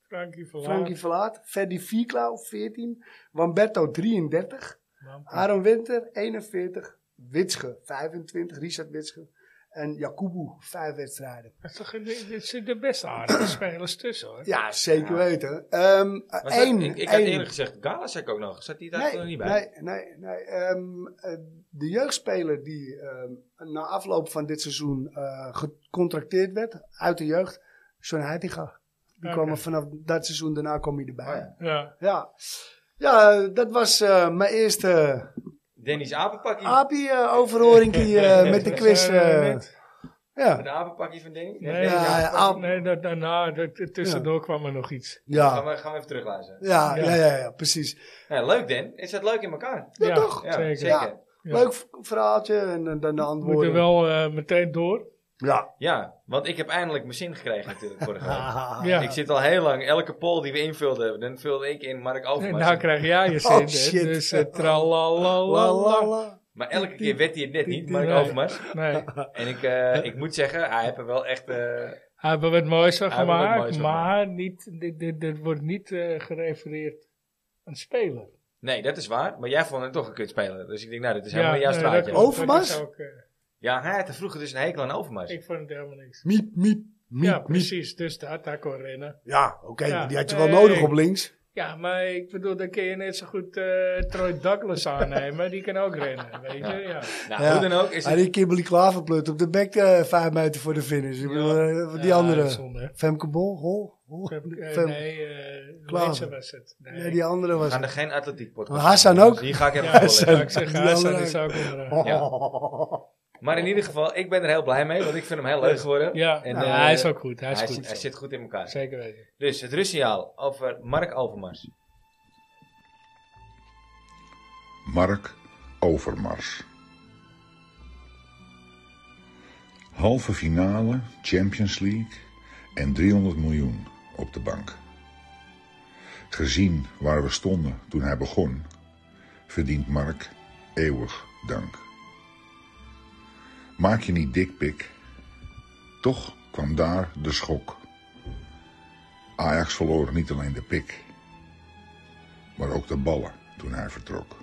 [SPEAKER 2] Frankie Verlaat.
[SPEAKER 3] Frankie Verlaat. Ferdi Vierklauw, 14. Wamberto, 33.
[SPEAKER 2] Lampie.
[SPEAKER 3] Aaron Winter, 41. Witsche, 25. Richard Witsche. En Jakubu, vijf wedstrijden.
[SPEAKER 2] Dat is toch een- dit zitten de best aardige spelers tussen hoor.
[SPEAKER 3] Ja, zeker weten. Ehm
[SPEAKER 1] Was dat-
[SPEAKER 3] één,
[SPEAKER 1] ik, ik had
[SPEAKER 3] één.
[SPEAKER 1] eerlijk gezegd Galasek ook nog. Zat die daar
[SPEAKER 3] nee,
[SPEAKER 1] nog niet bij?
[SPEAKER 3] nee, nee, nee. Ehm, eh, de jeugdspeler die ehm, na afloop van dit seizoen eh, gecontracteerd werd uit de jeugd, John Heitinga. Die
[SPEAKER 2] Oké.
[SPEAKER 3] kwam er vanaf dat seizoen daarna kwam hij erbij.
[SPEAKER 1] Oh
[SPEAKER 3] ja.
[SPEAKER 1] ja.
[SPEAKER 2] Ja.
[SPEAKER 3] ja. Ja, dat was eh, mijn eerste eh,
[SPEAKER 1] Dennis Apenpakkie.
[SPEAKER 3] API-overhoring met de quiz.
[SPEAKER 2] Dus, eh,
[SPEAKER 3] eh,
[SPEAKER 2] net-
[SPEAKER 3] ja.
[SPEAKER 1] De Apenpakkie van Dennis.
[SPEAKER 2] Nee,
[SPEAKER 3] Ja,
[SPEAKER 2] ja,
[SPEAKER 3] ja,
[SPEAKER 2] dat-
[SPEAKER 3] ah.
[SPEAKER 2] nee dat, daarna, dat, dat- tussendoor kwam er nog iets.
[SPEAKER 1] Gaan,
[SPEAKER 3] Ja.
[SPEAKER 1] we, gaan we even terugluisteren.
[SPEAKER 3] Ja,
[SPEAKER 2] Ja.
[SPEAKER 3] ja, ja, ja, precies.
[SPEAKER 1] Ja, leuk Dan. Is dat leuk in elkaar?
[SPEAKER 3] Ja, toch?
[SPEAKER 1] Ja,
[SPEAKER 2] zeker.
[SPEAKER 1] zeker.
[SPEAKER 2] Ja.
[SPEAKER 1] Ja.
[SPEAKER 2] Ja.
[SPEAKER 3] Leuk v- verhaaltje en eh, dan de
[SPEAKER 2] We moeten
[SPEAKER 3] antwoorden.
[SPEAKER 2] wel eh, meteen door.
[SPEAKER 3] Ja.
[SPEAKER 1] want ik heb eindelijk mijn zin gekregen natuurlijk vorige week.
[SPEAKER 2] Ja.
[SPEAKER 1] Ik zit al heel lang, elke poll die we invulden, dan vulde ik in Mark
[SPEAKER 2] En
[SPEAKER 1] Overmars.
[SPEAKER 2] nou krijg jij je zin.
[SPEAKER 3] Oh,
[SPEAKER 2] hè.
[SPEAKER 3] shit.
[SPEAKER 2] Dus eh, tralalalala.
[SPEAKER 3] Lalalala.
[SPEAKER 1] Maar elke keer werd hij het net niet, Mark
[SPEAKER 2] Nee.
[SPEAKER 1] Overmars.
[SPEAKER 2] Nee,
[SPEAKER 1] En ik, eh, ik moet zeggen, hij heeft er wel echt... eh,
[SPEAKER 2] hebben we het moois van
[SPEAKER 1] Hebben we het
[SPEAKER 2] gemaakt.
[SPEAKER 1] moois van
[SPEAKER 2] maar niet, dit, dit, dit wordt niet eh, gerefereerd aan speler.
[SPEAKER 1] Nee, dat is waar. Maar jij vond hem toch een kutspeler. Dus ik denk, nou, dit is
[SPEAKER 2] Ja,
[SPEAKER 1] helemaal jouw
[SPEAKER 2] nee, dat
[SPEAKER 1] straatje.
[SPEAKER 2] klopt.
[SPEAKER 3] Overmars?
[SPEAKER 2] Dat is ook, eh,
[SPEAKER 1] Ja, hij had er vroeger dus een hekel aan Overmars.
[SPEAKER 2] ik vond het helemaal niks.
[SPEAKER 3] Miep, miep, miep,
[SPEAKER 2] Ja,
[SPEAKER 3] miep.
[SPEAKER 2] precies. Dus daar, daar kon rennen.
[SPEAKER 3] Ja, oké,
[SPEAKER 2] Ja.
[SPEAKER 3] maar die had je wel
[SPEAKER 2] Nee.
[SPEAKER 3] nodig op links.
[SPEAKER 2] Ja, maar ik bedoel, dan kun je net zo goed eh, Troy Douglas aannemen. Die kan ook rennen, weet je. Ja.
[SPEAKER 1] Nou,
[SPEAKER 3] Ja.
[SPEAKER 1] hoe dan ook is
[SPEAKER 3] Hij
[SPEAKER 1] het...
[SPEAKER 3] die Kimberly Klaverplut op de bek eh, vijf meter voor de finish. Ik bedoel, eh, die
[SPEAKER 2] Ja, dat is
[SPEAKER 3] andere.
[SPEAKER 2] zonde, hè.
[SPEAKER 3] Femke Bol, Hol, Hol.
[SPEAKER 2] Fem- eh,
[SPEAKER 3] Fem-
[SPEAKER 2] nee, eh
[SPEAKER 3] Klaver.
[SPEAKER 2] Leidse was het. Nee,
[SPEAKER 3] Nee, die andere
[SPEAKER 1] We
[SPEAKER 3] was...
[SPEAKER 1] gaan er geen atletiek podcast
[SPEAKER 3] Hassan
[SPEAKER 1] maken,
[SPEAKER 3] ook.
[SPEAKER 1] dus Hier ga ik even
[SPEAKER 2] ja,
[SPEAKER 1] voorlezen.
[SPEAKER 2] zou ik zeggen,
[SPEAKER 3] Die
[SPEAKER 2] Hassan
[SPEAKER 3] andere-
[SPEAKER 2] is ook onderaan.
[SPEAKER 1] Ja. Maar in ieder geval, ik ben er heel blij mee, want ik vind hem heel leuk geworden.
[SPEAKER 2] Ja,
[SPEAKER 1] En,
[SPEAKER 2] nou,
[SPEAKER 1] eh,
[SPEAKER 2] hij is ook goed. Hij is
[SPEAKER 1] Hij,
[SPEAKER 2] goed.
[SPEAKER 1] zit, hij zit goed in elkaar.
[SPEAKER 2] Zeker weten.
[SPEAKER 1] Dus het Russiaal over Mark Overmars.
[SPEAKER 4] Mark Overmars. Halve finale, Champions League en 300 miljoen op de bank. Gezien waar we stonden toen hij begon, verdient Mark eeuwig dank. Maak je niet dikpik, toch kwam daar de schok. Ajax verloor niet alleen de pik, maar ook de ballen toen hij vertrok.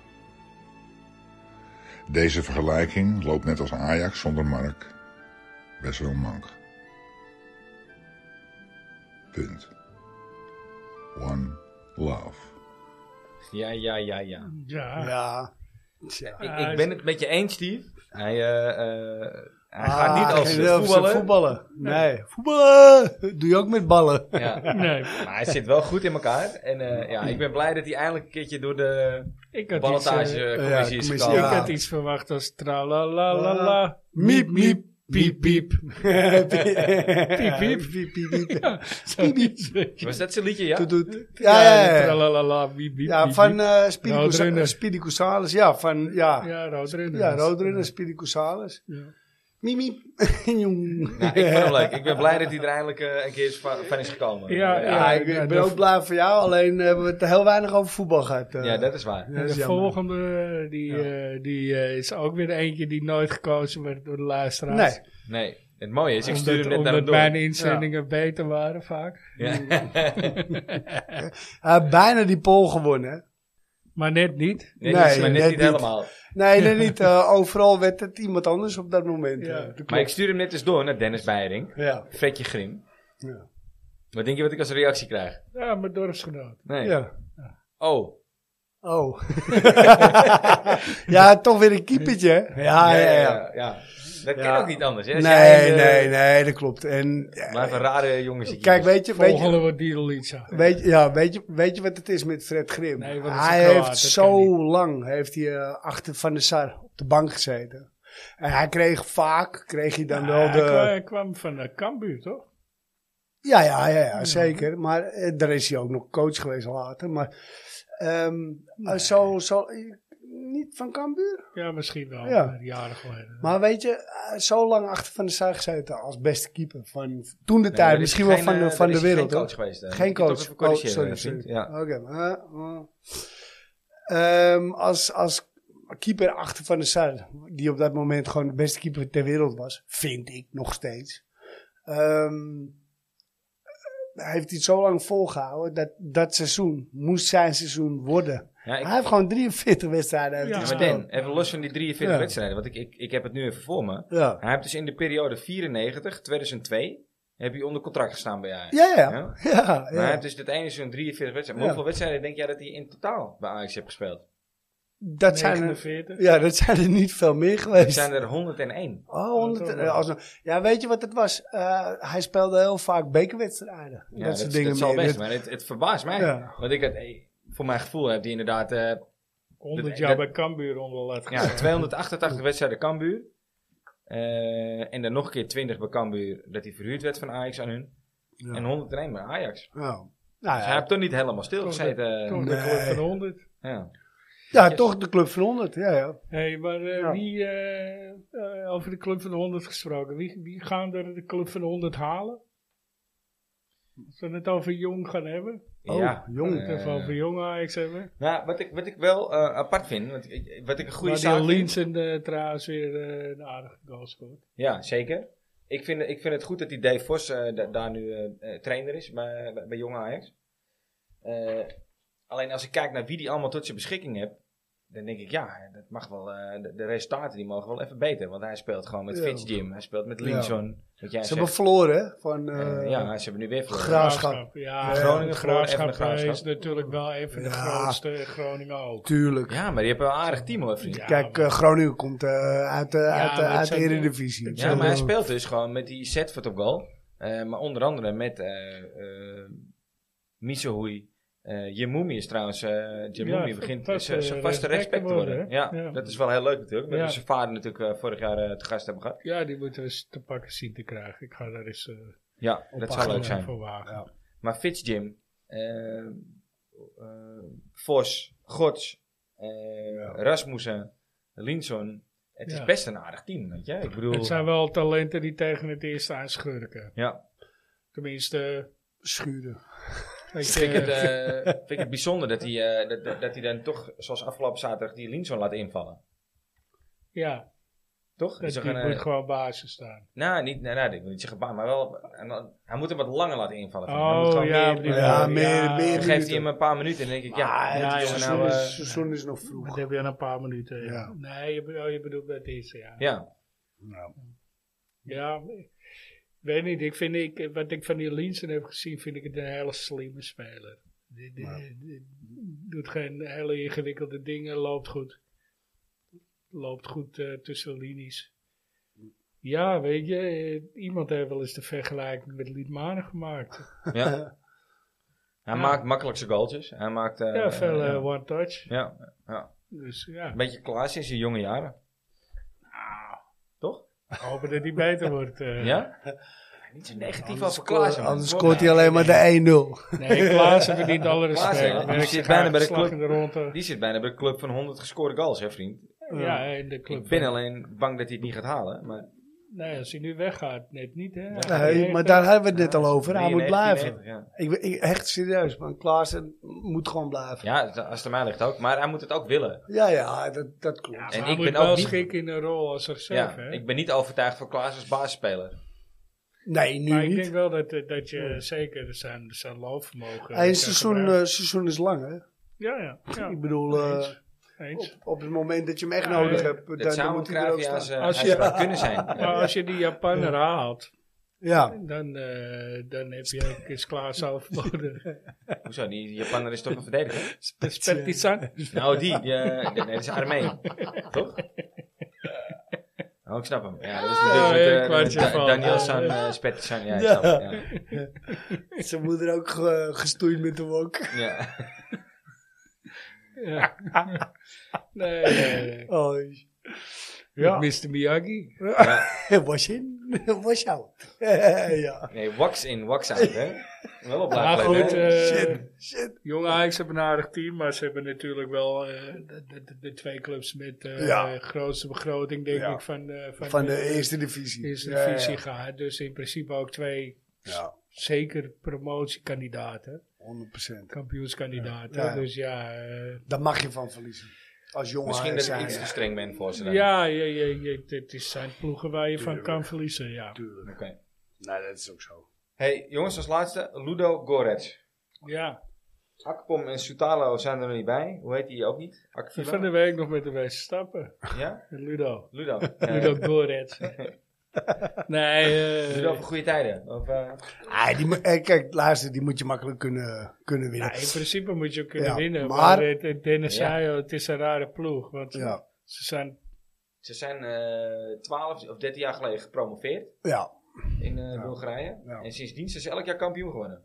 [SPEAKER 4] Deze vergelijking loopt net als Ajax zonder Mark best wel mank. Punt. One love.
[SPEAKER 1] Ja, ja, ja, ja.
[SPEAKER 2] Ja.
[SPEAKER 3] Ja. Tja.
[SPEAKER 1] Ik,
[SPEAKER 2] Ah,
[SPEAKER 1] ik ben het met je eens, Steve. Hij, eh, eh, hij
[SPEAKER 3] Ah,
[SPEAKER 1] gaat niet als
[SPEAKER 3] geen
[SPEAKER 1] voetballer.
[SPEAKER 3] Wilfse voetballen. Nee, voetballen doe je ook met ballen.
[SPEAKER 1] Ja.
[SPEAKER 2] Nee,
[SPEAKER 1] Maar hij zit wel goed in elkaar. En eh, ja, ik ben blij dat hij eindelijk een keertje door de
[SPEAKER 2] ik had, iets, eh,
[SPEAKER 1] ballotagecommissie is
[SPEAKER 3] commissie,
[SPEAKER 2] ik
[SPEAKER 1] gekomen.
[SPEAKER 3] ja.
[SPEAKER 2] had iets verwacht als tralalalala.
[SPEAKER 3] Miep, miep, piep, piep. piep,
[SPEAKER 2] Piep, piep.
[SPEAKER 3] piep, piep, piep.
[SPEAKER 2] Speedy.
[SPEAKER 1] Was dat zijn liedje, ja?
[SPEAKER 3] Doet, doet.
[SPEAKER 2] Ja,
[SPEAKER 3] Ja, ja, ja.
[SPEAKER 2] Tralalala, wiep, wiep,
[SPEAKER 3] Ja,
[SPEAKER 2] wiep,
[SPEAKER 3] van
[SPEAKER 2] wiep.
[SPEAKER 3] eh Speedy
[SPEAKER 2] Rood
[SPEAKER 3] Cousa-
[SPEAKER 2] Runner.
[SPEAKER 3] Speedy Cousalis. Ja, van, ja.
[SPEAKER 2] Ja, Roodrunner.
[SPEAKER 3] Ja, Roodrunner, Speedy Cousalis.
[SPEAKER 2] Ja.
[SPEAKER 3] Miep, miep. Jong.
[SPEAKER 1] Nou, ik vond hem leuk. Ik ben blij dat hij er eindelijk eh, een keer is van, van is gekomen.
[SPEAKER 2] Ja,
[SPEAKER 1] ja.
[SPEAKER 3] Ja, ik,
[SPEAKER 2] ja,
[SPEAKER 3] ik ben
[SPEAKER 2] dat-
[SPEAKER 3] ook blij voor jou, alleen hebben we het heel weinig over voetbal gehad. eh.
[SPEAKER 1] Ja, dat is waar.
[SPEAKER 3] Ja, dat
[SPEAKER 2] de
[SPEAKER 3] is jammer.
[SPEAKER 2] volgende, die, eh, die eh, is ook weer eentje die nooit gekozen werd door de luisteraars.
[SPEAKER 3] Nee.
[SPEAKER 1] Nee. Het mooie is, ik stuur
[SPEAKER 2] Omdat,
[SPEAKER 1] hem net naar
[SPEAKER 2] omdat
[SPEAKER 1] hem door.
[SPEAKER 2] mijn inzendingen beter waren vaak.
[SPEAKER 1] Ja.
[SPEAKER 3] Hij heeft bijna die poll gewonnen. hè.
[SPEAKER 2] Maar net niet.
[SPEAKER 1] Nee,
[SPEAKER 3] Nee,
[SPEAKER 1] dat is maar net
[SPEAKER 3] net
[SPEAKER 1] niet
[SPEAKER 3] niet.
[SPEAKER 1] helemaal.
[SPEAKER 3] Nee, nee niet. eh, overal werd het iemand anders op dat moment.
[SPEAKER 2] Ja.
[SPEAKER 3] eh. Dat
[SPEAKER 1] Maar ik
[SPEAKER 3] klopt.
[SPEAKER 1] stuur hem net eens door naar Dennis Beiring.
[SPEAKER 3] Ja.
[SPEAKER 1] Fredje Grim.
[SPEAKER 3] Ja.
[SPEAKER 1] Wat denk je wat ik als reactie krijg?
[SPEAKER 2] Ja, mijn dorpsgenoot.
[SPEAKER 1] Nee.
[SPEAKER 3] ja.
[SPEAKER 1] Oh.
[SPEAKER 3] Oh. ja, toch weer een keepertje. hè? Ah, Ja, ja, ja.
[SPEAKER 1] ja. Dat kan
[SPEAKER 3] Ja.
[SPEAKER 1] ook niet anders. Hè? Als jij,
[SPEAKER 3] Nee,
[SPEAKER 1] eh,
[SPEAKER 3] nee, nee, dat klopt. En, ja,
[SPEAKER 1] Blijf een rare jongen zit
[SPEAKER 3] kijk, weet je, weet
[SPEAKER 2] Volgende
[SPEAKER 3] je,
[SPEAKER 2] wordt Diedelitsa.
[SPEAKER 3] weet, je, ja, weet, je, weet je wat het is met Fred Grim?
[SPEAKER 2] Nee, want het is een
[SPEAKER 3] hij
[SPEAKER 2] Kroaat,
[SPEAKER 3] heeft
[SPEAKER 2] dat
[SPEAKER 3] zo
[SPEAKER 2] kan
[SPEAKER 3] lang heeft hij, eh, achter Van der Sar op de bank gezeten. En hij kreeg vaak, kreeg hij dan wel de...
[SPEAKER 2] Hij kwam, hij kwam van de Kambuur, toch?
[SPEAKER 3] Ja, ja, ja, ja zeker. Maar eh, daar is hij ook nog coach geweest later. Maar ehm, eh, zo, zo, eh, niet van Cambuur.
[SPEAKER 2] Ja, misschien wel.
[SPEAKER 3] Ja.
[SPEAKER 2] maar Jaren geleden.
[SPEAKER 3] Maar weet je, eh, zo lang achter Van de Sar gezeten als beste keeper van toen de tijd.
[SPEAKER 1] er is
[SPEAKER 3] misschien
[SPEAKER 1] geen,
[SPEAKER 3] wel van,
[SPEAKER 1] eh,
[SPEAKER 3] de-
[SPEAKER 1] er
[SPEAKER 3] van
[SPEAKER 1] is
[SPEAKER 3] de wereld.
[SPEAKER 1] Geen
[SPEAKER 3] hoor.
[SPEAKER 1] coach geweest. eh.
[SPEAKER 3] Geen
[SPEAKER 1] Moet je toch
[SPEAKER 3] coach.
[SPEAKER 1] even
[SPEAKER 3] Oh,
[SPEAKER 1] corrigeren,
[SPEAKER 3] sorry,
[SPEAKER 1] eh,
[SPEAKER 3] sorry.
[SPEAKER 1] vriend. Ja.
[SPEAKER 3] Oké. eh, eh. Ehm, als, als keeper achter Van der Sar, die op dat moment gewoon de beste keeper ter wereld was, vind ik nog steeds. Ehm, hij heeft het zo lang volgehouden dat dat seizoen moest zijn seizoen worden.
[SPEAKER 1] Ja, ik-
[SPEAKER 3] hij heeft gewoon 43 wedstrijden heeft
[SPEAKER 2] Ja,
[SPEAKER 3] hij
[SPEAKER 1] Ja, maar
[SPEAKER 3] gespeeld.
[SPEAKER 1] Dan, even los van die 43
[SPEAKER 3] Ja.
[SPEAKER 1] wedstrijden, want ik, ik, ik heb het nu even voor me.
[SPEAKER 3] Ja.
[SPEAKER 1] Hij heeft dus in de periode 94, 2002, heb je onder contract gestaan bij Ajax.
[SPEAKER 3] Ja, ja.
[SPEAKER 1] Ja?
[SPEAKER 3] ja. ja,
[SPEAKER 1] Maar hij heeft dus het ene zo'n 43 wedstrijden. Maar
[SPEAKER 3] Ja.
[SPEAKER 1] hoeveel wedstrijden denk jij dat hij in totaal bij Ajax heeft gespeeld?
[SPEAKER 3] Dat, zijn er,
[SPEAKER 2] 49.
[SPEAKER 3] ja, dat zijn er niet veel meer
[SPEAKER 1] Dat
[SPEAKER 3] geweest.
[SPEAKER 1] zijn er 101.
[SPEAKER 3] Oh, honderd-
[SPEAKER 2] toch?
[SPEAKER 3] eh, alsnog. ja, weet je wat het was? Eh, hij speelde heel vaak bekerwedstrijden.
[SPEAKER 1] Ja,
[SPEAKER 3] dat
[SPEAKER 1] dat,
[SPEAKER 3] soort
[SPEAKER 1] dat,
[SPEAKER 3] dingen
[SPEAKER 1] zal
[SPEAKER 3] meer.
[SPEAKER 1] best,
[SPEAKER 3] Dat-
[SPEAKER 1] maar het, het verbaast mij.
[SPEAKER 3] Ja.
[SPEAKER 1] Want ik had, eh, voor mijn gevoel heb hij inderdaad eh,
[SPEAKER 2] 100
[SPEAKER 1] Dat-
[SPEAKER 2] jaar
[SPEAKER 1] dat-
[SPEAKER 2] bij Kambuur onder de lat
[SPEAKER 1] ja,
[SPEAKER 2] gezet.
[SPEAKER 1] 288 wedstrijden Cambuur. Eh, en dan nog een keer 20 bij Cambuur dat hij verhuurd werd van Ajax aan hun.
[SPEAKER 3] Ja.
[SPEAKER 1] En 101 bij Ajax.
[SPEAKER 3] ja. Nou
[SPEAKER 1] Dus hij
[SPEAKER 3] ja,
[SPEAKER 1] heeft toch niet helemaal stilgezeten. eh,
[SPEAKER 2] Toch de
[SPEAKER 3] Nee.
[SPEAKER 2] club van 100.
[SPEAKER 1] Ja.
[SPEAKER 3] ja, toch de club van 100. Ja, ja.
[SPEAKER 2] hey, maar eh,
[SPEAKER 3] Ja.
[SPEAKER 2] wie, eh, eh, over de club van de 100 gesproken, wie, wie gaan er de club van de 100 halen? Als we het over jong gaan hebben,
[SPEAKER 3] Oh,
[SPEAKER 2] Als we
[SPEAKER 3] jong.
[SPEAKER 2] het
[SPEAKER 1] Eh.
[SPEAKER 2] even over jong Ajax hebben.
[SPEAKER 1] Nou, wat ik, wat ik wel eh, apart vind, want ik, wat ik een goede
[SPEAKER 2] Maar
[SPEAKER 1] zaak
[SPEAKER 2] die
[SPEAKER 1] vind-
[SPEAKER 2] Linsen eh, trouwens weer eh, een aardige goal scoort.
[SPEAKER 1] Ja, zeker. Ik vind, ik vind het goed dat die Dave Vos eh, da- daar nu eh, eh, trainer is bij, bij, bij Jong Ajax. Eh, alleen als ik kijk naar wie die allemaal tot zijn beschikking hebt, dan denk ik ja, dat mag wel, eh, de, de resultaten die mogen wel even beter. Want hij speelt gewoon met
[SPEAKER 3] Ja.
[SPEAKER 1] Fitz Jim, hij speelt met Linson. Wat jij zegt.
[SPEAKER 3] Ze hebben verloren hè, van
[SPEAKER 1] Eh,
[SPEAKER 3] eh,
[SPEAKER 1] ja, ze hebben nu weer verloren.
[SPEAKER 3] Graaf. Graafschap.
[SPEAKER 2] Ja,
[SPEAKER 1] Groningen
[SPEAKER 2] Groningen
[SPEAKER 1] verloren, even
[SPEAKER 2] Graafschap,
[SPEAKER 1] de Graafschap.
[SPEAKER 2] eh, is natuurlijk wel een van de
[SPEAKER 3] Ja.
[SPEAKER 2] grootste. Groningen ook.
[SPEAKER 3] Tuurlijk.
[SPEAKER 1] eh, Ja, maar je hebt wel een aardig team hoor, vriend.
[SPEAKER 2] Ja,
[SPEAKER 3] Kijk,
[SPEAKER 2] maar-
[SPEAKER 3] eh, Groningen komt eh, uit, de uit,
[SPEAKER 2] maar
[SPEAKER 3] de-
[SPEAKER 2] het
[SPEAKER 3] uit de
[SPEAKER 2] zijn-
[SPEAKER 3] Eredivisie.
[SPEAKER 2] het
[SPEAKER 1] Ja, maar hij speelt dus gewoon met die set voor op goal. Eh, maar onder andere met eh eh Misohui. Eh Jemoumi is trouwens, eh Jemoumi
[SPEAKER 2] Ja,
[SPEAKER 1] begint
[SPEAKER 2] dat,
[SPEAKER 1] zijn
[SPEAKER 2] eh,
[SPEAKER 1] zijn vaste
[SPEAKER 2] rechtsback
[SPEAKER 1] rechtsback te worden.
[SPEAKER 2] worden, hè?
[SPEAKER 1] ja,
[SPEAKER 2] Ja.
[SPEAKER 1] dat is wel heel leuk natuurlijk. Dat
[SPEAKER 2] Ja.
[SPEAKER 1] we zijn vader natuurlijk eh, vorig jaar eh, te gast hebben gehad.
[SPEAKER 2] Ja, die moeten we eens te pakken zien te krijgen. Ik ga daar eens eh
[SPEAKER 1] Ja, dat zou leuk
[SPEAKER 2] aandacht
[SPEAKER 1] zijn.
[SPEAKER 2] voor wagen.
[SPEAKER 3] Ja.
[SPEAKER 1] Maar Fitz Jim, eh, eh, Vos, Gods, eh, Rasmussen, Linson. Het is
[SPEAKER 2] Ja.
[SPEAKER 1] best een aardig team, weet je. Ik bedoel,
[SPEAKER 2] Het zijn wel talenten die tegen het eerst aanschurken.
[SPEAKER 1] ja.
[SPEAKER 2] Tenminste,
[SPEAKER 3] Schuren.
[SPEAKER 2] weet
[SPEAKER 1] vind ik, het,
[SPEAKER 2] je,
[SPEAKER 1] eh, vind ik het bijzonder dat hij, eh, dat, dat, dat hij dan toch, zoals afgelopen zaterdag, die Linson laat invallen.
[SPEAKER 2] ja.
[SPEAKER 1] Toch?
[SPEAKER 2] Dat
[SPEAKER 1] Die
[SPEAKER 2] die
[SPEAKER 1] zeggen, eh,
[SPEAKER 2] moet gewoon basis staan.
[SPEAKER 1] nou, niet, nou, nou, ik wil niet zeggen baan, maar wel. en dan- hij moet hem wat langer laten invallen. vind ik. Hij moet
[SPEAKER 2] Oh
[SPEAKER 1] gewoon
[SPEAKER 2] ja,
[SPEAKER 1] meer-
[SPEAKER 2] op die
[SPEAKER 3] ja,
[SPEAKER 2] manier,
[SPEAKER 3] meer- meer-
[SPEAKER 1] dan geeft hij hem een paar minuten en dan denk ik, ja,
[SPEAKER 3] Maar
[SPEAKER 1] dit
[SPEAKER 2] ja,
[SPEAKER 1] is
[SPEAKER 2] ja,
[SPEAKER 1] toch
[SPEAKER 3] Ah, het
[SPEAKER 1] nou,
[SPEAKER 3] seizoen is-
[SPEAKER 1] eh,
[SPEAKER 3] seizoen is nog
[SPEAKER 2] Dat
[SPEAKER 3] vroeg.
[SPEAKER 2] heb je aan een paar minuten. Ja.
[SPEAKER 3] Ja.
[SPEAKER 2] Nee, je, be- oh, je bedoelt bij deze, ja. Ja,
[SPEAKER 1] eh, ja.
[SPEAKER 3] Nou,
[SPEAKER 2] ik weet niet. Ik vind, ik, wat ik van die Linsen heb gezien, vind ik het een hele slimme speler. Die, die-
[SPEAKER 3] Ja.
[SPEAKER 2] die doet geen hele ingewikkelde dingen, loopt goed. Loopt goed eh, tussen linies. Ja, weet je, eh, iemand heeft wel eens de vergelijking met Liedmanen gemaakt.
[SPEAKER 1] ja. Hij
[SPEAKER 2] Ja.
[SPEAKER 1] maakt makkelijk zijn goaltjes. Hij maakt. eh,
[SPEAKER 2] ja, veel
[SPEAKER 1] ja.
[SPEAKER 2] eh, one-touch.
[SPEAKER 1] ja,
[SPEAKER 2] Dus ja,
[SPEAKER 1] een beetje Klaas in zijn jonge jaren. Toch?
[SPEAKER 2] hopen dat hij beter wordt. eh.
[SPEAKER 1] Ja? Niet zo negatief
[SPEAKER 3] anders
[SPEAKER 1] als
[SPEAKER 3] scoort,
[SPEAKER 1] Klaas.
[SPEAKER 3] anders scoort hij alleen maar de 1-0.
[SPEAKER 2] Nee, Klaassen verdient alle
[SPEAKER 1] Klaassen, ja.
[SPEAKER 2] respect. Werkt
[SPEAKER 1] Die zit
[SPEAKER 2] zich
[SPEAKER 1] bijna
[SPEAKER 2] hard,
[SPEAKER 1] bij de
[SPEAKER 2] slag
[SPEAKER 1] club.
[SPEAKER 2] in de ronde.
[SPEAKER 1] Die zit bijna bij de club van 100 gescoorde goals, hè, vriend?
[SPEAKER 2] Ja, in de club.
[SPEAKER 1] Ik ben alleen bang dat hij het niet gaat halen. Maar
[SPEAKER 2] Nee, Nou als hij nu weggaat, net niet, hè.
[SPEAKER 3] Nee, maar daar hebben we het net al over. Hij
[SPEAKER 1] 93,
[SPEAKER 3] moet blijven.
[SPEAKER 1] 93, Ja.
[SPEAKER 3] Ik, ik, echt serieus, man. Klaassen moet gewoon blijven.
[SPEAKER 1] ja, het- als het aan mij ligt ook. Maar hij moet het ook willen.
[SPEAKER 3] Ja, ja, dat, dat klopt.
[SPEAKER 1] En
[SPEAKER 2] en
[SPEAKER 1] ik
[SPEAKER 2] ik
[SPEAKER 1] ben
[SPEAKER 2] wel
[SPEAKER 1] ook niet-
[SPEAKER 2] schik in een rol als reserve,
[SPEAKER 1] Ja,
[SPEAKER 2] hè.
[SPEAKER 1] ik ben niet overtuigd van Klaas als baasspeler.
[SPEAKER 3] Nee, nu
[SPEAKER 2] maar ik
[SPEAKER 3] niet. Oh.
[SPEAKER 2] denk wel dat, eh, dat je zeker zijn, zijn loopvermogen...
[SPEAKER 3] Hij
[SPEAKER 2] kan
[SPEAKER 3] is seizoen,
[SPEAKER 2] gebruiken.
[SPEAKER 3] eh, seizoen is lang, hè?
[SPEAKER 2] ja, ja. ja.
[SPEAKER 3] Ik bedoel, eh,
[SPEAKER 2] Eens. Eens.
[SPEAKER 3] op, op het moment dat je hem echt
[SPEAKER 2] Ja,
[SPEAKER 3] nodig
[SPEAKER 2] eh,
[SPEAKER 3] hebt, dan,
[SPEAKER 1] Dat
[SPEAKER 3] dan
[SPEAKER 1] zou een
[SPEAKER 3] moet hij er ook
[SPEAKER 1] Kravia's
[SPEAKER 3] staan.
[SPEAKER 1] eh,
[SPEAKER 2] Als je-
[SPEAKER 1] uitspraak kunnen zijn.
[SPEAKER 2] Maar als je die Japaner haalt,
[SPEAKER 3] Ja,
[SPEAKER 2] dan, eh, dan heb je ook eens Klaas overbodig.
[SPEAKER 1] Hoezo? Die Japaner is toch een verdediger?
[SPEAKER 2] Spertisan.
[SPEAKER 1] Nou, die. die, eh, nee, dat is Armeen. Toch? Oh, ik snap hem. Ja, dat was
[SPEAKER 2] Ja,
[SPEAKER 1] natuurlijk
[SPEAKER 2] ja,
[SPEAKER 1] met, eh,
[SPEAKER 2] kwartje
[SPEAKER 1] Da-
[SPEAKER 2] van.
[SPEAKER 1] Daniel San, eh, Spettisson. Ja, ik snap hem, ja.
[SPEAKER 3] zijn moeder ook ge- gestoeid met de wok.
[SPEAKER 1] Ja.
[SPEAKER 2] Ja. Nee, nee, nee.
[SPEAKER 3] Oh,
[SPEAKER 2] Ja. Mr. Miyagi.
[SPEAKER 3] was in, was out. ja. Oh,
[SPEAKER 1] Nee, wax in, wax out, hè? Wel op
[SPEAKER 2] Maar
[SPEAKER 1] laag
[SPEAKER 2] goed,
[SPEAKER 1] letten, hè?
[SPEAKER 2] eh,
[SPEAKER 3] Shit, shit.
[SPEAKER 2] Jong Ajax hebben een aardig team, maar ze hebben natuurlijk wel eh, de, de, de twee clubs met eh
[SPEAKER 3] Ja.
[SPEAKER 2] grootste begroting, denk
[SPEAKER 3] Ja.
[SPEAKER 2] ik, van, eh, van,
[SPEAKER 3] Van de eerste divisie.
[SPEAKER 2] eerste
[SPEAKER 3] Ja, ja,
[SPEAKER 2] divisie gehad. Dus in principe ook twee
[SPEAKER 3] Ja,
[SPEAKER 2] zeker promotiekandidaten,
[SPEAKER 3] 100%.
[SPEAKER 2] kampioenskandidaten.
[SPEAKER 3] Ja. Ja.
[SPEAKER 2] Dus ja, eh,
[SPEAKER 3] Daar mag je van verliezen. Als jongen
[SPEAKER 1] Misschien dat ik
[SPEAKER 3] zijn.
[SPEAKER 1] iets te streng ben voor ze dan.
[SPEAKER 2] ja, je, je, je, het is zijn ploegen waar je van kan verliezen, ja.
[SPEAKER 1] Oké.
[SPEAKER 3] Tuurlijk. Nee, dat is ook zo.
[SPEAKER 1] Hey, jongens, als laatste, Ludo Gorets.
[SPEAKER 2] Ja,
[SPEAKER 1] Akpom en Soutalo zijn er nog niet bij. Hoe heet die ook niet? Akvila?
[SPEAKER 2] van de week nog met de wijze stappen.
[SPEAKER 1] Ja?
[SPEAKER 2] Ludo.
[SPEAKER 1] Ludo.
[SPEAKER 2] Ludo
[SPEAKER 1] Eh,
[SPEAKER 2] Goret. nee, eh,
[SPEAKER 1] Ludo voor goede tijden. Of, eh,
[SPEAKER 3] Ah, die, mo- eh, kijk, luister, die moet je makkelijk kunnen, kunnen winnen.
[SPEAKER 2] Nou, in principe moet je kunnen
[SPEAKER 3] Ja,
[SPEAKER 2] winnen.
[SPEAKER 3] maar-
[SPEAKER 2] Maar, eh, het- het- Dennis
[SPEAKER 1] Ja.
[SPEAKER 2] zei al, het is een rare ploeg. Want eh,
[SPEAKER 3] ja,
[SPEAKER 2] ze zijn
[SPEAKER 1] ze zijn eh 12 of 13 jaar geleden gepromoveerd
[SPEAKER 3] ja.
[SPEAKER 1] in eh, Bulgarije.
[SPEAKER 3] Ja.
[SPEAKER 1] En sindsdien zijn ze elk jaar kampioen geworden.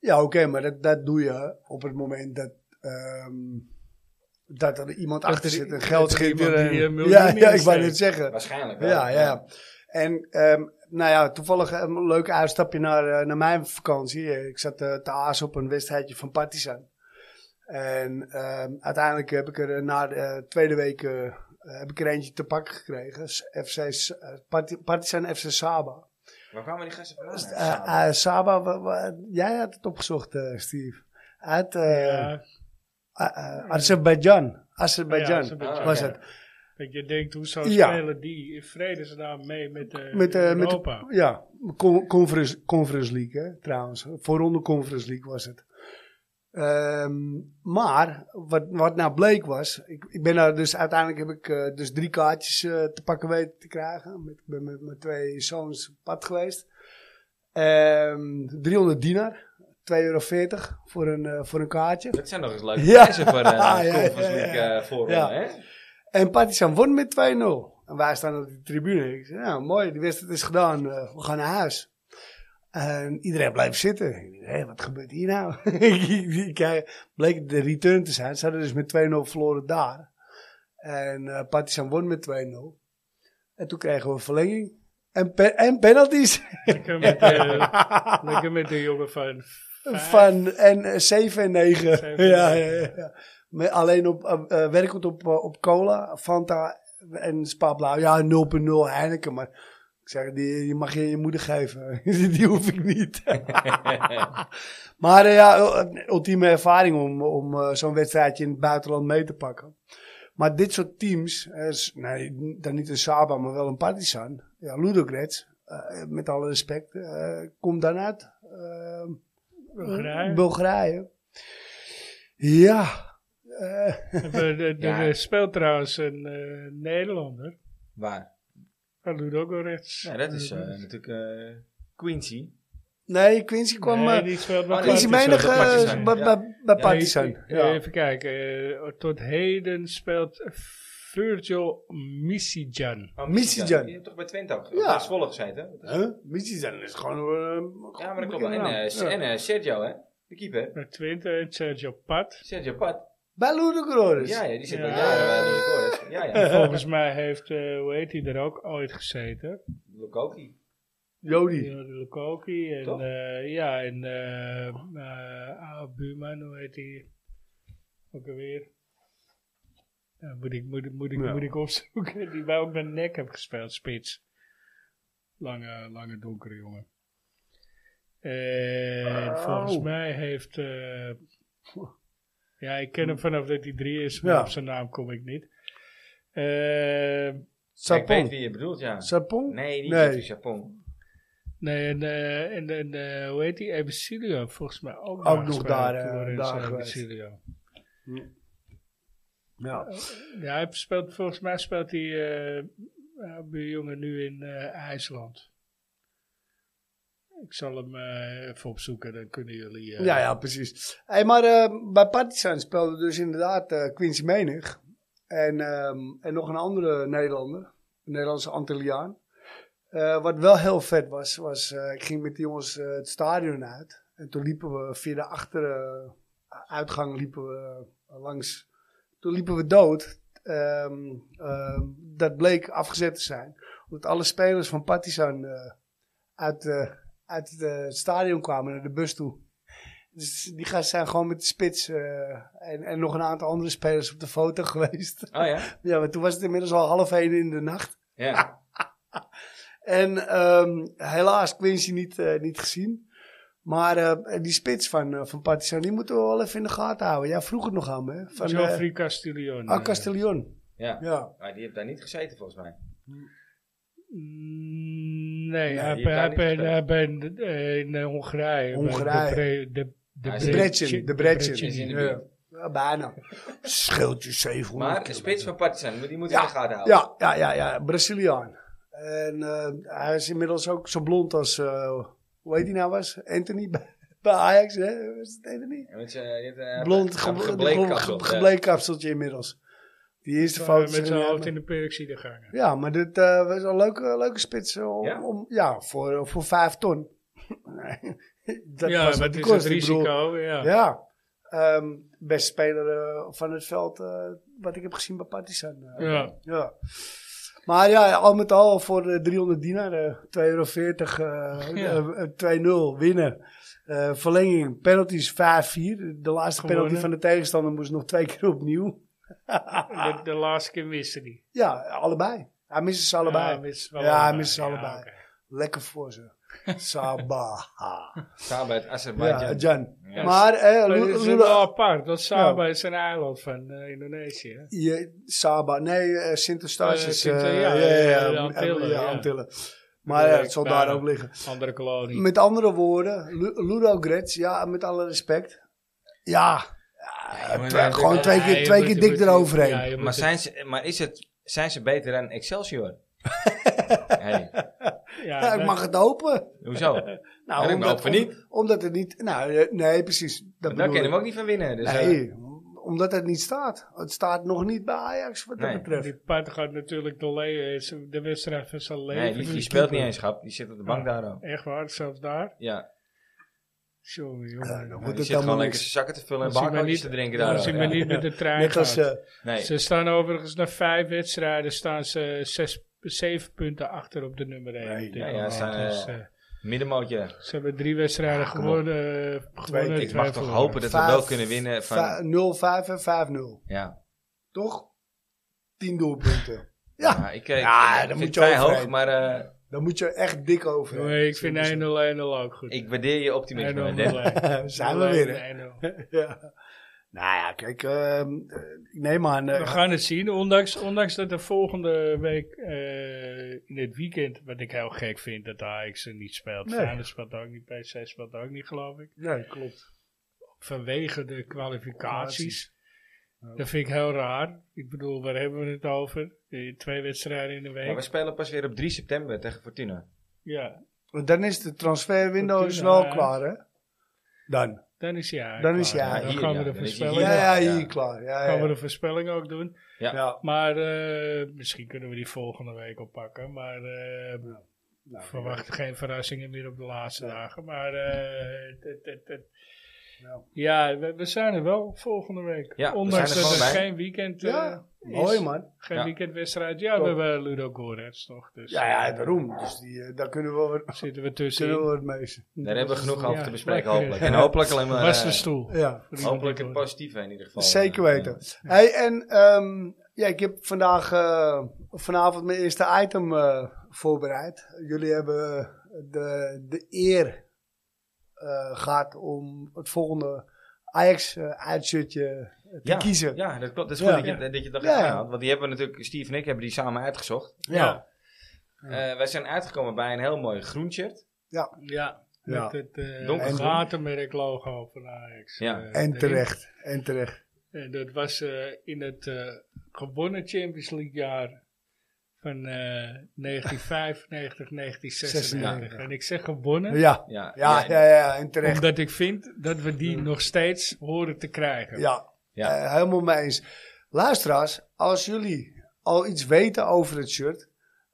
[SPEAKER 3] ja oké, maar dat, dat doe je op het moment dat, ehm, dat er iemand
[SPEAKER 2] Dat
[SPEAKER 3] achter
[SPEAKER 2] er
[SPEAKER 3] zit en
[SPEAKER 2] i-
[SPEAKER 3] geld
[SPEAKER 2] dat er
[SPEAKER 3] schiet.
[SPEAKER 2] iemand die,
[SPEAKER 3] er een-
[SPEAKER 2] eh,
[SPEAKER 3] ja,
[SPEAKER 2] miljoenen
[SPEAKER 3] ja, ik wou
[SPEAKER 2] insteekt.
[SPEAKER 3] net zeggen.
[SPEAKER 1] Waarschijnlijk wel.
[SPEAKER 3] Ja, ja. En ehm, nou ja, toevallig een leuk uitstapje naar, eh, naar mijn vakantie. Eh, Ik zat eh, te aas op een wedstrijdje van Partizan. En ehm, uiteindelijk heb ik er eh, na de eh, tweede week eh, heb ik er eentje te pakken gekregen. S- FC, S- eh, Parti- Partizan FC Saba.
[SPEAKER 1] Waar kwamen die gasten vandaan?
[SPEAKER 3] Eh,
[SPEAKER 1] Samen.
[SPEAKER 3] eh, Saba, wa- wa- jij had het opgezocht, eh, Steve. Uit eh,
[SPEAKER 2] ja,
[SPEAKER 3] eh, eh, Azerbeidzjan.
[SPEAKER 2] ja,
[SPEAKER 3] Azerbeidzjan
[SPEAKER 2] zo'n beetje,
[SPEAKER 1] Ah,
[SPEAKER 3] was
[SPEAKER 1] ja.
[SPEAKER 3] het.
[SPEAKER 2] Dat je denkt, hoe zou
[SPEAKER 3] Ja.
[SPEAKER 2] spelen die in vredesnaam mee met, eh
[SPEAKER 3] Met, eh, met de-
[SPEAKER 2] Europa?
[SPEAKER 3] ja, con- conference, conference League hè, trouwens. Voorronde Conference League was het. Ehm, maar wat, wat nou bleek was, ik, ik ben daar dus uiteindelijk heb ik eh, dus drie kaartjes eh, te pakken weten te krijgen. Met- Ik ben met mijn twee zoons op pad geweest. Ehm 300 dinar, 2,40 euro voor een, eh, voor een kaartje.
[SPEAKER 1] Dat zijn nog eens leuke
[SPEAKER 3] Ja.
[SPEAKER 1] prijzen voor
[SPEAKER 3] Ja,
[SPEAKER 1] de
[SPEAKER 3] ja,
[SPEAKER 1] Conference
[SPEAKER 3] ja, ja.
[SPEAKER 1] League eh, voorronde,
[SPEAKER 3] Ja.
[SPEAKER 1] hè?
[SPEAKER 3] En Partizan won met 2-0. En wij staan op de tribune. Ik zei, nou mooi, die wedstrijd is gedaan. eh, we gaan naar huis. En iedereen blijft zitten. Ik dacht, Hé, wat gebeurt hier nou? Ik- ik- ik- Bleek de return te zijn. Ze hadden dus met 2-0 verloren daar. En eh Partizan won met 2-0. En toen kregen we verlenging. En, pe- en penalties.
[SPEAKER 2] Lekker met, eh, lekker met de jongen van... vijf.
[SPEAKER 3] Van en, eh, 7 en 9.
[SPEAKER 2] Zeven en
[SPEAKER 3] Ja, ja, ja. ja. Met alleen op, eh, eh, werkend op, eh, op cola, Fanta en Spa Blauw. Ja, 0.0 Heineken, maar ik zeg, die, die mag je aan je moeder geven. die die hoef ik niet. maar eh, ja, u- ultieme ervaring om, om eh, zo'n wedstrijdje in het buitenland mee te pakken. Maar dit soort teams, eh, s- nee, dan niet een Saba, maar wel een Partizan, ja, Ludogorets, eh, met alle respect, eh, komt daaruit. eh,
[SPEAKER 2] Bulgarije.
[SPEAKER 3] Bulgarije. Ja. eh,
[SPEAKER 2] Er er-
[SPEAKER 1] Ja.
[SPEAKER 2] er speelt trouwens een eh, Nederlander.
[SPEAKER 1] Waar?
[SPEAKER 2] Ludogorets.
[SPEAKER 1] Ja, dat is eh,
[SPEAKER 3] Mm-hmm.
[SPEAKER 1] natuurlijk eh, Quincy.
[SPEAKER 3] nee, Quincy kwam.
[SPEAKER 2] Nee,
[SPEAKER 3] eh,
[SPEAKER 2] die speelt
[SPEAKER 1] oh,
[SPEAKER 2] bij
[SPEAKER 1] die
[SPEAKER 3] Quincy
[SPEAKER 1] is
[SPEAKER 2] Partizan. eh,
[SPEAKER 1] wel
[SPEAKER 3] Meinig eh,
[SPEAKER 1] Partizan,
[SPEAKER 3] bij
[SPEAKER 1] ja.
[SPEAKER 3] bij- bij
[SPEAKER 1] Ja,
[SPEAKER 3] Partizan.
[SPEAKER 2] Even,
[SPEAKER 3] Ja.
[SPEAKER 2] even kijken. eh, tot heden speelt Virgil Misijan.
[SPEAKER 1] Oh,
[SPEAKER 3] Misijan.
[SPEAKER 1] Je hebt toch bij Twente ook
[SPEAKER 3] Ja.
[SPEAKER 1] ja. bij Zwolle gezeten? hè?
[SPEAKER 3] Huh? Mkhitaryan is gewoon. eh,
[SPEAKER 1] Ja, maar dat
[SPEAKER 3] een
[SPEAKER 1] klopt. En,
[SPEAKER 3] naam.
[SPEAKER 1] eh, S-
[SPEAKER 3] Ja.
[SPEAKER 1] en eh, Sergio, hè? De keeper.
[SPEAKER 2] Bij Twente en Eh, Sergio Pat.
[SPEAKER 1] Sergio Pat.
[SPEAKER 3] Bij Ludogorets.
[SPEAKER 1] Ja, ja, die zit
[SPEAKER 2] Ja.
[SPEAKER 1] al jaren bij de record. Ja, ja.
[SPEAKER 2] Volgens mij heeft, eh, hoe heet hij er ook ooit gezeten?
[SPEAKER 1] Lukoki.
[SPEAKER 3] Jody.
[SPEAKER 2] Ja, de Lukoki en
[SPEAKER 1] Toch?
[SPEAKER 2] eh, ja, en eh eh, Aal Buurman, hoe heet die? Ook alweer. Ja, moet, ik, moet, ik- moet, ik,
[SPEAKER 3] Ja.
[SPEAKER 2] moet ik opzoeken, die bij ook bij nek heb gespeeld, spits. Lange, lange donkere jongen. En
[SPEAKER 3] Oh.
[SPEAKER 2] volgens mij heeft. eh, ja, ik ken hem vanaf dat hij drie is, maar
[SPEAKER 3] Hm. Ja.
[SPEAKER 2] op zijn naam kom ik niet. Eh,
[SPEAKER 1] Ik weet
[SPEAKER 3] Sapong.
[SPEAKER 1] wie je bedoelt, ja.
[SPEAKER 3] Sapong?
[SPEAKER 1] Nee, niet
[SPEAKER 3] Nee.
[SPEAKER 1] nee. Japon.
[SPEAKER 2] Nee, en, eh, en, en eh, hoe heet die? Ebesilio, volgens mij ook,
[SPEAKER 3] Ook nog daar, eh, daar geweest.
[SPEAKER 2] Ebesilio.
[SPEAKER 3] Ja.
[SPEAKER 2] Ja, hij speelt, volgens mij speelt die eh jongen nu in eh, IJsland. Ik zal hem eh, even opzoeken, dan kunnen jullie... eh,
[SPEAKER 3] ja, ja, precies. Hey, maar eh, bij Partizan speelde dus inderdaad eh, Quincy Menig. En, ehm, en nog een andere Nederlander. Een Nederlandse Antilliaan. Eh, wat wel heel vet was, was eh, ik ging met die jongens eh, het stadion uit. En toen liepen we via de achteren uitgang liepen we eh, langs. Toen liepen we dood. Ehm, ehm, dat bleek afgezet te zijn. Omdat alle spelers van Partizan eh, uit, eh, uit het eh, stadion kwamen naar de bus toe. Dus die gasten zijn gewoon met de spits eh, en, en nog een aantal andere spelers op de foto geweest.
[SPEAKER 1] Oh ja?
[SPEAKER 3] ja, maar toen was het inmiddels al half één in de nacht.
[SPEAKER 1] Ja.
[SPEAKER 3] En ehm, helaas Quincy niet, eh, niet gezien. Maar eh, die spits van, eh, van Partizan, die moeten we wel even in de gaten houden. Jij vroeg het nog aan me, hè? Van eh,
[SPEAKER 2] Geoffrey Castiglione.
[SPEAKER 3] Ah, Castellion.
[SPEAKER 1] ja.
[SPEAKER 3] Ja.
[SPEAKER 1] Maar die heeft daar niet gezeten, volgens mij.
[SPEAKER 2] Mm, Nee, hij
[SPEAKER 1] die heeft daar
[SPEAKER 2] hij-
[SPEAKER 1] niet
[SPEAKER 2] hij-
[SPEAKER 1] gespeeld.
[SPEAKER 2] hij bent eh, in eh, Hongarije. bij
[SPEAKER 3] Hongarije.
[SPEAKER 2] De, Bre- de, de,
[SPEAKER 1] Hij is
[SPEAKER 3] De
[SPEAKER 1] in-
[SPEAKER 3] Bretchen. De Bretchen.
[SPEAKER 1] Bretchen is in de
[SPEAKER 3] Ja.
[SPEAKER 1] buurt.
[SPEAKER 3] Ja, bijna. Scheeltje 700
[SPEAKER 1] Maar de spits van Partizan, maar die moet je
[SPEAKER 3] Ja.
[SPEAKER 1] in de gaten houden.
[SPEAKER 3] Ja, ja, ja, ja. Braziliaan. En eh, hij is inmiddels ook zo blond als, eh, hoe heet die nou was? Anthony bij, bij Ajax, hè? Was het Anthony?
[SPEAKER 1] En met z'n- die heeft, eh,
[SPEAKER 3] blond,
[SPEAKER 1] een
[SPEAKER 3] ge
[SPEAKER 1] gebleekt
[SPEAKER 3] gebleekt
[SPEAKER 1] kapsel,
[SPEAKER 3] kapseltje,
[SPEAKER 1] ja.
[SPEAKER 3] inmiddels. Die eerste
[SPEAKER 2] Waar
[SPEAKER 3] foto.
[SPEAKER 2] hij Met zijn hoofd in de perk de gangen.
[SPEAKER 3] Ja, maar dit eh, was een leuke, leuke spits. eh, Om,
[SPEAKER 1] Ja?
[SPEAKER 3] om- ja, voor, voor vijf ton. dat
[SPEAKER 2] ja, maar
[SPEAKER 3] was wat
[SPEAKER 2] het
[SPEAKER 3] die
[SPEAKER 2] is
[SPEAKER 3] kost,
[SPEAKER 2] het
[SPEAKER 3] ik bedoel,
[SPEAKER 2] risico. ja.
[SPEAKER 3] Ja. Ehm beste speler eh, van het veld eh, wat ik heb gezien bij Partizan. eh.
[SPEAKER 2] ja.
[SPEAKER 3] Ja. Maar ja, al met al voor de 300 dinar, eh, 2,40 euro, eh, eh, 2-0 winnen. Eh, verlenging, penalties 5-4. De laatste penalty
[SPEAKER 2] Gewonnen.
[SPEAKER 3] van de tegenstander moest nog twee keer opnieuw.
[SPEAKER 2] De, de laatste keer miste die.
[SPEAKER 3] Ja, allebei. Hij mist ze allebei.
[SPEAKER 2] Ja, miste wel
[SPEAKER 3] Ja, hij miste ze
[SPEAKER 2] Ja,
[SPEAKER 3] allebei.
[SPEAKER 2] oké.
[SPEAKER 3] Lekker voor ze. Sabaha.
[SPEAKER 1] eh, Samen met
[SPEAKER 3] Ja,
[SPEAKER 1] Azerbeidzjan.
[SPEAKER 3] Jan.
[SPEAKER 1] Ja.
[SPEAKER 3] Maar eh,
[SPEAKER 2] Maar
[SPEAKER 3] Lu-
[SPEAKER 2] dit is
[SPEAKER 3] Lu-
[SPEAKER 2] wel apart, want Saba is een eiland van eh, Indonesië. hè?
[SPEAKER 3] Je- Saba, nee, eh, Sint Eustatius.
[SPEAKER 2] Eh, Sint-
[SPEAKER 3] eh,
[SPEAKER 2] ja,
[SPEAKER 3] ja, ja, ja,
[SPEAKER 2] de Antillen,
[SPEAKER 3] ja,
[SPEAKER 2] ja.
[SPEAKER 3] Antillen. Maar ja, het zal daar
[SPEAKER 2] Bijna.
[SPEAKER 3] ook liggen.
[SPEAKER 2] Andere kolonie.
[SPEAKER 3] Met andere woorden, Lu- Ludo Gretz, ja, met alle respect. Ja,
[SPEAKER 1] Ja, maar
[SPEAKER 3] twee-
[SPEAKER 1] dat-
[SPEAKER 3] gewoon twee
[SPEAKER 2] Ja,
[SPEAKER 3] keer,
[SPEAKER 2] je
[SPEAKER 3] twee
[SPEAKER 2] moet-
[SPEAKER 3] keer
[SPEAKER 2] je
[SPEAKER 3] dik
[SPEAKER 2] moet-
[SPEAKER 3] eroverheen.
[SPEAKER 2] ja, je moet
[SPEAKER 1] Maar,
[SPEAKER 2] het-
[SPEAKER 1] zijn ze, maar is het, zijn ze beter dan Excelsior? hey,
[SPEAKER 2] ja,
[SPEAKER 3] Ja, ik
[SPEAKER 2] dat-
[SPEAKER 3] mag het hopen.
[SPEAKER 1] hoezo?
[SPEAKER 3] Nou,
[SPEAKER 1] ik hoop van
[SPEAKER 3] om-
[SPEAKER 1] niet.
[SPEAKER 3] Omdat het niet, nou, eh, nee, precies. Dat
[SPEAKER 1] Want daar
[SPEAKER 3] bedoel
[SPEAKER 1] kunnen
[SPEAKER 3] ik.
[SPEAKER 1] we ook niet van winnen. Dus, eh,
[SPEAKER 3] Nee, omdat het niet staat. Het staat nog niet bij Ajax, wat dat
[SPEAKER 1] Nee.
[SPEAKER 3] betreft.
[SPEAKER 2] Die part gaat natuurlijk de, le- eh, is de wedstrijd van zijn leven.
[SPEAKER 1] nee, die, die speelt niet eens, grap. Die zit op de
[SPEAKER 2] Oh.
[SPEAKER 1] bank daar al.
[SPEAKER 2] Echt waar, zelfs daar.
[SPEAKER 1] Ja,
[SPEAKER 2] Sorry,
[SPEAKER 3] Ja,
[SPEAKER 2] jongen.
[SPEAKER 3] dan
[SPEAKER 1] die
[SPEAKER 3] wordt het
[SPEAKER 1] zit gewoon
[SPEAKER 3] helemaal
[SPEAKER 1] lekker zijn
[SPEAKER 3] niks.
[SPEAKER 1] zakken te vullen en
[SPEAKER 2] Als hij maar
[SPEAKER 1] barcodes
[SPEAKER 2] niet-
[SPEAKER 1] te drinken daar.
[SPEAKER 2] Als
[SPEAKER 1] al.
[SPEAKER 2] je maar
[SPEAKER 1] Ja.
[SPEAKER 2] niet met de trein
[SPEAKER 3] Net als,
[SPEAKER 2] gaat.
[SPEAKER 3] eh,
[SPEAKER 1] Nee,
[SPEAKER 2] Ze staan overigens na vijf wedstrijden staan ze zes, zeven punten achter op de nummer 1.
[SPEAKER 3] Nee,
[SPEAKER 1] ja, ja, ze zijn, eh, middenmootje.
[SPEAKER 2] ze hebben drie wedstrijden
[SPEAKER 1] Ah, kom op.
[SPEAKER 2] gewonnen. eh, gewonnen
[SPEAKER 1] Ik mag toch
[SPEAKER 2] verloren.
[SPEAKER 1] hopen dat we
[SPEAKER 3] Vijf-
[SPEAKER 1] wel kunnen winnen
[SPEAKER 3] va-
[SPEAKER 1] van...
[SPEAKER 3] 0-5 en 5-0,
[SPEAKER 1] Ja,
[SPEAKER 3] toch? 10 doelpunten.
[SPEAKER 1] ja.
[SPEAKER 3] Ja,
[SPEAKER 1] ik, ik,
[SPEAKER 3] Ja,
[SPEAKER 1] ik
[SPEAKER 3] daar
[SPEAKER 1] vind
[SPEAKER 3] moet
[SPEAKER 1] het
[SPEAKER 3] je
[SPEAKER 1] vrij
[SPEAKER 3] overheen.
[SPEAKER 1] hoog, maar eh,
[SPEAKER 3] daar moet je echt dik over. Dus
[SPEAKER 2] Nee, ik vind 1-0 1-0 ook goed.
[SPEAKER 1] ik waardeer je optimisme.
[SPEAKER 2] 1-0
[SPEAKER 1] Dennis.
[SPEAKER 2] gelijk.
[SPEAKER 3] Zijn we weer, hè?
[SPEAKER 2] 1-0.
[SPEAKER 3] ja. Nou ja, kijk, ehm, eh, ik neem aan. eh,
[SPEAKER 2] We gaan het zien, ondanks, ondanks dat er volgende week eh, in het weekend, wat ik heel gek vind, dat Ajax er niet speelt.
[SPEAKER 3] Nee.
[SPEAKER 2] Feyenoord speelt ook niet, PSV speelt ook niet, geloof ik.
[SPEAKER 3] nee, klopt.
[SPEAKER 2] Vanwege de kwalificaties. Dat vind ik heel raar. Ik bedoel, waar hebben we het over? Eh, Twee wedstrijden in de week.
[SPEAKER 1] Maar we spelen pas weer op 3 september tegen Fortuna.
[SPEAKER 2] Ja,
[SPEAKER 3] Want dan is de transferwindow
[SPEAKER 2] Fortuna,
[SPEAKER 3] is wel
[SPEAKER 2] hè?
[SPEAKER 3] klaar, hè? Dan.
[SPEAKER 2] dan is hij
[SPEAKER 3] Dan is hij
[SPEAKER 2] klaar. Dan
[SPEAKER 1] hier,
[SPEAKER 2] gaan
[SPEAKER 1] ja.
[SPEAKER 2] we de
[SPEAKER 1] Dan is hij
[SPEAKER 2] voorspelling,
[SPEAKER 1] hier.
[SPEAKER 3] Ja, ja,
[SPEAKER 1] ja.
[SPEAKER 3] hier klaar. Ja,
[SPEAKER 2] gaan we
[SPEAKER 3] ja.
[SPEAKER 2] de voorspelling ook doen.
[SPEAKER 3] ja.
[SPEAKER 2] Maar eh, misschien kunnen we die volgende week oppakken. Maar eh
[SPEAKER 3] Nou,
[SPEAKER 2] verwacht geen verrassingen meer op de laatste
[SPEAKER 3] Nee.
[SPEAKER 2] dagen. Maar eh, het- het- het-
[SPEAKER 3] Ja.
[SPEAKER 2] ja, we, we zijn er wel volgende week.
[SPEAKER 1] Ja, we
[SPEAKER 2] Ondanks
[SPEAKER 1] zijn er
[SPEAKER 2] dat er
[SPEAKER 1] gewoon bij.
[SPEAKER 2] geen weekend eh,
[SPEAKER 3] Ja,
[SPEAKER 2] is.
[SPEAKER 3] mooi man.
[SPEAKER 2] Geen
[SPEAKER 1] Ja.
[SPEAKER 2] weekendwedstrijd. Ja, we
[SPEAKER 3] Klopt.
[SPEAKER 2] hebben Ludo Gorets nog. Dus,
[SPEAKER 3] Ja, ja,
[SPEAKER 2] eh,
[SPEAKER 3] daarom. Dus die, eh, daar kunnen we wat
[SPEAKER 2] Zitten we tussenin.
[SPEAKER 3] kunnen we wat mee.
[SPEAKER 1] Daar hebben we genoeg over
[SPEAKER 2] ja,
[SPEAKER 1] te bespreken,
[SPEAKER 2] lekker.
[SPEAKER 1] hopelijk. En hopelijk alleen maar.
[SPEAKER 2] Was
[SPEAKER 1] eh,
[SPEAKER 2] de stoel.
[SPEAKER 3] Ja,
[SPEAKER 2] Voor iemand
[SPEAKER 1] hopelijk
[SPEAKER 2] die
[SPEAKER 1] het
[SPEAKER 2] door-
[SPEAKER 1] positieve in ieder geval.
[SPEAKER 3] zeker
[SPEAKER 1] eh,
[SPEAKER 3] weten. Hey, en ehm, ja, ik heb vandaag, eh, vanavond mijn eerste item eh, voorbereid. Jullie hebben eh, de, de eer eh, gehad om het volgende Ajax-uitshirtje eh, te
[SPEAKER 1] Ja,
[SPEAKER 3] kiezen.
[SPEAKER 1] Ja, dat klopt. Dat is
[SPEAKER 3] Ja.
[SPEAKER 1] goed dat je, dat je dat
[SPEAKER 3] Ja.
[SPEAKER 1] gedaan had. Want die hebben we natuurlijk, Steve en ik hebben die samen uitgezocht.
[SPEAKER 3] Ja.
[SPEAKER 1] Eh, wij zijn uitgekomen bij een heel mooi groen shirt.
[SPEAKER 2] Ja,
[SPEAKER 3] Ja.
[SPEAKER 2] met het uh,
[SPEAKER 1] Donker groen.
[SPEAKER 2] gatenmerk-logo van Ajax.
[SPEAKER 1] Ja.
[SPEAKER 2] eh,
[SPEAKER 3] En
[SPEAKER 2] erin.
[SPEAKER 3] terecht. En terecht.
[SPEAKER 2] En dat was eh, in het eh, gewonnen Champions League jaar van eh 1995, 1996. En ik zeg gewonnen,
[SPEAKER 3] Ja,
[SPEAKER 1] Ja,
[SPEAKER 3] ja, ja, ja, en terecht.
[SPEAKER 2] omdat ik vind dat we die nog steeds horen te krijgen.
[SPEAKER 3] Ja,
[SPEAKER 1] Ja.
[SPEAKER 3] Eh, helemaal mee eens. Luisteraars, als jullie al iets weten over het shirt,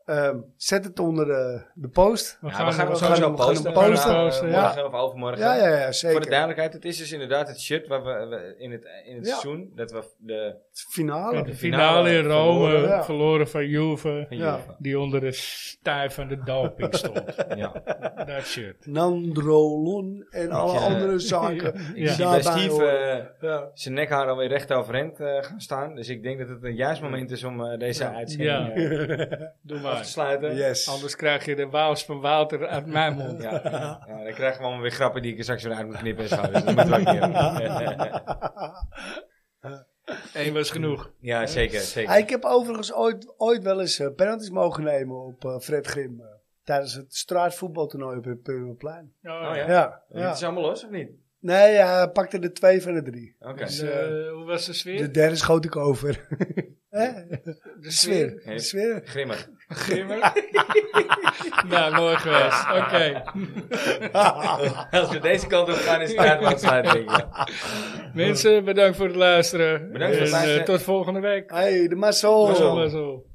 [SPEAKER 3] ehm, zet het onder de, de post.
[SPEAKER 2] We
[SPEAKER 1] Ja,
[SPEAKER 2] gaan,
[SPEAKER 1] we gaan hem
[SPEAKER 2] we gaan
[SPEAKER 1] sowieso
[SPEAKER 3] hem- we gaan hem
[SPEAKER 1] posten.
[SPEAKER 2] posten.
[SPEAKER 1] Ja,
[SPEAKER 2] Posten, ja.
[SPEAKER 1] Morgen of overmorgen.
[SPEAKER 3] Ja, ja, ja zeker.
[SPEAKER 1] Voor de duidelijkheid, het is dus inderdaad het shirt waar we, we in het, in het
[SPEAKER 3] Ja.
[SPEAKER 1] seizoen, dat we de
[SPEAKER 3] Finale.
[SPEAKER 2] met
[SPEAKER 1] de
[SPEAKER 2] de finale in Rome,
[SPEAKER 1] verloren,
[SPEAKER 2] verloren,
[SPEAKER 3] ja.
[SPEAKER 2] van Juve,
[SPEAKER 1] van
[SPEAKER 3] Ja.
[SPEAKER 1] Juve.
[SPEAKER 2] die onder de stijf van de doping stond.
[SPEAKER 1] Ja.
[SPEAKER 2] dat shirt.
[SPEAKER 3] Nandrolon en alle
[SPEAKER 1] eh,
[SPEAKER 3] andere zaken.
[SPEAKER 1] Ik
[SPEAKER 2] Ja.
[SPEAKER 1] zie bij
[SPEAKER 3] Daarbij
[SPEAKER 1] Steve
[SPEAKER 3] horen.
[SPEAKER 1] eh,
[SPEAKER 3] Ja.
[SPEAKER 1] zijn nekhaar alweer recht overeind eh, gaan staan. Dus ik denk dat het een juist moment is om eh, deze
[SPEAKER 2] Ja.
[SPEAKER 1] uitzending eh,
[SPEAKER 2] Doe
[SPEAKER 1] af te
[SPEAKER 2] maar.
[SPEAKER 1] sluiten.
[SPEAKER 3] Yes.
[SPEAKER 2] Anders krijg je de waals van Wouter uit mijn mond.
[SPEAKER 1] Ja, ja. Ja, dan krijgen we allemaal weer grappen die ik er straks weer uit moet knippen en zo. Dus dat moeten we ook niet hebben.
[SPEAKER 2] Eén was genoeg.
[SPEAKER 1] ja, zeker,
[SPEAKER 3] Ah,
[SPEAKER 1] zeker.
[SPEAKER 3] ik heb overigens ooit, ooit wel eens eh, penalties mogen nemen op eh, Fred Grim. eh, tijdens het straatvoetbaltoernooi op het Purmerplein.
[SPEAKER 1] Oh ja.
[SPEAKER 3] Ja,
[SPEAKER 1] Het
[SPEAKER 3] ja.
[SPEAKER 1] is allemaal los, of niet?
[SPEAKER 3] Nee, hij pakte de twee van de drie.
[SPEAKER 1] Oké.
[SPEAKER 2] Dus,
[SPEAKER 3] Dus,
[SPEAKER 2] eh, hoe was de sfeer?
[SPEAKER 3] De derde schoot ik over. Hè? De sfeer.
[SPEAKER 1] Hey.
[SPEAKER 3] De sfeer.
[SPEAKER 1] Grimmig.
[SPEAKER 2] nou, mooi geweest. Oké.
[SPEAKER 1] Als we deze kant op gaan, is het tijd om aan te sluiten, denk ik. Ja.
[SPEAKER 2] Mensen, bedankt voor het luisteren.
[SPEAKER 1] Bedankt voor het
[SPEAKER 2] En, eh,
[SPEAKER 1] luisteren.
[SPEAKER 2] tot volgende week.
[SPEAKER 3] Hey, de mazzel.
[SPEAKER 1] Mazzel.
[SPEAKER 2] Mazzel.